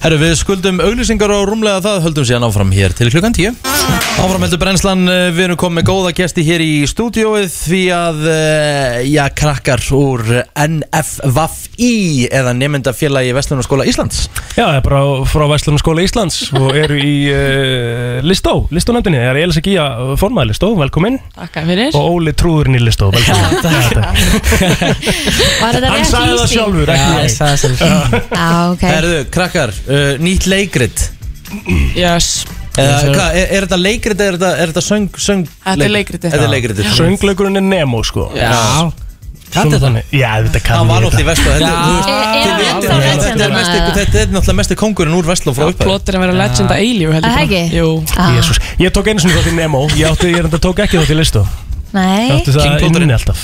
Herru, við skuldum auglýsingar og rúmlega það höldum síðan áfram hér til klukkan 10 Áfram heldur brennslan, eh, við erum komið með góða gesti hér í stúdióið því að, eh, já, krakkar úr NFVFI eða nefndafélagi Vestlunarskóla Íslands Já, það er bara frá Vestlunarskóla Íslands og eru í uh, Listó, Listónefndinni, það er Elisa Gía formaði Listó, velkomin Takk fyrir og Óli Trúðurinn í Listó, velkomin var þetta Hann rétt sagði það lýsing? sjálfur, ekki Já, ég sagði það sjálfur Já, ok Herru, krakkar, uh, nýtt leikrit Yes Eða, hvað, er, er þetta leikrit eða er þetta, er þetta söng, söng Þetta er leikritið. Þetta er leikrit Söngleikurinn er Nemo sko Já. Kanntu Svona þetta? þannig. Já, þetta kann Hann ég var þetta. náttúrulega í Vestló þetta, Já. þú veist, Er- er þið hann vitið þetta, þetta er ennþá hérna. legend mesti- eða? þetta er náttúrulega mesti kongurinn úr Vestló frá upphæð Plottir að vera legend að eilífu heldur Það ekki? Ah, Jú Jésús, ég tók einu sinni þátt í Nemo Ég átti, ég enda tók ekki þátt í Listó Ég nei átti það inni alltaf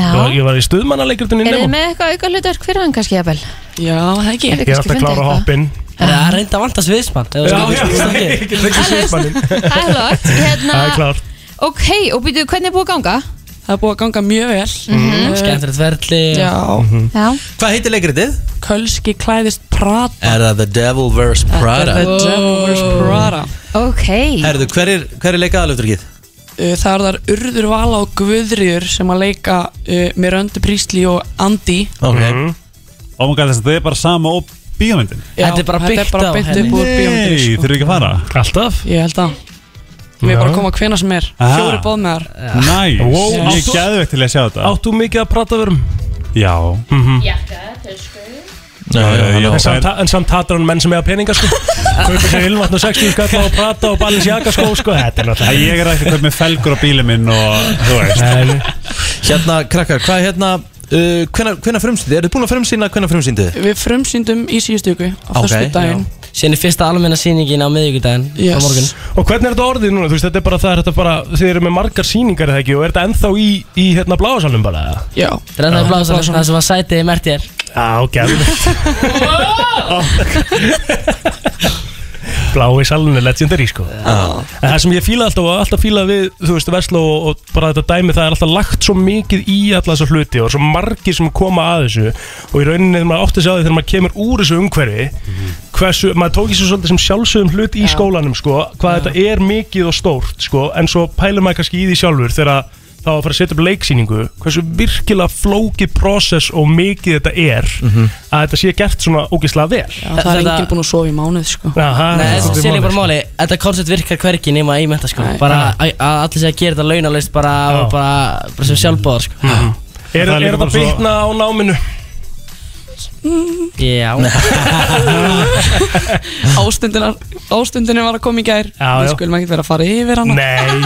Já. Ég var- Ég var í stuðmannaleikritinu í er þið Nemo með eitthvað auka hlutverk fyrir hann kannski jafnvel? Já, það ekki Ég átti að klára hoppinn Það er reynda að vanta sviðsmann Já, sko, já, ég get ekki sviðsmanninn Hallótt, hérna Það er klárt Ok, og býtu, hvernig er búið að ganga? Það er búið að ganga mjög vel Mhm. Skemmtilegt verðli Eh, Já Mhm. Já Hvað heitir leikritið? Kölski klæðist Prada Er það The Devil Wears Prada? The Devil Wears Prada Ok Herðu, hver er, hver er leikaðalöfdrykið? Uh, Það eru þar Urður Vala og Guðriður sem að leika uh, Miröndu Prísli og Andi Ok Mhm. Og maður gæti þess að þau er bara sama og bíómyndin Já, Þetta er bara þetta er byggt bara á byggt henni. upp úr bíómyndinni, Nei, sko. þurfum við ekki að fara Alltaf Ég held að Við Já. bara koma hvena sem er Aha. Fjóri bóðmeðar Ah. Næs, Wow. ég er Áttu- geðveikt til að sjá þetta Áttu mikið að prata um- verum? Já Mhm. Jakka, tösku Já, já, já, En já. samt, en samt hatar hann menn sem eiga peninga sko Kaupir sér ylvatn og 60 skall á að prata og balins jaka sko sko Þetta Æ, er náttúrulega Ég er ekki hvað með felgur á bílum minn og þú veist Hérna, krakkar, hvað er hérna uh, Hvenær hvenær frumsýndið? Eru þið búin að frumsýna hvenær frumsýndið? Við frumsýndum í síðustu ykkur Á Ok, fyrstu daginn Sérna fyrsta almenna sýningin á miðvíkudaginn á Yes. morgun Og hvernig er þetta orðið núna? Þú veist, þetta er bara það, er þetta bara, þið eru með margar sýningar eða ekki og er þetta ennþá í, í hérna bláðasalum bara? eða? Já Þetta er það blásan það sem var sætið í mertir Já, gæðvikt Blái salun er legendary sko En það sem ég fíla alltaf og alltaf fíla við, þú veist, Vestló og, og bara þetta dæmi Það er alltaf lagt svo mikið í alla þessa hluti og svo margir sem koma að þessu Og í rauninni þegar maður átti sig á því þegar maður kemur úr þessu umhverfi Hversu, maður tók í sig svolítið sem sjálfsögum hlut í skólanum sko Hvað þetta er mikið og stórt sko En svo pælum maður kannski í því sjálfur þegar þá að fara að setja upp leiksýningu hversu virkilega flókið process og mikið þetta er að þetta sé gert svona ógislega vel Já, Það er Þetta- enginn búinn að sofa í mánuð sko Aha, Nei, þetta sé líka bara sko. máli Þetta koncept virkar hverki nema í menta sko Bara að að allir sé að gera þetta launalaust bara, og bara, bara sem sjálfbóðar sko Mhm. Er, Það er er líka bara þetta svo- byggna á náminu? Já Ástundin Ástundin var að koma í gær Já, Við já. skulum ekkert vera að fara yfir hana Nei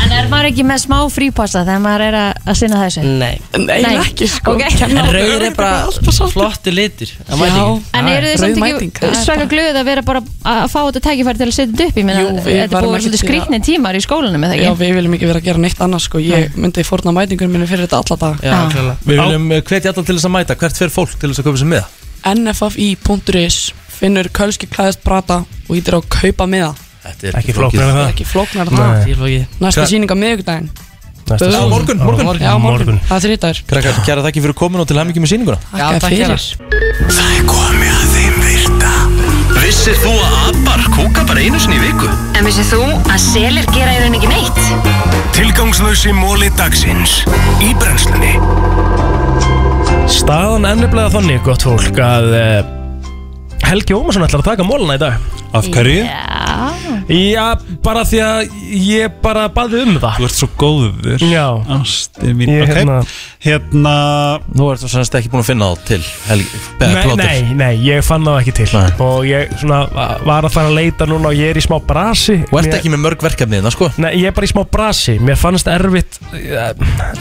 En er maður ekki með smá frípassa þegar maður er að, að sinna þessu? Mm. Nei Nei, ekki sko Ok. En rauður er bara flottur litur að mætingu. En eru þið Rauð samt mæting, ekki það er svaka glöð að vera bara að fá þetta tækifæri til að setja þetta upp? Ég meina, Jú, við þetta er varum búið ekki svolítið til að- skrýtni tímar í skólanum, eða Já, ekki? við viljum ekki vera að gera neitt annars sko Ég myndi fórna mætingur minni fyrir þetta alla dag Já, klálega. Við viljum eh, hvetja alla til þess að mæta Hvert fer fólk til þess að köpa sem miða? nffi.is finnur kölski klæðist brata og ítir á kaupa miða Þetta Ekki flóknar en Það er það ekki flóknar en Nei. það Ekki Næsta Hva- síning á miðvikudaginn Næsta Böðum. sýning. Já, morgun, morgun. Já, morgun, Morgun. það er þrítær Krakkar, kæra þakki fyrir komin og til hæmingi með sýninguna Takk takk fyrir Það er komið að þeim virta Vissir þú að abar kúka bara einu sinni í viku? En vissið þú að selir gera í rauninni ekki neitt? Tilgangslösi móli dagsins Í brennslunni Staðan enniblega þannig, gott fólk, að eh, Helgi Ómarsson ætlar að taka mólana í dag Af hverju? Já. Já, bara því að ég bara baði um það Þú ert svo góður Já Ásti mín Ég, Ok. hérna- Hérna Nú ertu sannst ekki búin að finna þá til Helgi Nei, nei, nei, ég fann það ekki til Og ég svona va- var að fara að leita núna og ég er í smá brasi Og ert Mér- ekki með mörg verkefni þarna, sko Nei, ég er bara í smá brasi Mér fannst erfitt eh,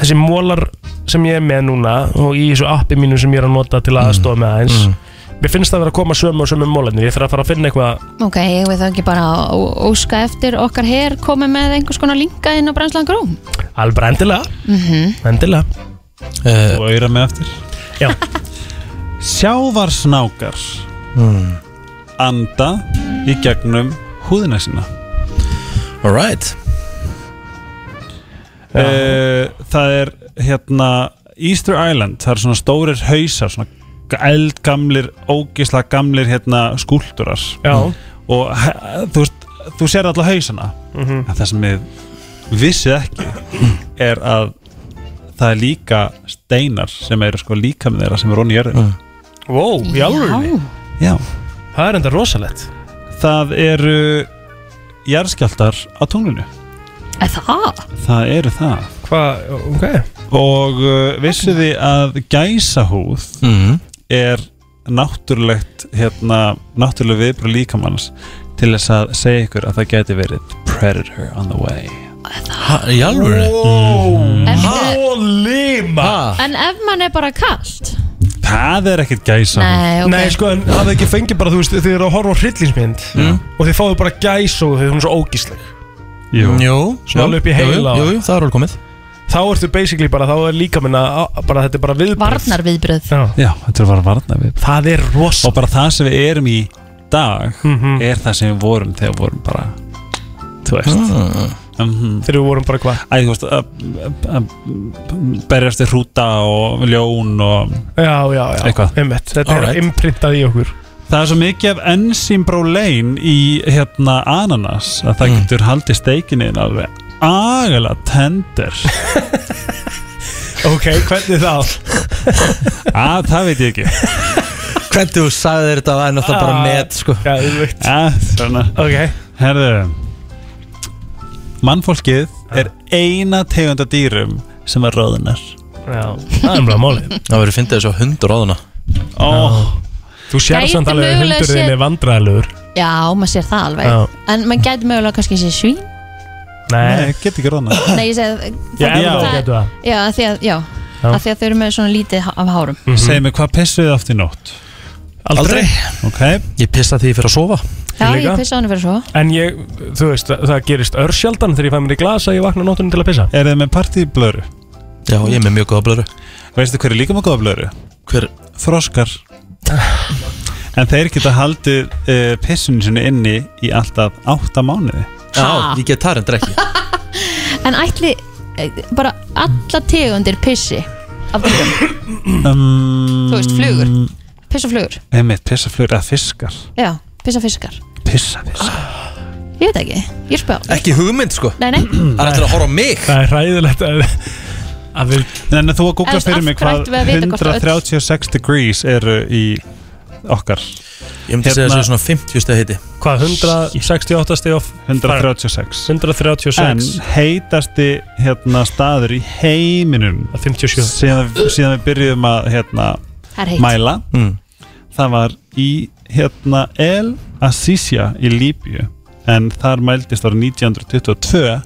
Þessi mólar sem ég er með núna Og í þessu appi mínu sem ég er að nota til Mm. að aðstofa með aðeins Mér finnst það að vera að koma sömu og sömu mólarnir Ég þarf að fara að finna eitthvað Ok, ég veit þá ekki bara að óska eftir okkar hér komið með einhvers konar linka inn á Brænslan Gróm. Alveg bara endilega Mhm. Endilega Þú auðra mig eftir Já Sjávarsnákar Anda í gegnum húðina sína Alright uh, Það er hérna Easter Island, það eru svona stórir hausar svona eldgamlir, ógisla gamlir hérna skúlturar Já. og he- þú veist þú sér alla hausana Mhm. en það sem við vissið ekki er að það er líka steinar sem eru sko líka með þeirra sem eru onni í jörðinu Wow, í alvörunni Já. Það er enda rosalegt það eru jarðskjaldar á tunglinu Er það? það eru það Hvað, ok Og uh, vissu þið að gæsahúð Mhm. er náttúrulegt hérna, náttúrulega viðbröð líkamanns til þess að segja ykkur að það gæti verið predator on the way Í alvöru? En, Hólima en ef mann er bara kallt? Það er ekkert gæsahúð Nei, ok. Nei, sko, en hafið ekki fengið bara, þú veist, þið eru að horfa á hryllinsmynd Mm. Og þið fáið bara gæs og þið hún er svo ógísleg Jú, Jú, Svona alveg upp í jú, jú, heila. Jú, jú, það er alveg komið Þá ertu basically bara, þá er líka minna, bara þetta er bara viðbröð Varnarviðbröð. Já Já, þetta er bara varna við Það er rosa Mhm. Og bara það sem við erum í dag er það sem við vorum þegar við vorum bara Þú veist Ah. mm Þegar við vorum bara hvað Æ, þú veist, að- að- að berjast í hrúta og ljón og Já, já, já Eitthvað. Einmitt. Þetta Alright. er imprintað í okkur Það er svo mikið af enzýmbrólein í hérna ananas að það getur haldið steikinni þín alveg agalega tender Ok, hvernig þá? að það veit ég ekki Hvernig þú sagði þér þetta var náttúrulega bara met, sko Gæðvikt að, svona, Ok herðu mannfólkið er eina tegunda dýrum sem er ráðunar Já, það er bara málið Það verður fyndið þessu á hundur áðuna Ó. Þú sér Gæti samt alveg að mögulega hundur þinn séð- er vandræðilegur Já, maður sér það alveg Já. En maður gæti mögulega kannski sér svín Nei, Eh, get ekki ráðna Nei, ég Eh, segi Já, já, gætu það. Já, af því að, já, Já. Af því að þau eru með svona lítið há- af hárum Mhm. Segðu mig, hvað pissuðu oft í nótt? Aldrei. Ok Ég pissa því fyrir að sofa Já, ég pissa á henni fyrir svo En ég, þú veist, það, það gerist örsjaldan þegar ég fæ mér í glas að ég vakna á nótunum til að pissa Er þið með partíblöru? Já, ég er með mjög góða blöru Veistu hver er líka með góða blöru? Hver? Froskar En þeir geta haldið uh, pissunni sinni inni í alltaf átta mánuði Já, ég get það reyndar ekki En ætli eh, bara alla tegundir pissi af dýrum, um, þú veist, flugur Pissa flugur, Einmitt, pissa flugur eða fiskar já, pissa fiskar Pissa fiskar Ég veit ekki, ég spá Ekki hugmynd sko Nei, nei Það er eftir að horfa á mig Það er hræðilegt að, að við En þú að googla En fyrir af mig hverju hvað ættum við að vita hvort öll- 136 degrees eru í okkar Hérna- Ég myndi segja þessu svona 50 steg hiti Hvað, 168 stig of 136 136 En heitasti hérna, staður í heiminum 57 síðan, síðan við byrjuðum að hérna, Það er heitt. mæla Það var í hérna, El Asisia í Líbíu En þar mældist ára 1922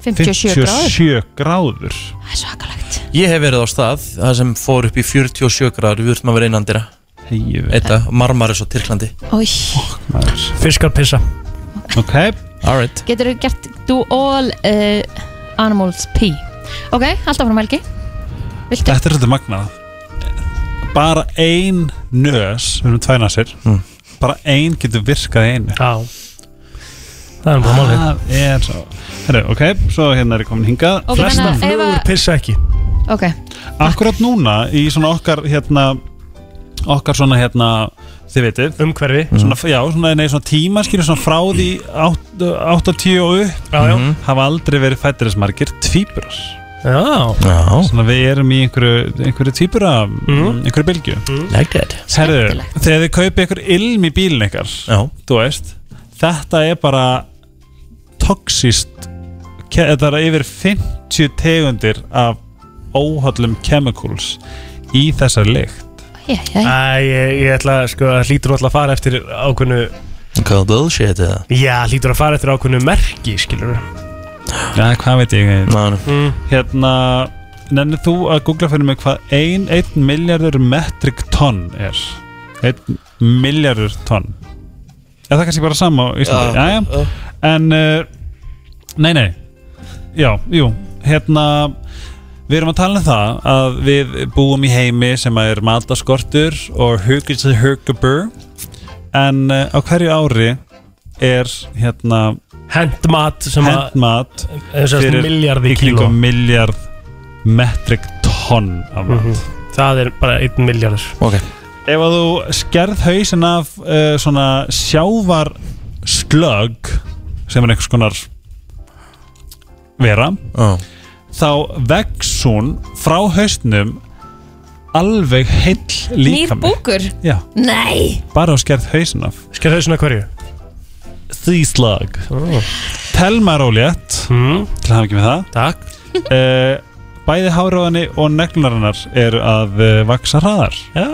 57 gráður 57 gráður Það er svakalegt Ég hef verið á stað Það sem fór upp í 47 gráður Við vurtum að vera einandira Þetta, Marmaris og Tyrklandi Új, Fiskar pissa Ok Alright getur þú gert do all uh, animals pee Ok, alltaf frá Helgi Viltu? Þetta er svolítið magnað Bara ein nös Við erum tvæna sér Bara ein getur virkað í einu Já Það er bara málið Það er svo Herru, ok, svo hérna er ég komin hingað Ok, Flestar þannig að flugur ef að- pissa ekki Ok, Akkurat núna í svona okkar hérna okkar svona hérna þið veitir umhverfi svona, já, svona, nei, svona tíma skilur svona frá því 8 og 10 og upp Mhm. já. hafa aldrei verið fættir þess margir tvíburar Já. Svona við erum í einhverju, einhverju tvíbura Mhm. einhverju bylgju Like that Herðu, þegar þið kaupið einhver ilm í bílinn ykkar Já. þú veist, þetta er bara toxist þetta er yfir 50 tegundir af óhaldum chemicals í þessari lykt Æ, ég, ég ætla, sko, það hlýtur alltaf að fara eftir ákveðnu Hvað bullshit eða? Já, hlýtur að fara eftir ákveðnu merki, skilur Já, hvað veit ég Ná, mm. Hérna, nennir þú að googla fyrir mig hvað 1 miljardur metric tonn er 1 miljardur tonn Er það kannski bara sama á Íslandi? Já, Já, já. En, uh, nei, nei Já, jú, hérna Við erum að tala um það að við búum í heimi sem að er mataskortur og hugis að hugabur en uh, á hverju ári er hérna Hendmat sem að- Hentmat Eh, sem sagt milljarði í kringum kíló. miljard metric tonn af mat Mhm. Það er bara 1 miljardur Ok Ef að þú skerð hausin af uh, svona sjávar slögg sem er einhvers konar vera oh. þá vex hún frá hausnum alveg heill nýr líkami búkur Já, Nei bara þú skerð hausin af Skerð hausin af hverju? Því slögg oh. Telma Rólétt mm. til hafa ekki með það Takk uh, Bæði háróðani og neglunarinnar eru að uh, vaksa hraðar Já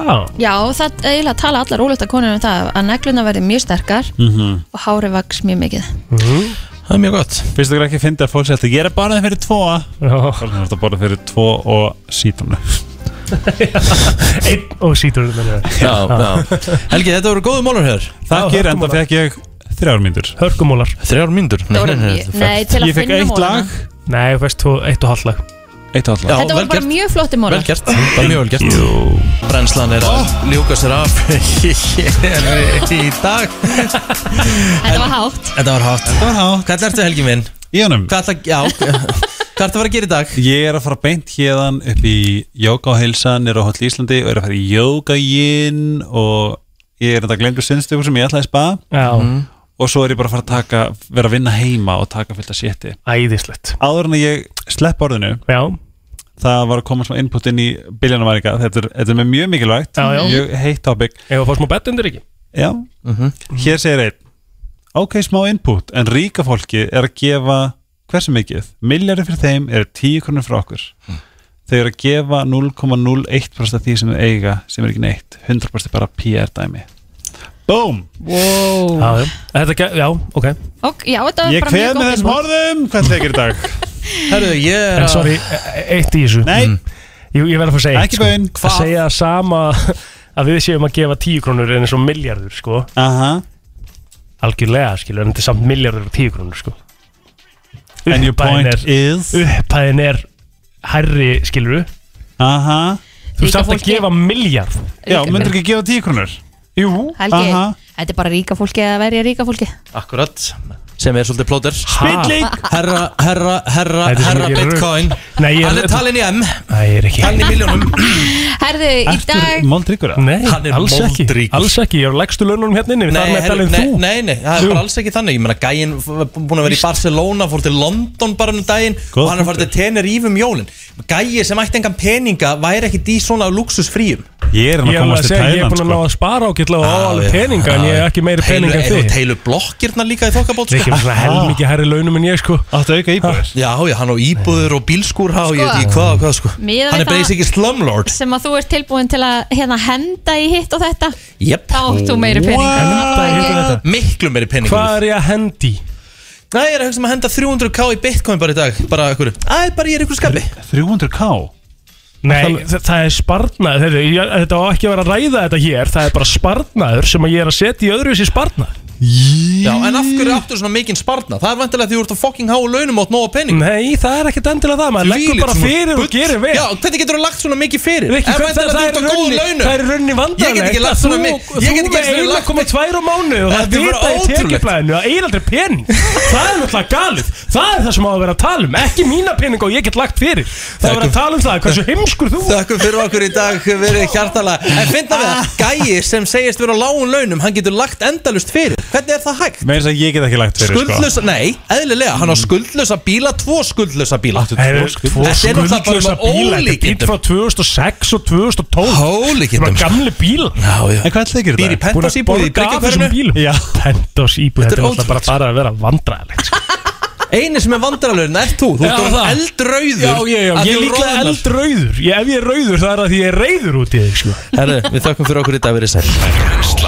Já, það eiginlega tala allar ólega konur um það að negluna verði mjög sterkar Mhm. og hári vaks mjög mikið Hmm? Það er mjög gott Finnst þú ekki að finna að fólk sér ég er að borða það fyrir tvo Það er alltaf að borða fyrir tvo og sítrunu Einn og sítur Já, Já, já. Helgi, þetta voru góðu mólur hér Takk er enda fekk ég þrjár mínútur Hörkumólar Þrjár mínútur? Nei, voru nei, mjög- þetta nei, fælt. til að Ég fékk finna eitt mólana. lag. Nei, þú fæst þú eitt og halv lag Eitt og halv Þetta voru bara mjög flotti mólar Vel gert, það er mjög vel gert Brennslan er að ljúka sér af hér í dag Þetta var hátt Þetta var hátt Þetta var hátt Hvað ertu Helgi minn? Í honum Hvað ertu já, hvað ertu að fara að gera í dag? Ég er að fara beint hérðan upp í Jóka og heilsa nýra á Hotel Íslandi og er að fara í Jóka gin og ég er enda glemdu sinnstöku sem ég ætlaði spa Já. Mhm. og svo er ég bara að fara að taka, vera að vinna heima og taka fullt að sétti Æðislegt Áður en að ég slepp orðinu Já Það var að koma svona input inn í biljónaværinga þetta, er- þetta er mér mjög mikilvægt Já, já. Mjög heitt topic Mhm. Ef að fá smá bett undir ekki Já, hér segir einn ok, smá input en ríka fólki er að gefa hversu mikið, miljardin fyrir þeim er 10 krónir frá okkur þau eru að gefa 0,01% af því sem þau eiga sem er ekki neitt, 100% er bara PR dæmi Boom! Wow. Já, já. Þetta, ge- já, ok Og, já, þetta var Ég bara mjög kveð með gott þessum input. orðum Hvað tekir í dag? Herru, ég er En að- sorry, e- e- eitt í þessu Nei. Mm. Ég, ég verð að fá að segja eitt, Ekki baun. sko. Að Hvað? segja sama að við séum að gefa 10 krónur en eins og miljardur sko Aha. Algjörlega skilur en þetta er samt miljardur og 10 krónur sko And your point er, is Upphæðin er hærri skilur Aha. Þú Ríka ert samt að fólki- gefa miljard Já, Ríka- myndirðu ekki gefa 10 krónur? Jú Helgi, þetta er bara ríka fólki að verja ríka fólki Akkurat sem er svolítið plóter Spilling. Herra, herra, herra, Þetta er svo herra mikið rugl. Bitcoin Nei, ég er- Hann er talin í M Nei, ég er ekki Talin í miljónum Herðu, í dag Moldríkur Nei, Hann er alls ekki moldríkur. Alls ekki, ég er á lægstu laununum hérna inni Nei, Nei, herru, herru, nei, nei, nei, það er Jú. bara alls ekki þannig Ég meina, gæinn var búin að vera í Barcelona Fór til London bara um daginn Og hann er farið til Tenerife um jólin Gæi sem ætti engan peninga væri ekki í svona luxusfríum Ég er hann að Ég er alveg komast að til segja, ég er Tæland búin að ná sko. að spara ákveðlega og á alveg peninga en ég er ekki meiri pening en þið Heilu blokkirna líka í þokkabót Rikki er svona helmikið hærri launum en ég sko Áttu auka íbúður Já, já, hann á íbúður og bílskúr há, ég veit ekki Sko. hvað, og hvað sko. Miðað við Hann er það- basically slumlord sem að þú ert tilbúin til að hérna, henda í hitt og þetta Jep. Þá átt þú meiri peninga Miklu meiri pening Hvað er ég að hendi? Næ, ég er að hugsa um að henda 300k í bitcoin bara í dag Bara ykkur Æ, bara ég er ykkur skapi 300k? Nei, þa- það er sparnaður heyrðu, ég- Þetta á ekki að vera að ræða þetta hér Það er bara sparnaður sem að ég er að setja í öðruvísi sparnað Já, en af hverju áttu svona mikinn sparna? Það er vantilega því þú ert að fucking háa launum átt nóga pening Nei, það er ekkert endilega það Maður leggur bara fyrir og gerir vel Já, hvernig getur þú lagt svona mikið fyrir? Rikki, En hvað- það, væntanlega þú ert það, er á góðum runni, launum. það er runni vandarlegt Ég get ekki lagt svona mikið Þú, þú með eina komið tvær á mánu og það Þetta er bara vita í ótrúlegt. tekjublaðinu að eigin aldrei pening Það er náttúrulega galið Það er það sem á að vera að tala um Ekki mína pening og ég get lagt fyrir Það er að vera að tala um það Hversu heimskur þú Þakkum fyrir okkur í dag, verið hjartala En finna Ah. við það, gæi sem segist vera á lágum launum Hann getur lagt endalust fyrir Hvernig er það hægt? Meira þess að ég get ekki lagt fyrir sko. Skuldlösa, nei, eðlilega, hann á skuldlösa bíla, tvo skuldlösa bíla Heyrðu, tvo Þetta er náttúrulega bara skuldlausa með bíla Þetta er bíl ólíkindum frá 2006 og 2012 Ólíkindum, Svona sko. gamli bíl Já, já. En hvað ætlaði að gera í Býr í dag? Pentos íbúð í Bryggjukvarðinu? Já Pentos íbúð Þetta er náttúrulega bara bara að vera vandræðilegt sko. Einu sem er vandrarlegurinn, ert þú, þú Já, ert orðinn það. eldrauður Já, já, já, að ég þú er líklega roðnar. eldrauður ég, Ef ég er rauður það er að því ég er reyður út í þig sko. Herðu, við þakkum fyrir okkur í dag, verið sæl